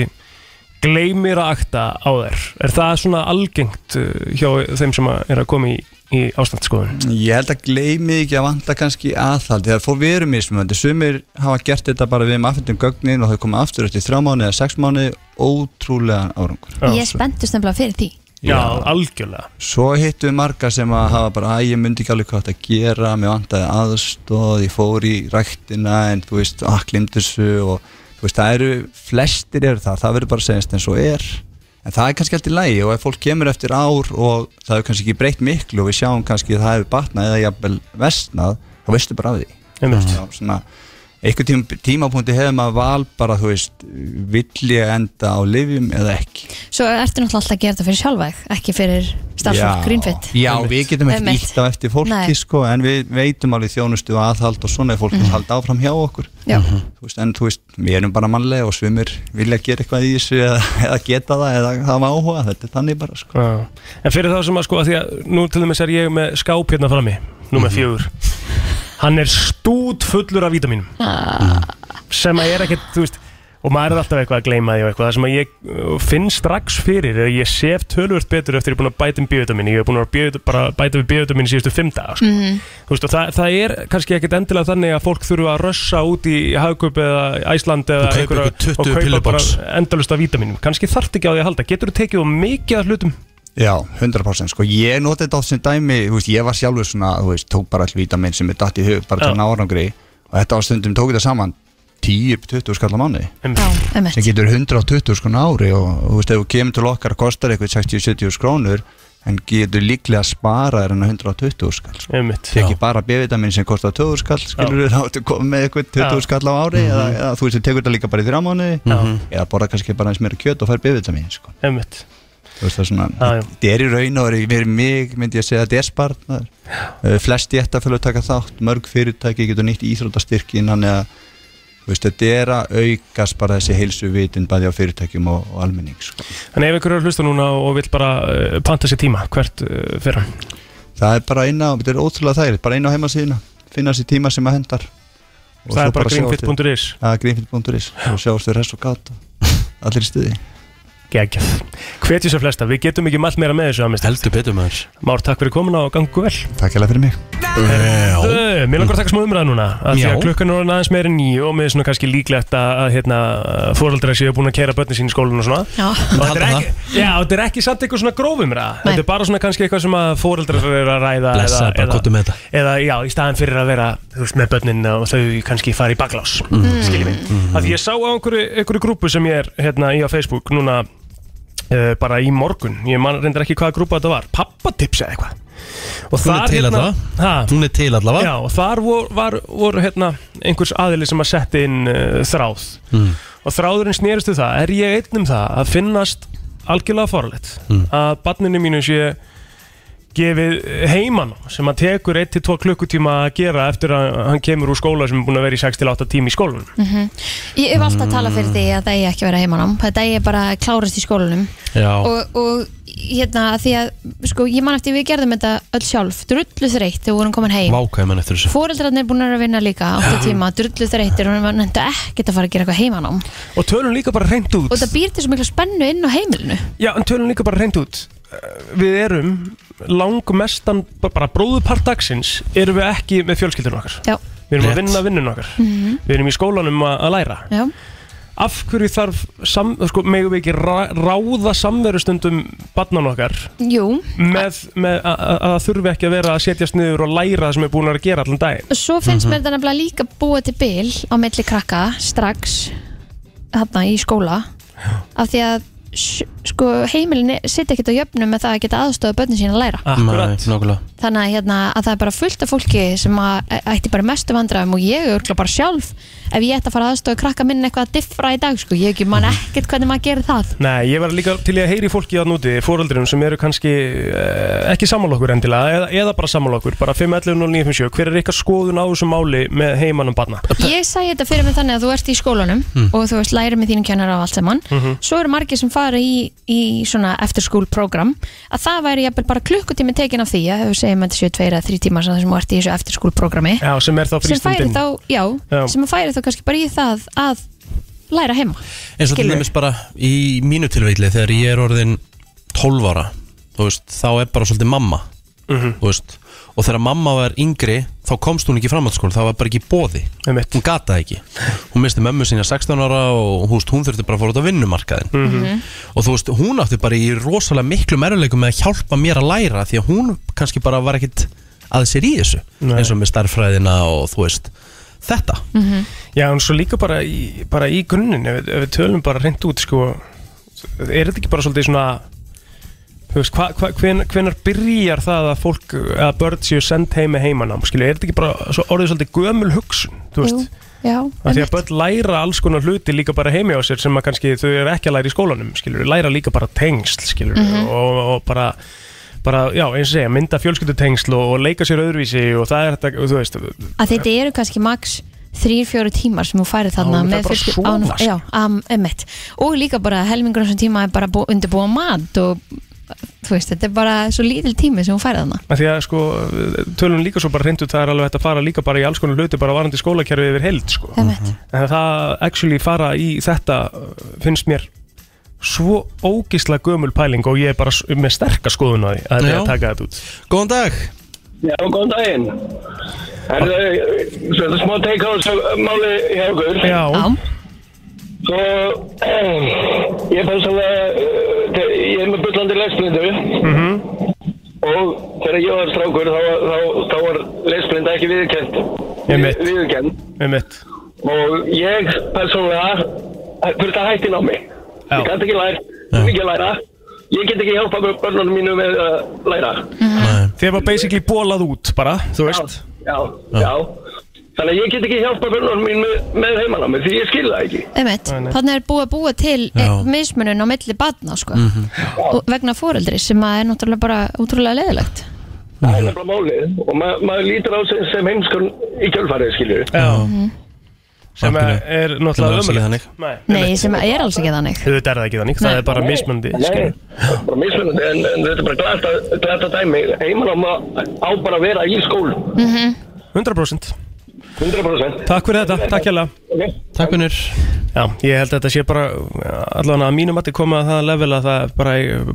[SPEAKER 3] gleymir að akta á þær Er það svona algengt uh, hjá þeim sem að er að koma í, í ástandsskoðun?
[SPEAKER 9] Ég held að gleymið ekki að vanda kannski aðhald þegar fór við erum mismunandi, sumir hafa gert þetta bara við um afhendum gögnin og þau koma aftur eftir þrjá mánu eða sex mánu ótrúlega árangur
[SPEAKER 2] Ég spenntist nefnilega fyrir því
[SPEAKER 3] Já, algjörlega
[SPEAKER 9] Svo hittum við marga sem að hafa bara að ég myndi ekki alveg hvað þetta gera mér vandaði aðstóð, ég fór í ræktina en þú veist, að glimtu þessu og þú veist, það eru, flestir eru það það verður bara að segjast eins og er en það er kannski allt í lagi og ef fólk kemur eftir ár og það hefur kannski ekki breytt miklu og við sjáum kannski að það hefur batnað eða jafnvel vestnað, þá veistu bara af því
[SPEAKER 3] Einmitt.
[SPEAKER 9] Já, svona, einhver tím, tímapunkti hefur maður val bara, þú veist, vill ég enda á lifjum eða ekki
[SPEAKER 2] Svo ertu náttúrulega alltaf að gera þetta fyrir sjálfæg Ekki fyrir starfsfólk,
[SPEAKER 9] Já.
[SPEAKER 2] grínfitt
[SPEAKER 9] Já, við getum ekki
[SPEAKER 2] Einmitt.
[SPEAKER 9] ítt á eftir fólki
[SPEAKER 2] Nei. Mhm.
[SPEAKER 9] sko, en við veitum alveg þjónustu og aðhald og svona er fólk að halda áfram hjá okkur
[SPEAKER 2] Já.
[SPEAKER 9] þú veist, en þú veist, við erum bara mannlega og svimir vilja gera eitthvað í þessu eða, eða geta það eða hafa áhuga, þetta er þannig bara sko.
[SPEAKER 3] Já. En fyrir þá sem að sko, að því að nú til dæmis er ég með skáp hérna frammi, nummer fjögur Hann er stút fullur af vítaminum sem að ég er ekkert, þú veist og maður er alltaf eitthvað að gleyma því og eitthvað það sem að ég uh, finn strax fyrir eða ég sef tölvört betur eftir ég er búin að bæta um bíotamini ég er búin að bíóvita, bara bæta við bíotamini síðustu fimm daga sko. þú veist og það, það er kannski ekkert endilega þannig að fólk þurfa að rössa út í hagkaup eða Æsland eða
[SPEAKER 1] Og kaupa
[SPEAKER 3] einhverja-
[SPEAKER 1] ykkur 20
[SPEAKER 3] og kaupa bara
[SPEAKER 1] pillubox.
[SPEAKER 3] endalust af vítaminum kannski þarft ekki á því að halda, getur þú tekið á mikið af hlutum
[SPEAKER 9] Já, 100% sko, ég noti þetta oft sem dæmi, þú veist, ég var sjálfur svona, þú veist, tók bara all vítamin sem er datt í hug, bara til
[SPEAKER 3] Já.
[SPEAKER 9] að ná árangri og þetta á stundum tók þetta saman 10-20 skallar mánuði
[SPEAKER 2] Já, emmitt
[SPEAKER 9] sem getur 120 skrónu ári og og þú veist, ef þú kemur til okkar og kostar eitthvað 60-70 skrónur en getur líklega að spara þér en að 120 skall sko.
[SPEAKER 3] Einmitt.
[SPEAKER 9] tekið bara B-vitamin sem kostar 20 skall skilur þú þá ertu komið með eitthvað 20
[SPEAKER 3] Já.
[SPEAKER 9] skall á ári eða, eða þú veist, þú tekur þetta líka bara í þrjá mánuði
[SPEAKER 1] Mhm.
[SPEAKER 9] eða borða kannski bara eins meira kjöt og fær B-vitamin sko.
[SPEAKER 3] Einmitt.
[SPEAKER 9] þú veist það er svona,
[SPEAKER 3] Já, já.
[SPEAKER 9] þetta er í raun og er verið mig, myndi ég að segja, þetta er spartnar uh, flest ég þetta fyrir að taka þátt mörg fyrirtæki getur nýtt íþróttastyrki innan eða, þú veist, þetta er að aukast bara þessi heilsu vitund bæði á fyrirtækjum og, og almenning sko.
[SPEAKER 3] En ef ykkur eru að hlusta núna og vil bara uh, panta sér tíma, hvert uh, fer hann?
[SPEAKER 9] það er bara eina, þetta er ótrúlega þægilegt bara eina á heimasíðina, finna sér tíma sem að hendar
[SPEAKER 3] Það
[SPEAKER 9] Og svo
[SPEAKER 3] er bara
[SPEAKER 9] sjáum við-
[SPEAKER 3] greenfit.is
[SPEAKER 9] að greenfit.is og sjáumst við rest og gata allir í stuði
[SPEAKER 3] Gægjað. Hvetjum sér flesta, við getum ekki mælt meira með þessu aðmest.
[SPEAKER 1] Heldur betur maður
[SPEAKER 3] Már, takk fyrir komuna og gangu vel.
[SPEAKER 9] Takk hérlega fyrir mig
[SPEAKER 3] Ö, Mér langar að taka smá umræða núna af Því að
[SPEAKER 1] Já.
[SPEAKER 3] klukkan er orðin aðeins meira en nýju og mér er svona kannski líklegt að, að hérna, fóröldra séu búin að kæra börnin sín í skólan og svona
[SPEAKER 2] Já,
[SPEAKER 3] og þetta er
[SPEAKER 1] Halda
[SPEAKER 3] ekki, já, og þetta er ekki samt eitthvað svona grófum ræða
[SPEAKER 2] Nei.
[SPEAKER 3] Þetta er bara svona kannski eitthvað sem að fóreldrar eru að ræða
[SPEAKER 1] Blessaði bara, um komdu með þetta.
[SPEAKER 3] eða já, í staðan fyrir að vera þú veist, með börnin og þau kannski fara í baklás skiljum við, mm. að ég sá á einhverju, einhverju grúpu sem ég er hérna í á Facebook núna uh, bara í morgun, ég man reyndar ekki hvaða grúpa þetta var pappatips eða eitthvað og hérna,
[SPEAKER 1] Hún er til
[SPEAKER 3] ha,
[SPEAKER 1] Hún er til allavega
[SPEAKER 3] Já, og þar voru var, vor, hérna, einhvers aðili sem að setja inn uh, þráð og þráðurinn snerist við það er ég einn um það að finnast algjörlega forleitt að barninu mínu sé gefið heimann sem að tekur 1-2 klukkutíma að gera eftir að hann kemur úr skóla sem er búin að vera í 6-8 tíma í skólanum
[SPEAKER 2] Mm. Ég hef alltaf talað fyrir því að það eigi ekki að vera heimanám Þetta eigi bara að klárast í skólanum
[SPEAKER 1] Já.
[SPEAKER 2] og, og hérna því að sko, ég man eftir við gerðum þetta öll sjálf drullu þreytt þegar við vorum komin heim
[SPEAKER 1] Vákaði mann eftir þessu
[SPEAKER 2] Fóreldrarnir búin að vera að vinna líka 8 tíma, drullu þreyttir og hann nefndi ekkert að fara að gera eitthvað heimanám
[SPEAKER 3] og tölum líka bara reynd út
[SPEAKER 2] og það býr til svo mikla spennu inn á heimilinu
[SPEAKER 3] Já, en tölum líka bara reynd út Eh, Við erum langmestan bara bróðupart dagsins erum við ekki með fjölskyldunum okkar
[SPEAKER 2] Já,
[SPEAKER 3] Við erum að
[SPEAKER 1] Rétt.
[SPEAKER 3] vinna vinnun okkar Við erum í skólanum að, að læra
[SPEAKER 2] Mhm. já,
[SPEAKER 3] af hverju þarf sam, sko, megum við ekki ra, ráða samverustundum barnan okkar
[SPEAKER 2] Jú,
[SPEAKER 3] með, með að- að að þurfi ekki að vera að setjast niður og læra það sem er búin að vera að gera allan daginn
[SPEAKER 2] svo finnst mér þetta nefnilega líka búa til bil á milli krakka strax þarna í skóla af því að s- sko, heimilin sitt ekkert á jöfnum með það að geta aðstofa börnin sín að
[SPEAKER 3] Ah.
[SPEAKER 2] læra
[SPEAKER 3] Akkurat
[SPEAKER 1] Nókulega
[SPEAKER 2] þannig að, hérna, að það er bara fullt af fólki sem að, e- ætti bara í mestu vandræðum og ég örgla bara sjálf ef ég ætti að fara aðstofa krakka minn eitthvað að diffra í dag sko. ég ekki man ekkert hvernig maður gerir það
[SPEAKER 3] Nei, ég var líka til í að heyri fólki að núti, fóröldurinn sem eru kannski eh, ekki sammála okkur endilega, eða, eða bara sammála okkur, bara 5.11.09.57, hver er ykkar skoðun á þessu máli með heimannum barna?
[SPEAKER 2] ég sæði þetta fyrir mig þannig að þú ert í skólanum
[SPEAKER 3] Hmm.
[SPEAKER 2] og þú veist læri með þínum kennara og allt saman
[SPEAKER 3] Mhm.
[SPEAKER 2] svo eru margir sem fara í, í svona eftir skólprogram að það væri jafnvel bara klukkutími tekin af því að við segjum að þetta séu tveir eða þrý tímar sem þú ert í þessu eftir skólprogrammi
[SPEAKER 3] Já, sem er þá
[SPEAKER 2] sem færi
[SPEAKER 3] frístundin.
[SPEAKER 2] þá, já,
[SPEAKER 3] Já.
[SPEAKER 2] sem færi þá kannski bara í það að læra heima
[SPEAKER 1] eins og til
[SPEAKER 2] Skilurðu?
[SPEAKER 1] dæmis bara í mínu tilveitli þegar ég er orðin 12 ára þú veist, þá er bara svolítið mamma
[SPEAKER 3] Mhm.
[SPEAKER 1] þú veist, og þegar mamma var yngri þá komst hún ekki í framhaldsskóla það var bara ekki bóði,
[SPEAKER 3] Einmitt.
[SPEAKER 1] hún gataði ekki hún misti mömmu sína 16 ára og þú veist, hún þurfti bara að fóra út á vinnumarkaðin
[SPEAKER 3] Mhm.
[SPEAKER 1] og þú veist, hún átti bara í rosalega miklu meruleikum með að hjálpa mér að læra því að hún kannski bara var ekkit að sér í þessu,
[SPEAKER 3] Nei. Mhm.
[SPEAKER 1] eins og með starffræðina og þú veist, þetta
[SPEAKER 3] Já, en svo líka bara í, bara í grunninn, ef, við- ef við tölum bara reynd út, sko, er þetta ekki bara svolítið svona, þú veist, hva, hva, hven, hvenar byrjar það að fólk, að börn séu send heim með heimanám, skilju, er þetta ekki bara svo, orðið svolítið gömul hugsun, þú veist?
[SPEAKER 2] Jú, já,
[SPEAKER 3] Af því að börn læra alls konar hluti líka bara heimi á sér sem að kannski þau eru ekki að læra í skólanum, skilur, læra líka bara tengsl, skilur, og, og bara, bara, já, eins og segja, mynda fjölskyldutengsl og, og leika sér öðruvísi og það er þetta, þú veist,
[SPEAKER 2] að þetta eru kannski max þrýr, fjóru tímar sem þú færi þarna
[SPEAKER 3] Já, þú
[SPEAKER 2] með
[SPEAKER 3] ferð bara að
[SPEAKER 2] fyrstu-
[SPEAKER 3] sofa,
[SPEAKER 2] án-
[SPEAKER 3] sko.
[SPEAKER 2] já, um, emitt og líka bara helmingur á þessum tíma er bara bú, undirbúa mat og þú veist, þetta er bara svo lítil tími sem þú færi þarna
[SPEAKER 3] af því að sko, tölun líka svo bara reyndu það er alveg hægt að fara líka bara í alls konar hluti bara varandi skólakerfið yfir heild, sko.
[SPEAKER 2] emitt,
[SPEAKER 3] En það actually fara í þetta uh, finnst mér svo ógisla gömul pæling og ég er bara s- með sterka skoðun á því að það er
[SPEAKER 1] Já.
[SPEAKER 3] að taka þetta út.
[SPEAKER 1] Góðan dag!
[SPEAKER 9] Já, góðan daginn. eh, Er það svona smá teika á þessu máli hjá okkur?
[SPEAKER 3] Já,
[SPEAKER 2] já,
[SPEAKER 9] Svo, ég fannst að Eh, ég er með bullandi lesblindu og þegar ég var strákur þá, þá, þá var lesblinda ekki viðurkend.
[SPEAKER 3] Einmitt.
[SPEAKER 9] Viðurkend.
[SPEAKER 3] með mitt.
[SPEAKER 9] Og ég persónulega þurfti að hætti námi.
[SPEAKER 3] Já.
[SPEAKER 9] Ég gæti ekki læra, mikið að læra. Ég get ekki hjálpa börnunum mínu með að læra.
[SPEAKER 3] Þið var basically bólað út bara, þú veist
[SPEAKER 9] Já, já, já. Þannig að ég get ekki hjálpa börnunum mín með, með heimanámi því ég skil það ekki.
[SPEAKER 2] emitt þannig er búið að búa til e, mismunun á milli batna sko. og vegna foreldri sem að er náttúrulega bara útrúlega leðilegt
[SPEAKER 9] Það er nefnilega málið og ma maður lítur á sem, sem heimskun í kjölfarið, skilju.
[SPEAKER 3] Já Mhm. Sem er, er
[SPEAKER 1] Sem er
[SPEAKER 3] náttúrulega
[SPEAKER 1] alls ekki
[SPEAKER 3] ömurlegt.
[SPEAKER 1] þannig.
[SPEAKER 3] Nei,
[SPEAKER 2] nei, sem að er alls ekki þannig
[SPEAKER 3] Þetta er það ekki þannig, það
[SPEAKER 2] Nei.
[SPEAKER 3] er bara mismöndi
[SPEAKER 9] Nei, það er bara mismunandi en, en þetta er bara glata, glata dæmi. Heimanám á á bara að vera í skólu,
[SPEAKER 3] 100%
[SPEAKER 9] 100%.
[SPEAKER 3] Takk fyrir þetta, takk hjá
[SPEAKER 9] Okay.
[SPEAKER 1] Takk vinnur
[SPEAKER 3] Já, ég held að þetta sé bara allavega að mínum mati koma að það level að það bara,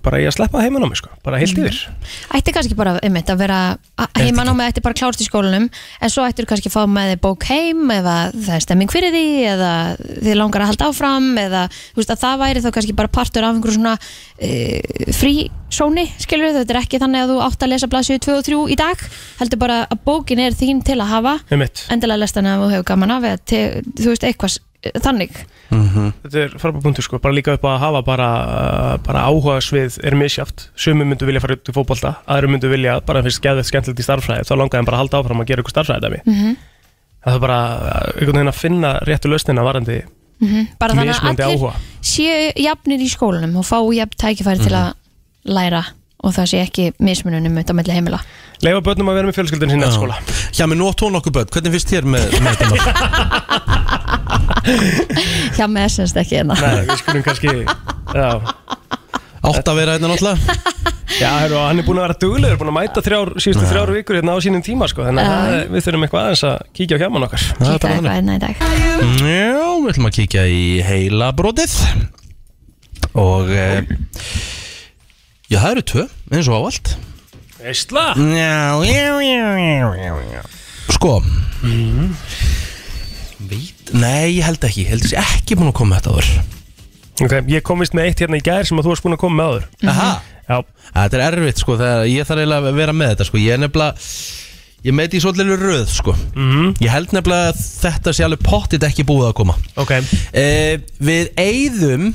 [SPEAKER 3] bara ég að sleppa heimanámi sko, bara heilt yfir
[SPEAKER 2] ætti kannski bara einmitt að vera heimanámið ætti bara klárt í skólanum en svo ættir kannski að fá með þið bók heim eða það er stemming fyrir því eða þið langar að halda áfram eða þú veist að það væri þá kannski bara partur af einhverju svona uh, frísóni skilur þetta er ekki þannig að þú átt að lesa blaðsjöðu 2 og 3 í dag heldur bara að bókin er þín til að hafa
[SPEAKER 3] Með mitt,
[SPEAKER 2] endilega lest hana ef þú hefur gaman af eða til, þú veist eitthvað s- eh, þannig
[SPEAKER 3] þetta er farbúrpunktur sko, bara líka upp á að hafa bara, bara áhuga svið er misjátt Sumi myndu vilja fara út í fótbolta, aðru myndu vilja bara fyrst geðveitt skemmtilegt í starffræði, þá langaði hann bara að halda áfram að gera ykkur starffræði dæmi Það er bara uh, einhvern veginn að finna réttu lausnina varandi
[SPEAKER 2] bara þannig að
[SPEAKER 3] Mismunandi
[SPEAKER 2] allir
[SPEAKER 3] áhuga.
[SPEAKER 2] séu jafnir í skólanum og fá jafn tækifæri til að læra og það sé ekki mismununum út á milli heimila
[SPEAKER 3] Leifa börnum að vera með fjölskyldun sinni eftir skóla
[SPEAKER 1] Já, menn nú átt hún okkur börn, hvernig finnst þér með, með þetta mál?
[SPEAKER 2] hjá með essens ekki hérna
[SPEAKER 3] Nei, við skulum kannski Já,
[SPEAKER 1] Átt að vera hérna náttúrulega
[SPEAKER 3] já heru, hann er búin að vera duglegur Búin að mæta þrjár, síðustu þrjár vikur hérna á sínum tíma sko, Þannig að það- við þurfum eitthvað aðeins að kíkja á hjáman okkar
[SPEAKER 1] Það er
[SPEAKER 2] kíkta
[SPEAKER 1] bara
[SPEAKER 2] eitthvað
[SPEAKER 1] þannig.
[SPEAKER 2] hérna í dag
[SPEAKER 1] Já, við ætlum að kíkja í heila brotið Og e, Já, það eru tvö, eins og ávalt
[SPEAKER 3] Veistla
[SPEAKER 1] Mhm. Já, já, já, já, já Sko Veit Nei, ég held ekki, ég held þessi ekki búin að koma með þetta áður
[SPEAKER 3] Ok, ég kom vist með eitt hérna í gær sem að þú varst búin að koma með áður
[SPEAKER 1] Mhm. Aha,
[SPEAKER 3] Já,
[SPEAKER 1] þetta er erfitt sko þegar ég þarf eiginlega að vera með þetta sko Ég er nefnilega, ég meiti í svolítið röð sko
[SPEAKER 3] mhm,
[SPEAKER 1] Ég held nefnilega að þetta sé alveg pottit ekki búið að koma
[SPEAKER 3] ok
[SPEAKER 1] Eh, Við eigðum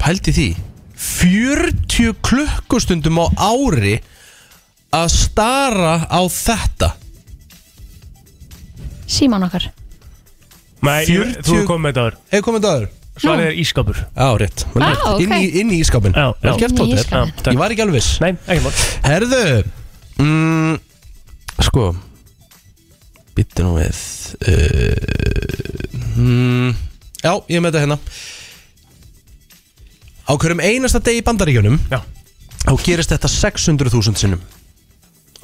[SPEAKER 1] Pældi því 40 klukkustundum á ári Að stara á þetta
[SPEAKER 2] Síman okkar
[SPEAKER 3] Nei,
[SPEAKER 1] 40
[SPEAKER 3] þú kom með þetta áður
[SPEAKER 1] Hefur komið dagur?
[SPEAKER 3] Svarið er ískapur
[SPEAKER 1] Já, rétt
[SPEAKER 2] Á, Ah, ok.
[SPEAKER 1] inn, í, inn í ískapin
[SPEAKER 3] Já, já.
[SPEAKER 1] Vel gert,
[SPEAKER 2] Inn í
[SPEAKER 1] Tóti.
[SPEAKER 2] ísskápinn.
[SPEAKER 3] Já, takk
[SPEAKER 1] Ég var ekki alveg viss
[SPEAKER 3] Nei, ekki mál
[SPEAKER 1] Herðu mm, Sko Bittu nú við uh, mm, Já, ég er með þetta hérna Á hverjum einasta degi í bandaríkjunum
[SPEAKER 3] Já.
[SPEAKER 1] Þá gerist þetta 600.000 sinnum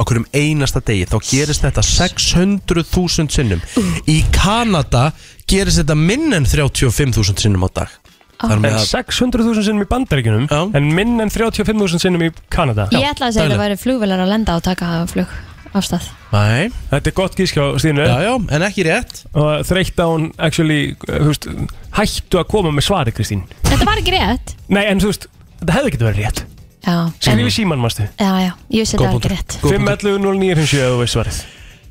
[SPEAKER 1] Á hverjum einasta degi Þá gerist þetta 600.000 sinnum Í Kanada gerist þetta minn en 35.000 sinnum á dag Það er
[SPEAKER 3] En
[SPEAKER 1] með að
[SPEAKER 3] 600.000 sinnum í bandaríkjunum
[SPEAKER 1] Já.
[SPEAKER 3] En minn en 35.000 sinnum í Kanada
[SPEAKER 2] Ég ætla að segja að það væri flugvelar að lenda og taka flug af stað
[SPEAKER 1] Nei,
[SPEAKER 3] Þetta er gott gískjá, Stínu
[SPEAKER 1] já, já, en ekki rétt
[SPEAKER 3] Og þreytt á hún, actually, uh, þú veist Hættu að koma með svari, Kristín
[SPEAKER 2] Þetta var ekki rétt
[SPEAKER 3] Nei, en þú veist, þetta hefði ekki verið rétt
[SPEAKER 2] Já, en,
[SPEAKER 3] Skrifi síman, mástu
[SPEAKER 2] já, já, ég vissi þetta var
[SPEAKER 1] punktur.
[SPEAKER 2] ekki rétt
[SPEAKER 3] 511 0957 ef þú veist svarið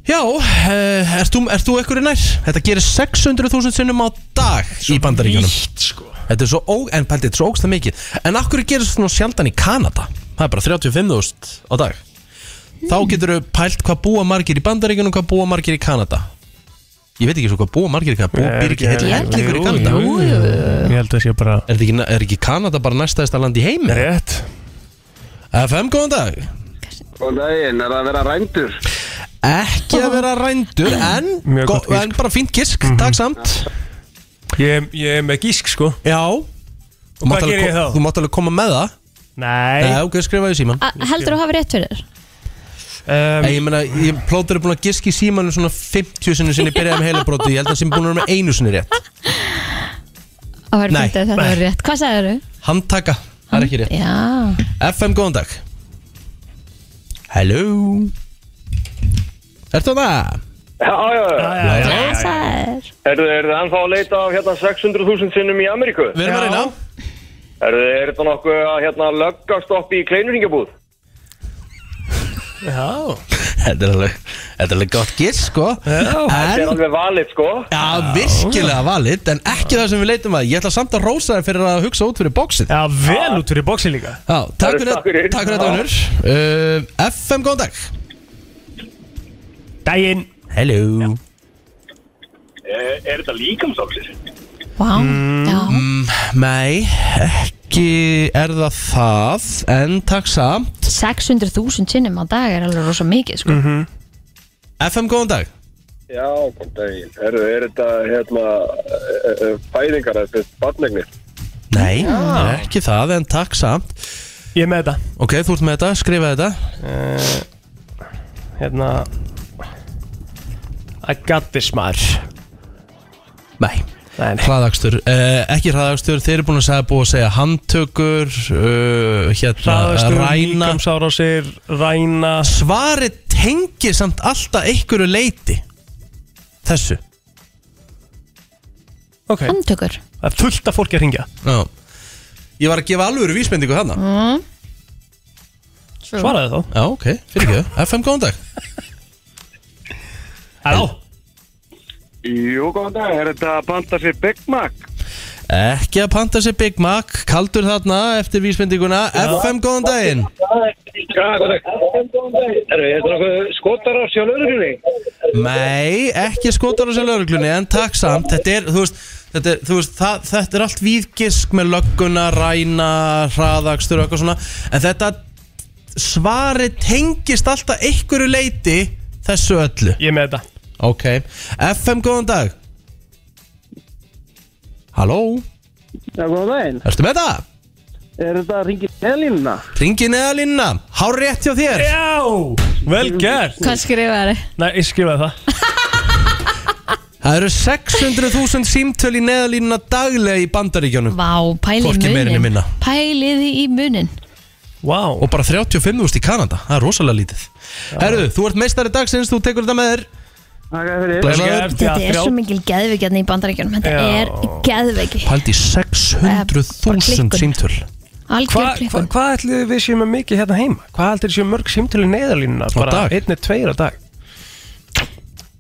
[SPEAKER 1] Já, uh, ert þú, ert þú ekkur nær? Þetta gerir 600.000 sinnum á dag í bandaríkjunum
[SPEAKER 3] Ítt, sko
[SPEAKER 1] Þetta er svo, ó, en pældi, þetta er svo ógsta mikið En akkur gerir þetta svona sjaldan í Kanada? Það er bara 35.000 á dag Þá
[SPEAKER 3] Hmm.
[SPEAKER 1] getur þau pælt hvað búa margir í bandaríkjunum Hvað búa margir í Kanada Ég veit ekki svo hvað búa margir í Kanada Búa býr ekki heil
[SPEAKER 2] Ég held
[SPEAKER 1] hellingur í
[SPEAKER 3] Jú,
[SPEAKER 1] Kanada
[SPEAKER 3] jú, jú. Ég held að það sé bara
[SPEAKER 1] Er, þetta ekki, er ekki Kanada bara næstaðista land í heimi?
[SPEAKER 3] Rétt
[SPEAKER 1] FM, góðan dag
[SPEAKER 10] Og daginn, er það að vera rændur?
[SPEAKER 1] Ekki að vera rændur En,
[SPEAKER 3] Mjög
[SPEAKER 1] go,
[SPEAKER 3] gott Mhm. gisk.
[SPEAKER 1] en bara fínt gisk, takk samt
[SPEAKER 3] Ég, ég er með gísk, sko
[SPEAKER 1] Já Þú mátt
[SPEAKER 3] Hvað
[SPEAKER 1] alveg
[SPEAKER 3] geri
[SPEAKER 1] ko-
[SPEAKER 3] ég þá?
[SPEAKER 1] Þú mátt alveg koma með það Nei,
[SPEAKER 3] Nei
[SPEAKER 1] ok, skrifaði síman
[SPEAKER 2] A- Heldur þú að hafa rétt fyrir þér?
[SPEAKER 3] um,
[SPEAKER 1] Nei, ég meina, ég plótur er búin að giska í símanum svona 50 sinni sinni byrjaði með heilabróti Ég held að hann sem búin að vera með einu sinni rétt
[SPEAKER 2] Að vera
[SPEAKER 1] Nei.
[SPEAKER 2] punktið að þetta var rétt Hvað sagðið þú?
[SPEAKER 1] Handtaka, það er ekki rétt
[SPEAKER 2] Já,
[SPEAKER 1] FM, góðan dag Hello Ertu það?
[SPEAKER 10] Já, já, já.
[SPEAKER 3] já, já, já.
[SPEAKER 2] hvað sagðið þér?
[SPEAKER 10] Er það ennþá að leita af hérna 600.000 sinnum í Ameríku?
[SPEAKER 1] Við erum að reyna
[SPEAKER 10] Er þetta nokkuð að hérna löggastoppi í kleinurhingabúð?
[SPEAKER 1] Þetta er alveg, þetta er alveg gott gisk, sko
[SPEAKER 10] Þetta er
[SPEAKER 1] En,
[SPEAKER 10] alveg valið, sko.
[SPEAKER 1] já, virkilega valid En ekki það sem við leitum að Ég ætla samt að rósa þér fyrir að hugsa út fyrir bóksið
[SPEAKER 3] Já, vel út fyrir bóksi líka
[SPEAKER 1] Já, takk
[SPEAKER 10] Herru,
[SPEAKER 1] fyrir
[SPEAKER 10] takk fyrir.
[SPEAKER 1] takk fyrir þetta,
[SPEAKER 10] Já.
[SPEAKER 1] Unur uh, FM, góðan dag
[SPEAKER 3] Dæin
[SPEAKER 1] Hello
[SPEAKER 10] Er þetta líkamsálsir?
[SPEAKER 2] Vá, já,
[SPEAKER 1] Nei, ekki er það það En takk samt
[SPEAKER 2] 600.000 sinnum á dag er alveg rosa mikið sko.
[SPEAKER 1] FM, góðan dag
[SPEAKER 10] Já, kom daginn. Er, er þetta hérna eh, eh, fæðingar eða barnegnir?
[SPEAKER 1] Nei, ekki það, en takk samt
[SPEAKER 3] Ég er með þetta
[SPEAKER 1] Ok, þú ert með þetta, skrifa þetta
[SPEAKER 3] Hérna I got this maður
[SPEAKER 1] Nei,
[SPEAKER 3] Nei, nei
[SPEAKER 1] hraðakstur uh, Ekki hraðakstur, þeir eru búin að segja búið að segja handtökur uh, Hérna,
[SPEAKER 3] Hraðastur,
[SPEAKER 1] ræna
[SPEAKER 3] líkamsára sér Ræna
[SPEAKER 1] Svarið tengi samt alltaf einhverju leiti Þessu
[SPEAKER 3] Ok
[SPEAKER 2] Handtökur
[SPEAKER 3] Það er fullt af fólki að ringja
[SPEAKER 1] Já Ég var að gefa alvöru vísbendingu hana
[SPEAKER 3] Svaraði þá
[SPEAKER 1] Já, ok, fyrir ekki FM, góðan dag
[SPEAKER 3] Halló
[SPEAKER 10] Jú, kom dag. Er þetta að panta sér Big Mac?
[SPEAKER 1] Ekki að panta sér Big Mac Kaldur þarna eftir vísbendinguna FM, góðan daginn
[SPEAKER 10] Já, kom dag. Er þetta nokkuð skotar á sjálfurðurinni?
[SPEAKER 1] Nei, ekki skotar á sér lauruglunni En takk samt, þetta er, þú veist Þetta er, þú veist, það, þetta er allt víðgisk með lögguna, ræna, hraðakstur og eitthvað svona En þetta svari tengist alltaf einhverju leiti þessu öllu
[SPEAKER 3] Ég er með þetta
[SPEAKER 1] Ok, FM góðan dag Halló,
[SPEAKER 10] Já, kom daginn.
[SPEAKER 1] ertu með það?
[SPEAKER 10] Er þetta að ringi Elina?
[SPEAKER 1] Ringi neða línna, hár rétt hjá þér
[SPEAKER 3] Já Vel gert
[SPEAKER 2] Hvað skrifaði þér?
[SPEAKER 3] Nei, ég skrifaði það
[SPEAKER 1] Það eru 600.000 símtöl í neðalínuna daglega í bandaríkjónum
[SPEAKER 2] Vá, pælið
[SPEAKER 1] Hvorki
[SPEAKER 2] í
[SPEAKER 1] meira né
[SPEAKER 2] munin
[SPEAKER 1] minna.
[SPEAKER 2] Pælið í munin
[SPEAKER 3] Wow
[SPEAKER 1] Og bara 35.000 í Kanada, það er rosalega lítið Herðu, þú ert meistari dagsins, þú tekur þetta með þér
[SPEAKER 10] Þakka fyrir.
[SPEAKER 1] Blessaður.
[SPEAKER 2] Þetta er svo mikil geðveikjarni í bandaríkjunum Þetta
[SPEAKER 3] Já.
[SPEAKER 2] er geðveiki
[SPEAKER 1] Paldi
[SPEAKER 2] Bara
[SPEAKER 1] 600.000
[SPEAKER 2] klikkun.
[SPEAKER 1] símtöl
[SPEAKER 2] Algjör
[SPEAKER 3] Hvað hva,
[SPEAKER 2] klikkun
[SPEAKER 3] hva ætlið við séum með mikið hérna heima? Hvað ætlið séum mörg símtölu neðalínuna? Bara
[SPEAKER 1] dag.
[SPEAKER 3] einni, tveir á dag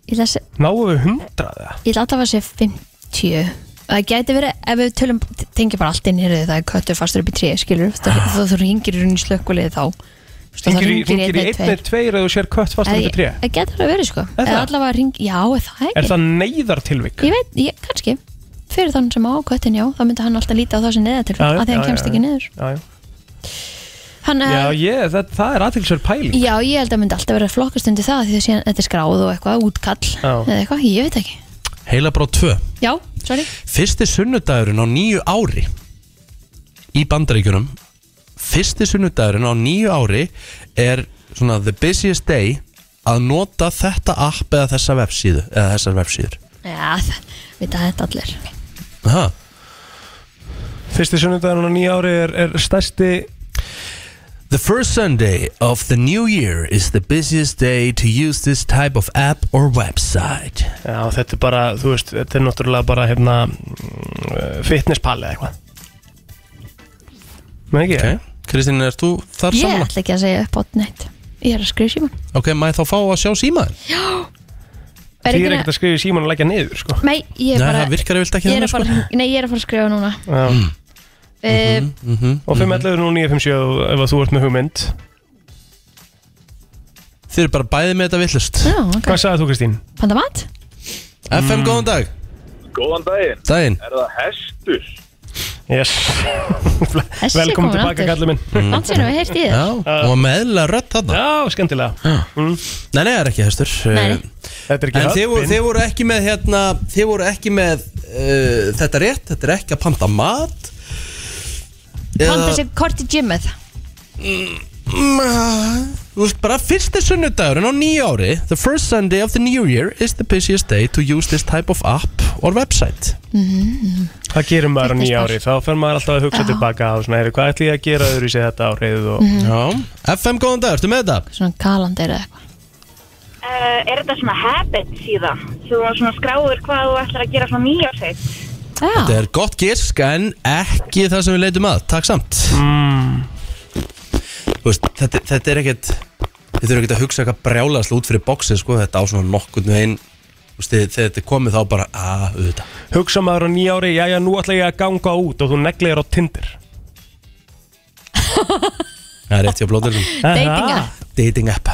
[SPEAKER 2] Ég ætla að se-
[SPEAKER 3] Náum við hundraða?
[SPEAKER 2] ég ætla alltaf að sé 50 Það gæti verið, ef við tölum tengi bara allt inn hér, það er köttur fastur upp í tré skilur, þú, þú, þú ringir í runni slökkulið þá Þú veist, þá
[SPEAKER 3] Ringir í
[SPEAKER 2] hringir
[SPEAKER 3] ringir í einni, tveir að þú sér kött fast um
[SPEAKER 2] Eða-
[SPEAKER 3] þetta tré
[SPEAKER 2] Það getur það verið sko
[SPEAKER 3] Er
[SPEAKER 2] Eða
[SPEAKER 3] það?
[SPEAKER 2] allavega ringi, já, er það ekki
[SPEAKER 3] Er það neyðartilvik?
[SPEAKER 2] Ég veit, ég, kannski Fyrir þann sem á köttin, já, þá myndi hann alltaf líta á þá sem neða til,
[SPEAKER 3] Já, já,
[SPEAKER 2] að því
[SPEAKER 3] já,
[SPEAKER 2] hann kemst
[SPEAKER 3] já,
[SPEAKER 2] ekki
[SPEAKER 3] já.
[SPEAKER 2] niður
[SPEAKER 3] Já, já.
[SPEAKER 2] hann,
[SPEAKER 3] Já,
[SPEAKER 2] já,
[SPEAKER 3] ég, það, það er aðtilsverð pæling
[SPEAKER 2] já, ég held að myndi alltaf verið flokkast undir það því að síðan, þetta er skráð og eitthvað, útkall
[SPEAKER 3] Já.
[SPEAKER 2] eða eitthvað, ég veit ekki
[SPEAKER 1] Heila brá 2
[SPEAKER 2] Já, sorry,
[SPEAKER 1] Fyrsti sunnudagurinn á nýju ári Í bandaríkjunum Fyrsti sunnudagurinn á nýju ári Er svona the busiest day Að nota þetta app eða þessa vefsíðu Eða þessar vefsíður
[SPEAKER 2] já, það, við þetta allir
[SPEAKER 1] Aha.
[SPEAKER 3] Fyrsti sunnudagurinn á nýja ári er, er stærsti
[SPEAKER 1] The first Sunday of the new year Is the busiest day to use this type of app or website
[SPEAKER 3] Já, þetta er bara, þú veist, þetta er náttúrulega bara hérna mm, fitnesspalli eða eitthvað Nei ekki, eh?
[SPEAKER 1] Ok, Kristín, er þú þar
[SPEAKER 2] Ég
[SPEAKER 1] saman?
[SPEAKER 2] ætla ekki að segja upp átt neitt Ég er að skrifa síman
[SPEAKER 1] Ok, maður þá fá að sjá símaðin?
[SPEAKER 2] Er
[SPEAKER 3] því er
[SPEAKER 2] ekki
[SPEAKER 3] ekkert að skrifa í síman og leggja niður, sko
[SPEAKER 2] Nei, ég er
[SPEAKER 1] Nei,
[SPEAKER 2] bara
[SPEAKER 1] það virkar eftir ekki
[SPEAKER 2] Ég er
[SPEAKER 1] þannig sko
[SPEAKER 2] að
[SPEAKER 1] Mm. Mhm.
[SPEAKER 2] fara, nei, ég er að fara að skrifa núna
[SPEAKER 3] Já.
[SPEAKER 2] uh,
[SPEAKER 3] Og 511 og 957 ef að þú ert með hugmynd
[SPEAKER 1] Þið eru bara bæði með þetta villust
[SPEAKER 2] Já, ok
[SPEAKER 3] Hvað sagði þú Kristín?
[SPEAKER 2] Panda mat?
[SPEAKER 1] FM, góðan dag
[SPEAKER 10] Góðan daginn.
[SPEAKER 1] Daginn
[SPEAKER 10] Er það hestur?
[SPEAKER 3] Yes
[SPEAKER 2] Þessi
[SPEAKER 3] Velkomin
[SPEAKER 2] komin
[SPEAKER 3] tilbaka,
[SPEAKER 2] aftur.
[SPEAKER 3] kallið minn
[SPEAKER 1] Mhm.
[SPEAKER 2] Langt sinni, við heyrst í
[SPEAKER 1] Mm. Já,
[SPEAKER 2] þér
[SPEAKER 1] og meðla rödd þarna
[SPEAKER 3] Já, skemmtilega
[SPEAKER 1] Nei, nei, það er ekki hestur Eh,
[SPEAKER 2] Nei.
[SPEAKER 3] Þetta er ekki
[SPEAKER 1] En þið voru,
[SPEAKER 3] höppin
[SPEAKER 1] þið voru ekki með hérna Þið voru ekki með uh, þetta rétt Þetta er ekki að panta mat Eh,
[SPEAKER 2] Panda sér kort í gymmið
[SPEAKER 1] Mm, Þú veist bara fyrsti sunnudagurinn á nýju ári The first Sunday of the new year is the busiest day to use this type of app or website
[SPEAKER 3] Hvað gerum
[SPEAKER 2] Þetta
[SPEAKER 3] maður á
[SPEAKER 2] er
[SPEAKER 3] nýja
[SPEAKER 2] spart.
[SPEAKER 3] ári? Þá fer maður alltaf að hugsa
[SPEAKER 2] Já.
[SPEAKER 3] tilbaka á svona, heyrðu, hvað ætlum ég að gera öðru sér þetta árið og
[SPEAKER 1] Já FM, góðan dag, ertu með þetta?
[SPEAKER 2] Svona kalandir eða eitthvað
[SPEAKER 11] Uh, er þetta svona habit síðan? Þú var svona skráður hvað þú ætlar að gera svona nýjársveit.
[SPEAKER 1] Þetta
[SPEAKER 2] Já,
[SPEAKER 1] er gott gisk en ekki það sem við leitum að Takk samt Þú veist, þetta, þetta er ekkert Þið þurfum ekkert að hugsa eitthvað brjálaðslega út fyrir bóksið sko, þetta á svona nokkurnu einn Þegar þetta er komið þá bara að auðvitað
[SPEAKER 3] Hugsa maður á nýja ári, jæja, nú ætla ég að ganga út og þú neglir á Tinder
[SPEAKER 1] Það er rétt hjá blóðurinn
[SPEAKER 2] dating
[SPEAKER 3] Aha.
[SPEAKER 2] app
[SPEAKER 1] Dating app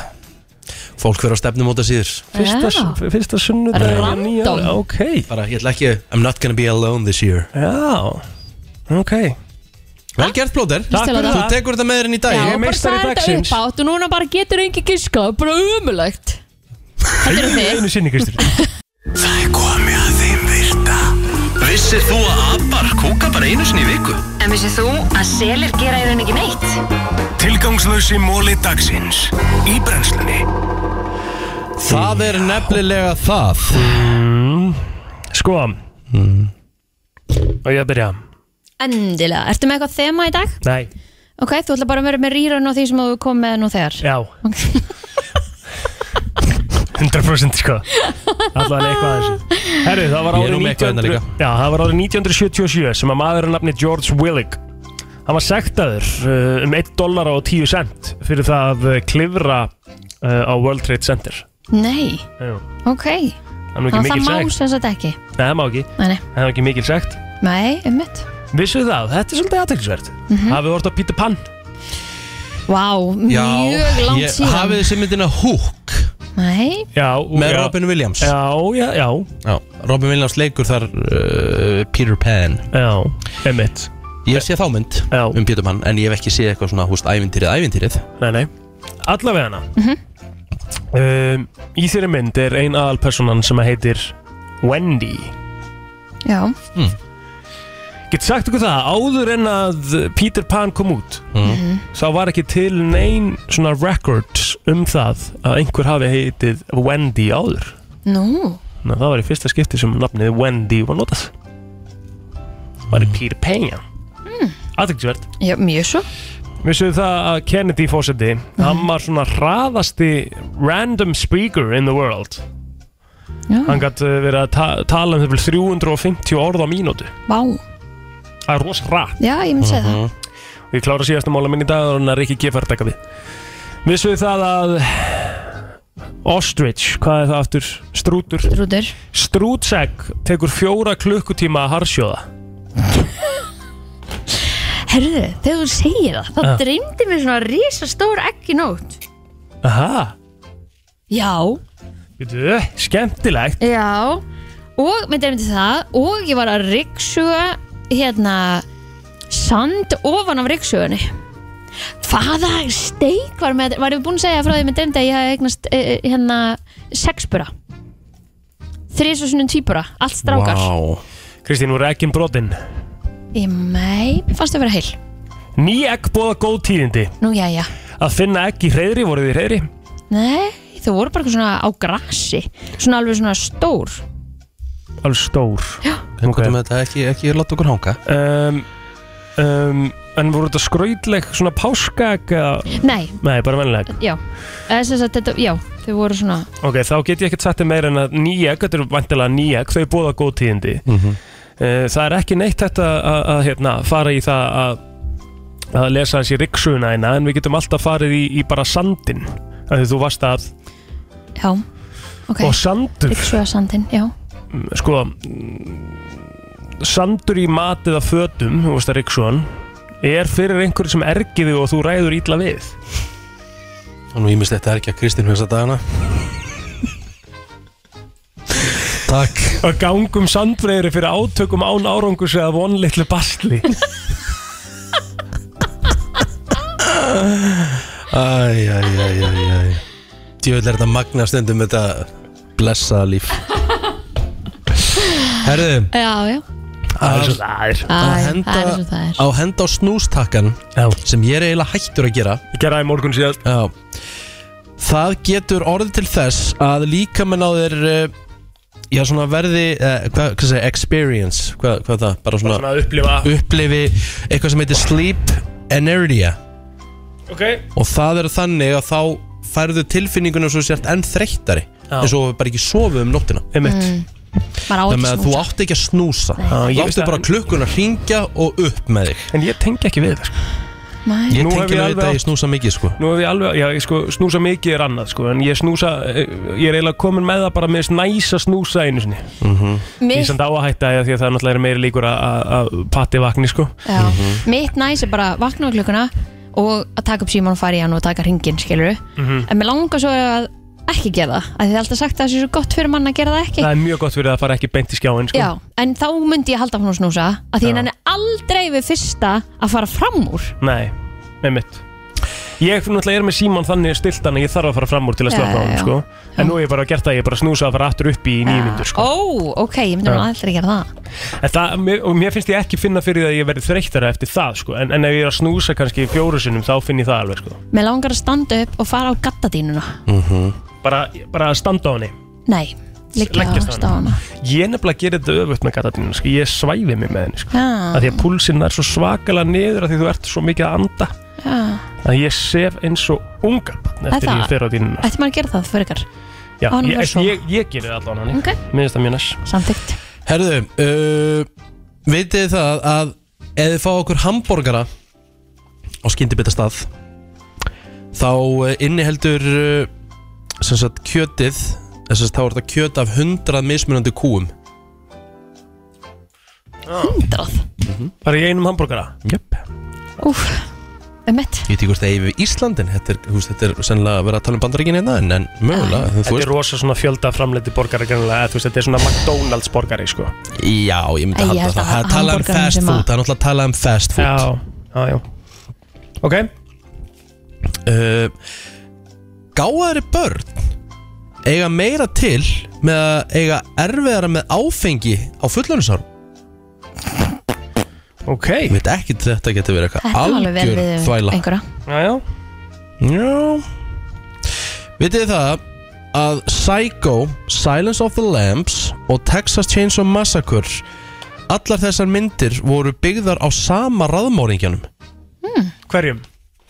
[SPEAKER 1] Fólk verður á stefnum út að síður
[SPEAKER 3] Fyrsta,
[SPEAKER 2] Já.
[SPEAKER 3] fyrsta sunnudag
[SPEAKER 2] Random.
[SPEAKER 3] Ok,
[SPEAKER 1] Bara ég ætla ekki I'm not gonna be alone this year
[SPEAKER 3] já Ok
[SPEAKER 1] Vel gert blóður
[SPEAKER 2] Takk fyrir
[SPEAKER 1] Þú
[SPEAKER 2] það.
[SPEAKER 1] tekur þetta með þér inn í dag
[SPEAKER 2] Já,
[SPEAKER 3] Ég er
[SPEAKER 2] bara
[SPEAKER 3] meistari
[SPEAKER 2] sagði þetta
[SPEAKER 3] dagsins.
[SPEAKER 2] upp átt og núna bara getur engin giska bara umulagt Þetta er þig
[SPEAKER 3] Einu sinni Kristur
[SPEAKER 4] Það er komið að þeim virta Vissir þú að abar kúka bara einu sinni í viku?
[SPEAKER 11] En vissið þú að selir gera í rauninni ekki neitt?
[SPEAKER 4] Tilgangslösi móli dagsins Í brennslunni
[SPEAKER 1] Það er nefnilega það
[SPEAKER 3] Sko
[SPEAKER 1] Mm.
[SPEAKER 3] Og ég að byrja
[SPEAKER 2] Endilega, ertu með eitthvað þema í dag?
[SPEAKER 3] Nei,
[SPEAKER 2] Ok, þú ætla bara að vera með rýran á því sem þú kom með nú þegar
[SPEAKER 3] já,
[SPEAKER 2] Ok.
[SPEAKER 3] 100% sko Alla hann eitthvað að þessu Herri, það
[SPEAKER 1] Ég er
[SPEAKER 3] var árið
[SPEAKER 1] nú með eitthvað hérna
[SPEAKER 3] 1900
[SPEAKER 1] líka.
[SPEAKER 3] Já, það var árið 1977 sem að maður er nafni George Willig Hann var sektaður uh, um 1 dollara og 10 cent fyrir það að uh, klifra uh, á World Trade Center
[SPEAKER 2] Nei,
[SPEAKER 3] Já,
[SPEAKER 2] ok
[SPEAKER 3] Það er nú ekki
[SPEAKER 2] Þannig að
[SPEAKER 3] mikil
[SPEAKER 2] það má
[SPEAKER 3] sekt
[SPEAKER 2] sem sagt ekki
[SPEAKER 3] Nei, það má ekki,
[SPEAKER 2] Nei, nei,
[SPEAKER 3] það er ekki mikil sekt
[SPEAKER 2] nei, ummitt
[SPEAKER 3] Vissu það, þetta er svolítið aðtækksverð mm
[SPEAKER 2] Mhm.
[SPEAKER 3] -hmm. Hafið hort á Peter Pan
[SPEAKER 2] Vá, mjög langt
[SPEAKER 1] ég-
[SPEAKER 2] síðan
[SPEAKER 1] Hafið þessi myndina Hook
[SPEAKER 2] Nei,
[SPEAKER 3] Já,
[SPEAKER 1] Með
[SPEAKER 3] já,
[SPEAKER 1] Robin Williams
[SPEAKER 3] Já, já, já,
[SPEAKER 1] Já, Robin Williams leikur þar uh, Peter Pan
[SPEAKER 3] já, emitt
[SPEAKER 1] Ég sé þá mynd
[SPEAKER 3] Já.
[SPEAKER 1] um Peter Pan En ég hef ekki séð eitthvað svona húst ævintýrið ævintýrið
[SPEAKER 3] Nei, nei, allavega hana
[SPEAKER 2] Mhm.
[SPEAKER 3] um, Í þeirri mynd er ein aðalpersonan sem heitir Wendy
[SPEAKER 2] já,
[SPEAKER 3] Get sagt ykkur það, áður en að Peter Pan kom út
[SPEAKER 2] Mhm.
[SPEAKER 3] þá var ekki til nein svona records um það að einhver hafi heitið Wendy áður
[SPEAKER 2] nú
[SPEAKER 3] Ná, það var í fyrsta skipti sem nafnið Wendy var notað var í Peter Pan mm. aðeinsverð
[SPEAKER 2] Já, mjög svo
[SPEAKER 3] Vissuðu það að Kennedy fósetti hann var svona hraðasti random speaker in the world Hann gætt verið að ta tala um þeim 350 orð á mínútu
[SPEAKER 2] Vá,
[SPEAKER 3] Það er rosa rætt
[SPEAKER 2] já, ég myndi segja það
[SPEAKER 3] Mhm. Við klára síðasta mála minn í dag og hann er ekki gefært taka við Vissum við það að Ostrich, hvað er það aftur? Strútur
[SPEAKER 2] Rútur,
[SPEAKER 3] Strútsegg tekur fjóra klukkutíma að harsjóða
[SPEAKER 2] herðu, þegar þú segir það
[SPEAKER 3] Ah.
[SPEAKER 2] þá dreymdi mér svona risastór egg í nótt
[SPEAKER 3] Aha,
[SPEAKER 2] Já,
[SPEAKER 3] veitu, skemmtilegt
[SPEAKER 2] já og mér dreymdi það og ég var að ryggsuga hérna sand ofan af ryggsugunni Hvaða steik var með var ég búin að segja frá því að mér dreymdi að ég hafði eignast eh, eh, hérna sexbura þrið svo sunnum tvíbura allt strákar
[SPEAKER 12] Vá.
[SPEAKER 3] Kristín, voru ekkin brotinn
[SPEAKER 2] Ég mei, mér fannst þau vera heil
[SPEAKER 3] Ný egg bóða góð tíðindi
[SPEAKER 2] Nú, já, já
[SPEAKER 3] Að finna egg í hreyðri, voruð þið í hreyðri?
[SPEAKER 2] Nei, þau voru bara eitthvað svona á grassi Svona alveg svona stór
[SPEAKER 3] Alveg stór Já,
[SPEAKER 1] En hvað með þetta, ekki, ekki láta okkur hanga
[SPEAKER 3] um, um, En voru þetta skrautleg svona páskaegg eða-
[SPEAKER 2] Nei,
[SPEAKER 3] Nei, bara vennileg
[SPEAKER 2] já Eða sem sagt, þetta, Já, þau voru svona
[SPEAKER 3] Ok, þá get ég ekkert sagt þér meira en að nýjegg Þetta eru vantilega nýjegg, þau bóða góð tíðindi
[SPEAKER 1] Mhm.
[SPEAKER 3] uh, Það er ekki neitt þetta að, að hérna, fara í það að að lesa þessi ryggsuna eina en við getum alltaf farið í, í bara sandin af því þú varst að
[SPEAKER 2] Já, ok
[SPEAKER 3] og sandur
[SPEAKER 2] Ríksuga sandinn, já
[SPEAKER 3] sko sandur í mat eða fötum þú veist að Ríksugan er fyrir einhverju sem ergiði og þú ræður ítla við
[SPEAKER 1] Nú ímist þetta er ekki að Kristín hugsa dagana Takk
[SPEAKER 3] að gangum sandfreyri fyrir átökum án árangus eða vonlitlu basli
[SPEAKER 1] Æj, æj, æj, æj, æj Djöfull er þetta magna stundum þetta blessaða líf Herðu,
[SPEAKER 2] Já, já
[SPEAKER 1] það er svo-
[SPEAKER 3] það er
[SPEAKER 2] Æ,
[SPEAKER 1] henda-
[SPEAKER 2] Það er eins og það er
[SPEAKER 1] á henda á snústakkan
[SPEAKER 3] Já.
[SPEAKER 1] sem ég er eiginlega hættur að gera
[SPEAKER 3] ég gera það í morgun síðast
[SPEAKER 1] Já. Það getur orðið til þess að líkamenn á þér eh, já, svona verði eh, hvað, hvað segir, experience hvað, hvað er það, bara svona,
[SPEAKER 3] svona að upplifa
[SPEAKER 1] upplifi eitthvað sem heitir sleep inertia
[SPEAKER 3] ok
[SPEAKER 1] og það er þannig að þá færðu tilfinningunum svo sért enn þreyttari
[SPEAKER 3] Já.
[SPEAKER 1] eins og við bara ekki sofum um nóttina
[SPEAKER 3] einmitt
[SPEAKER 2] Bara á ekki
[SPEAKER 1] þannig að þú
[SPEAKER 2] snúsa
[SPEAKER 1] átt ekki að snúsa
[SPEAKER 3] Já, ég
[SPEAKER 1] þú
[SPEAKER 3] veist
[SPEAKER 1] áttu
[SPEAKER 3] það.
[SPEAKER 1] bara klukkun að hringja og upp með þig
[SPEAKER 3] en ég tengi ekki við það sko.
[SPEAKER 2] Nei,
[SPEAKER 1] ég
[SPEAKER 3] Nú hef
[SPEAKER 1] tengi
[SPEAKER 3] ég
[SPEAKER 1] nú
[SPEAKER 3] alveg
[SPEAKER 1] þetta að ég snúsa mikið sko
[SPEAKER 3] nú hef ég alveg já, ég sko, snúsa mikið er annað sko, en ég snúsa eh, ég er eiginlega komin með það bara með næsa snúsa einu sinni ég
[SPEAKER 2] mitt,
[SPEAKER 3] sem dá að hætta því að því að það er náttúrulega meiri líkur að- að að patti vakni sko
[SPEAKER 2] já, mitt næs er bara að vakna á klukkuna og að taka upp síman og fara í hann og taka hringin, skilur
[SPEAKER 3] Mhm.
[SPEAKER 2] En mér langar svo að ekki gera það af því Það er alltaf sagt að það sé svo gott fyrir mann að gera það ekki
[SPEAKER 3] það er mjög gott fyrir að fara ekki beint í skjáin sko.
[SPEAKER 2] Já, en þá myndi ég halda frá að snúsa að því
[SPEAKER 3] Já.
[SPEAKER 2] ég nenni aldrei við fyrsta að fara fram úr
[SPEAKER 3] Nei, með mitt Ég náttúrulega er með síman þannig stiltan að ég þarf að fara fram úr til að
[SPEAKER 2] Já,
[SPEAKER 3] slökna á hann
[SPEAKER 2] já.
[SPEAKER 3] sko. En nú hef ég bara gert það, ég er bara snúsað að fara aftur upp í nýju myndur sko.
[SPEAKER 2] Ó, ok, ég myndi nú
[SPEAKER 3] Já.
[SPEAKER 2] aldrei gera það
[SPEAKER 3] En það, mér, og mér finnst ég ekki finna fyrir því að ég verði þreyttara eftir það sko. en, en ef ég er að snúsa kannski fjóru sinnum þá finn ég það alveg sko.
[SPEAKER 2] Mér langar að standa upp og fara á gattadínuna
[SPEAKER 3] Mm. bara, bara að standa á henni
[SPEAKER 2] Nei, liggja á
[SPEAKER 3] Leggjast á
[SPEAKER 2] stána
[SPEAKER 3] Ég nefnilega gerir þetta öfutt með gattatínuna sko. Ég svæfi mig með henni sko.
[SPEAKER 2] Já,
[SPEAKER 3] að því að púlsinn er svo svakalega niður að því þú ert svo mikið að anda
[SPEAKER 2] já
[SPEAKER 3] að ég sef eins og ungar eftir
[SPEAKER 2] það-
[SPEAKER 3] ég fer á dínuna
[SPEAKER 2] Ætti maður að gera það fyrir ykkar
[SPEAKER 3] Já,
[SPEAKER 2] á honum
[SPEAKER 3] ég,
[SPEAKER 2] að sofa.
[SPEAKER 3] ég, ég gerir það allan hann
[SPEAKER 2] Ok.
[SPEAKER 3] Mér finnst það mjög næst
[SPEAKER 2] Samþygt
[SPEAKER 1] herðu, uh, veitir það að ef þið fá okkur hambúrgara á skyndibita stað þá inniheldur uh, sem sagt kjötið sem sagt, þá er þetta kjöt af 100 mismunandi kúum
[SPEAKER 2] Hundrað
[SPEAKER 3] Bara í einum hambúrgara
[SPEAKER 1] yep.
[SPEAKER 2] Úf, um mitt
[SPEAKER 1] Ég veit ekki hvort það eigi við Íslandin Þetta er, húst, þetta er sennilega að vera að tala um bandaríkin hérna En, en
[SPEAKER 2] Ah,
[SPEAKER 1] mögulega, þú
[SPEAKER 3] Þetta er
[SPEAKER 1] veist
[SPEAKER 3] rosa svona fjölda framleiti borgari grannlega, þú veist, þetta er svona McDonalds borgari, sko.
[SPEAKER 1] Já, ég myndi
[SPEAKER 2] Æ,
[SPEAKER 1] halda
[SPEAKER 2] ég held
[SPEAKER 1] það
[SPEAKER 2] að
[SPEAKER 1] Það er talað um
[SPEAKER 2] hamborgarann
[SPEAKER 1] fast
[SPEAKER 2] sem að-
[SPEAKER 1] food Það er náttúrulega að tala um fast food
[SPEAKER 3] Já, já, já. Ok,
[SPEAKER 1] uh, Gáðari börn Eiga meira til Með að eiga erfiðara með áfengi Á fullónusár
[SPEAKER 3] ok,
[SPEAKER 1] Ég veit ekki til þetta getur verið eitthvað
[SPEAKER 2] Þetta um var alveg vel
[SPEAKER 1] Algjör
[SPEAKER 2] við
[SPEAKER 1] þvæla
[SPEAKER 2] einhverja
[SPEAKER 3] já, já.
[SPEAKER 1] Já Vitið þið það að Psycho, Silence of the Lambs og Texas Chainsaw Massacre allar þessar myndir voru byggðar á sama raðmóringjanum
[SPEAKER 3] Hverjum?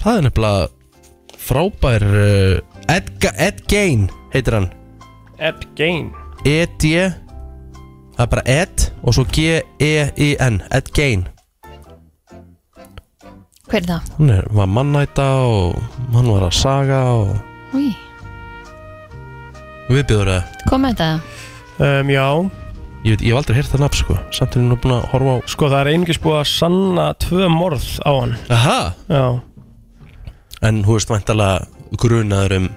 [SPEAKER 1] Það er nefnilega eh, frábær uh, Ed, Ga- Ed Gein heitir hann
[SPEAKER 3] Ed Gein.
[SPEAKER 1] E-D Það er bara ED Og svo G-E-I-N Ed Gein
[SPEAKER 2] Hver er það?
[SPEAKER 1] Hann er, var mannæta og hann var að saga og
[SPEAKER 2] Új,
[SPEAKER 1] Við byrður það
[SPEAKER 2] kom með þetta
[SPEAKER 3] um, Já,
[SPEAKER 1] Ég veit, ég hef aldrei heyrt það nafn sko Samt er ég nú búin að horfa á
[SPEAKER 3] sko það er einungis búið að sanna tvö morð á hann
[SPEAKER 1] Aha
[SPEAKER 3] Já,
[SPEAKER 1] En hú veist væntalega grunaður um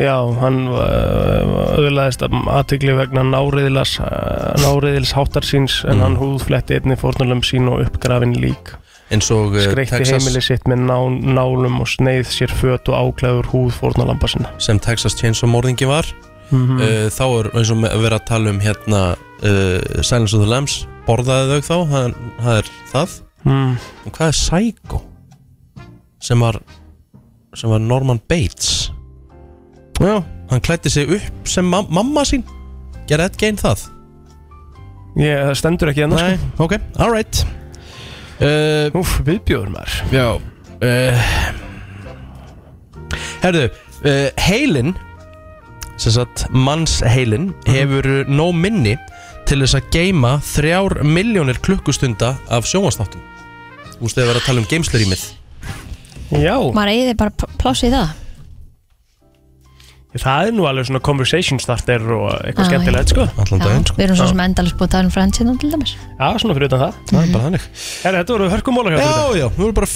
[SPEAKER 3] já hann uh, öðlaðist aðtegli vegna náriðilas, uh, náriðilsháttar síns en hann húðfletti einni fórnulum sín og uppgrafin lík
[SPEAKER 1] eins og eh,
[SPEAKER 3] Skreikti
[SPEAKER 1] Texas,
[SPEAKER 3] heimili sitt með ná, nálum og sneið sér föt og áklæður húð fórnulamba sinna
[SPEAKER 1] sem Texas Chainsaw morðingi var
[SPEAKER 3] mm
[SPEAKER 1] mm. þá er eins og með- verið að tala um hérna uh, Silence of the Lambs borðaði þau þá, það, það er það
[SPEAKER 3] mm.
[SPEAKER 1] en hvað er Psycho sem var sem var Norman Bates já, hann klætti sig upp sem ma mamma sín gera Ed Gein það
[SPEAKER 3] Ég, það stendur ekki enn sko.
[SPEAKER 1] nei, ok, alright uh,
[SPEAKER 3] Úf, viðbjóður maður
[SPEAKER 1] Já uh, Herðu, uh, heilin sem sagt mannsheilin hefur nóg minni til þess að geima þrjár miljónir klukkustunda af sjónvastáttum Þú veist þau að vera að tala um geimslurýmið
[SPEAKER 3] Já,
[SPEAKER 2] Maður eigið bara pl- pláss í það
[SPEAKER 3] það er nú alveg svona conversation starter og
[SPEAKER 1] Ah,
[SPEAKER 3] eitthvað
[SPEAKER 2] Já,
[SPEAKER 3] skemmtilegt sko
[SPEAKER 1] allan daginn sko
[SPEAKER 2] Við erum svo
[SPEAKER 3] Já.
[SPEAKER 2] sem endalist búið að tala um fransina til dæmis
[SPEAKER 3] Já, svona fyrir utan það
[SPEAKER 1] Það er bara þannig
[SPEAKER 3] Herra, þetta voru hörkumóla hjá
[SPEAKER 1] Já,
[SPEAKER 3] okkur í dag.
[SPEAKER 1] já, við erum bara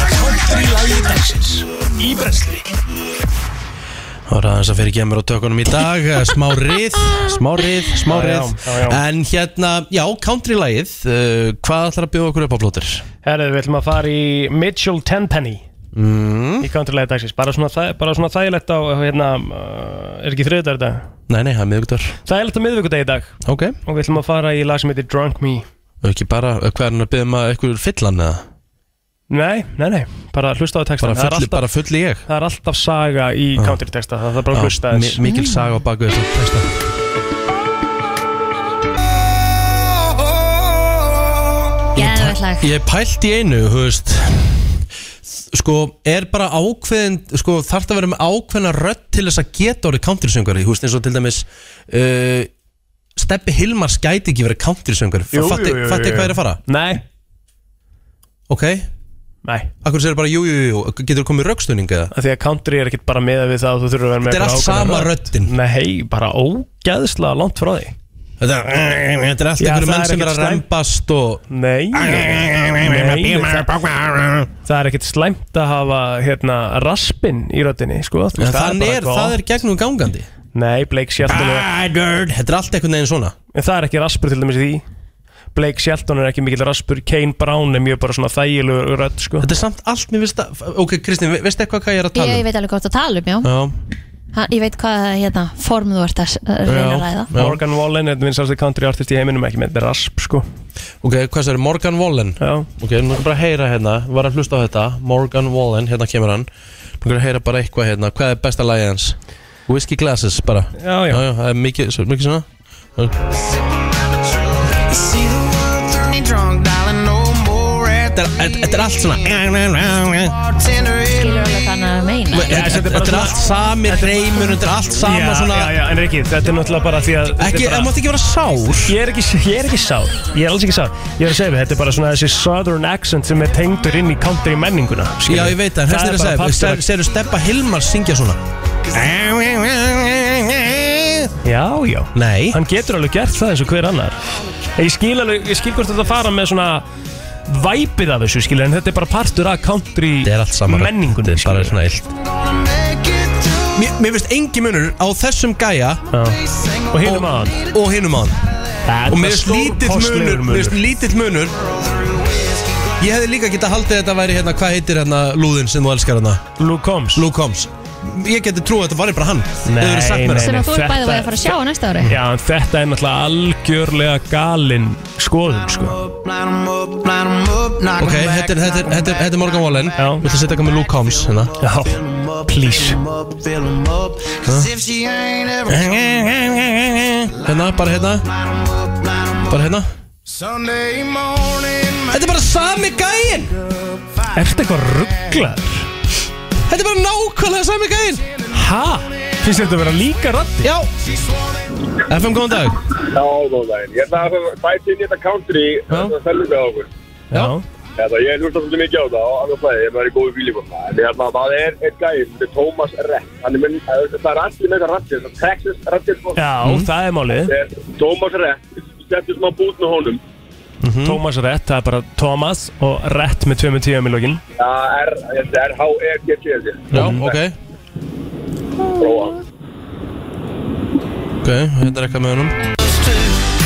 [SPEAKER 1] fínir
[SPEAKER 4] Í brensli
[SPEAKER 1] Það var aðeins að fyrir gemur á tökunum í dag eh, Smá rið, smá rið, smá
[SPEAKER 3] Já, já,
[SPEAKER 1] rið
[SPEAKER 3] já, já.
[SPEAKER 1] En hérna, já, country-lægið uh, Hvað ætlar að bjóða okkur upp á plótur?
[SPEAKER 3] Herra, við ætlum að fara í Mitchell Tenpenny mm. í countrylæði dagsins bara svona, þæ- bara svona þægilegt á hérna, uh, er ekki þriðdagur dag
[SPEAKER 1] Nei, nei, það er miðvikudar
[SPEAKER 3] Þægilegt á miðvikudegi í dag
[SPEAKER 1] Ok
[SPEAKER 3] og við ætlum að fara í lag sem heitir Drunk Me
[SPEAKER 1] Og ekki bara, eh, hvað er hann að byggja maður eitthvað fyllan eða?
[SPEAKER 3] Nei, nei, nei, bara hlusta á textan
[SPEAKER 1] Bara
[SPEAKER 3] það, er
[SPEAKER 1] fulli,
[SPEAKER 3] alltaf-
[SPEAKER 1] bara fulli ég
[SPEAKER 3] það er alltaf saga í countrytexta það það er bara að hlusta
[SPEAKER 1] Mi-
[SPEAKER 3] þess
[SPEAKER 1] Mikil saga á baku þessu texta
[SPEAKER 2] Geðvegt lag.
[SPEAKER 1] Ég pælt í einu, þú veist Sko, er bara ákveðin Sko, þarf það að vera með ákveðna rödd Til þess að geta orðið countrysöngari Þú veist, eins og til dæmis uh, Steppi Hilmars gæti ekki verið countrysöngari
[SPEAKER 3] Jú, jú,
[SPEAKER 1] Fatti
[SPEAKER 3] jú, jú,
[SPEAKER 1] fatti
[SPEAKER 3] jú.
[SPEAKER 1] hvað er að fara
[SPEAKER 3] Nei,
[SPEAKER 1] Ok,
[SPEAKER 3] nei
[SPEAKER 1] akkur sér bara jú, jú, jú Getur komið röggstunning eða?
[SPEAKER 3] að því að country er ekkit bara meða við það að þú þurfur að vera með
[SPEAKER 1] Þetta er allt
[SPEAKER 3] eitthvað ákveðna
[SPEAKER 1] sama
[SPEAKER 3] rödd.
[SPEAKER 1] röddin
[SPEAKER 3] Nei, bara ógæðslega langt frá því
[SPEAKER 1] Þetta er eh, þetta er allt
[SPEAKER 3] Já,
[SPEAKER 1] einhverju
[SPEAKER 3] það
[SPEAKER 1] menn
[SPEAKER 3] er
[SPEAKER 1] sem er
[SPEAKER 3] ekkert
[SPEAKER 1] að
[SPEAKER 3] slæmt.
[SPEAKER 1] rempast og
[SPEAKER 3] Nei, nei það, það er ekkit slæmt að hafa hérna, raspin í röddinni sko. Þú
[SPEAKER 1] En
[SPEAKER 3] veist,
[SPEAKER 1] þann
[SPEAKER 3] bara
[SPEAKER 1] er, það er Ah! gegnum gangandi
[SPEAKER 3] gott. Nei, Blake Shelton er,
[SPEAKER 1] Þetta er allt einhvern veginn svona
[SPEAKER 3] en það er ekki raspur til dæmis í því Blake Shelton er ekki mikil raspur Kane Brown er mjög bara svona þægilegu rödd sko.
[SPEAKER 1] Þetta er samt allt mér veist að Ok, Kristín, ve- veistu eitthvað hvað ég er að
[SPEAKER 2] Ég,
[SPEAKER 1] tala um?
[SPEAKER 2] ég veit alveg hvað þú ert að tala um, já
[SPEAKER 1] Já,
[SPEAKER 2] ha, Ég veit hvað hérna, form þú ert að s- að reyna að ræða
[SPEAKER 1] já.
[SPEAKER 3] Morgan Wallen er vinsast country artist í heiminum ekki með rasp sko.
[SPEAKER 1] Ok, hvað sér, Morgan Wallen
[SPEAKER 3] Já,
[SPEAKER 1] Ok, nú erum bara að heyra hérna Ég Var að hlusta á þetta Morgan Wallen, hérna kemur hann Nú erum að heyra bara eitthvað hérna Hvað er besta lagið hans? Whiskey Glasses bara
[SPEAKER 3] já, já.
[SPEAKER 1] Já, já, það er mikið, svo- mikið svona Þetta er- Þetta þetta er allt svona
[SPEAKER 2] Skilur alveg hvað hann er að meina
[SPEAKER 1] Þetta
[SPEAKER 3] þetta er bara
[SPEAKER 1] þetta er
[SPEAKER 3] svona-
[SPEAKER 1] allt sami reymur Þetta er allt sama
[SPEAKER 3] já,
[SPEAKER 1] svona
[SPEAKER 3] já, já, en Rikki, þetta er náttúrulega bara því að þetta er
[SPEAKER 1] Ekki,
[SPEAKER 3] bara,
[SPEAKER 1] það mátti ekki vera sár
[SPEAKER 3] Ég er ekki, ég er ekki sár, ég er alls ekki sár Ég er að segja við, þetta er bara svona þessi southern accent sem er tengdur inn í country menninguna skilur.
[SPEAKER 1] Já, ég veit það, en
[SPEAKER 3] Það
[SPEAKER 1] hérna
[SPEAKER 3] er
[SPEAKER 1] er að
[SPEAKER 3] bara
[SPEAKER 1] segja
[SPEAKER 3] partur
[SPEAKER 1] ser-
[SPEAKER 3] af-
[SPEAKER 1] Serðu Steppa Hilmar syngja svona
[SPEAKER 3] Já, já
[SPEAKER 1] Nei
[SPEAKER 3] Hann getur alveg gert það eins og hver annar Ég skil alveg, ég skil hvort þetta fara með svona væpið af þessu skilur En þetta er bara partur af country
[SPEAKER 1] Þetta er allt saman
[SPEAKER 3] menningunni
[SPEAKER 1] Þetta er bara
[SPEAKER 3] skilur.
[SPEAKER 1] svona illt Mér, mér finnst engi munur á þessum gæja
[SPEAKER 3] Og hinum að hann
[SPEAKER 1] og hinum á hann Og mér finnst lítill munur, Mér finnst lítill munur Ég hefði líka getað haldið að þetta væri hérna Hvað heitir hérna lúðin sem þú elskar hérna
[SPEAKER 3] Luke Combs
[SPEAKER 1] Luke Combs Ég geti trúið að þetta væri bara hann
[SPEAKER 3] Nei,
[SPEAKER 1] Þau eru sagt mér
[SPEAKER 3] nei,
[SPEAKER 1] það.
[SPEAKER 2] Sem að þú er
[SPEAKER 3] Þetta-
[SPEAKER 2] bæðið að fara að sjá á næsta ári
[SPEAKER 3] Já, en þetta er náttúrulega algjörlega galinn skoðun, sko.
[SPEAKER 1] Ok, þetta er, þetta, er, þetta, er, þetta er Morgan Wallen
[SPEAKER 3] Já.
[SPEAKER 1] Viltu setja eitthvað með Luke Combs hérna
[SPEAKER 3] Já, please.
[SPEAKER 1] Hérna, bara hérna Bara hérna Þetta er bara sami gæinn
[SPEAKER 3] Er þetta eitthvað rugglar?
[SPEAKER 1] Þetta er bara nákvæmlega sami gæinn
[SPEAKER 3] Ha? Finnst þetta að vera líka rætti?
[SPEAKER 1] Já FM, góðan dag
[SPEAKER 4] Já, góðan daginn. Ég ætla að bæta inn í þetta country Það er felluga á okkur
[SPEAKER 3] Já
[SPEAKER 4] Þetta, Hérna, ég hlusta svolítið mikið á það á annars flæði, ég er í góðu fílingum En hérna, það er einn gæði, þetta er Thomas Rett Hann er minn, það er allir með það rattir, það er Texas rattir sko.
[SPEAKER 3] Já, það er málið
[SPEAKER 4] Þetta er Thomas Rett, setjum smá bút með honum
[SPEAKER 3] Thomas Rett, það er bara Thomas og Rett með 2.10 í lokin
[SPEAKER 4] Það er, þetta er H-E-G-T held ég.
[SPEAKER 1] Já, Mm, ok
[SPEAKER 4] Prófa
[SPEAKER 1] Ok, þetta er eitthvað með honum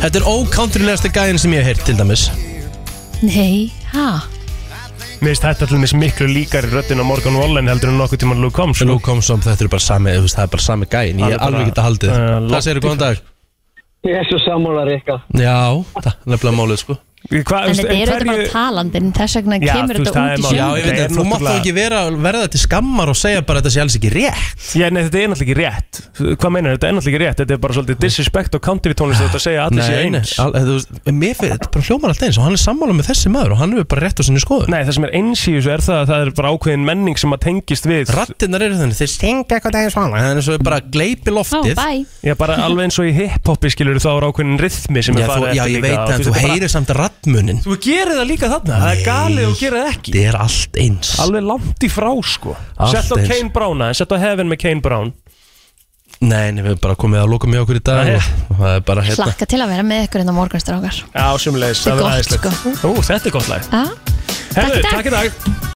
[SPEAKER 1] Þetta er ókántrilegasta gæðin sem ég hef heyrt til dæmis
[SPEAKER 3] Sko.
[SPEAKER 2] Nei, ha?
[SPEAKER 3] Mér finnst þetta allir miklu líkari röttin á Morgan Wallen heldur en nokkuð tíma Luke Combs sko.
[SPEAKER 1] Nú kom som þetta er bara sami, þú veist, það er bara sami gæðin Ég
[SPEAKER 3] Það
[SPEAKER 1] er
[SPEAKER 3] er bara,
[SPEAKER 1] alveg geta haldið
[SPEAKER 3] eh,
[SPEAKER 1] Hvað segir þú, góðan dag?
[SPEAKER 13] Ég er svo sammála Rikka
[SPEAKER 1] Já, það er nefnilega málið, sko
[SPEAKER 3] Hva,
[SPEAKER 2] En þetta eru þetta bara talandin, þess vegna
[SPEAKER 3] Já,
[SPEAKER 2] kemur
[SPEAKER 3] þú veist,
[SPEAKER 2] þetta út í
[SPEAKER 3] það er mál.
[SPEAKER 1] Já,
[SPEAKER 2] sjónum.
[SPEAKER 1] ég veit
[SPEAKER 3] Þetta
[SPEAKER 1] að
[SPEAKER 3] er
[SPEAKER 1] þú mátt þá
[SPEAKER 3] náttúrulega-
[SPEAKER 1] ekki vera, verða til skammar og segja bara að þetta sé alls ekki rétt
[SPEAKER 3] Já, nei, þetta er náttúrulega ekki rétt Hvað meinar, þetta er náttúrulega ekki rétt Þetta er bara svolítið disrespect og country tónlist Þetta að segja að allir
[SPEAKER 1] Nei,
[SPEAKER 3] sé
[SPEAKER 1] nei,
[SPEAKER 3] eins
[SPEAKER 1] al- þú veist, mér finnst, þetta bara hljómar allt eins og hann er sammála með þessi maður og hann er bara rétt á sinni skoðun
[SPEAKER 3] Nei, það sem er eins í þessu er það að það er bara ákveðin menning sem að tengist við
[SPEAKER 1] Rattinnar eru þannig, þeir syngja eitthvað daginn svona Þannig svo bara gleipi
[SPEAKER 2] Ó,
[SPEAKER 1] loftið
[SPEAKER 2] bæ,
[SPEAKER 3] Já, bara alveg eins og í hip-hopi skilur þá er ákveðin rithmi sem
[SPEAKER 1] Já,
[SPEAKER 3] er
[SPEAKER 1] þú,
[SPEAKER 3] farið
[SPEAKER 1] já,
[SPEAKER 3] eftir
[SPEAKER 1] ég
[SPEAKER 3] líka
[SPEAKER 1] veit
[SPEAKER 3] og
[SPEAKER 1] það, en
[SPEAKER 3] þú
[SPEAKER 1] þú
[SPEAKER 3] veist, þetta er bara-
[SPEAKER 1] heyrir samt rattmunin
[SPEAKER 3] Þú gerir það líka þarna, það er galið og gerir það ekki
[SPEAKER 1] Þetta er allt eins
[SPEAKER 3] Alveg langt í frá sko
[SPEAKER 1] Allt
[SPEAKER 3] Sett á
[SPEAKER 1] eins.
[SPEAKER 3] Kane Brown aðeins, sett á Heaven með Kane Brown
[SPEAKER 1] Nei, nei, við erum bara komið að loka mjög okkur í dag
[SPEAKER 3] Nei.
[SPEAKER 1] og og það er bara hérna
[SPEAKER 2] hlakka til að vera með ykkur en á morgunstrákar.
[SPEAKER 3] Já, sumleis,
[SPEAKER 2] Þetta er gott, sko.
[SPEAKER 3] Ú, þetta er gott lag
[SPEAKER 2] Ha? Takk í dag.
[SPEAKER 3] takk í dag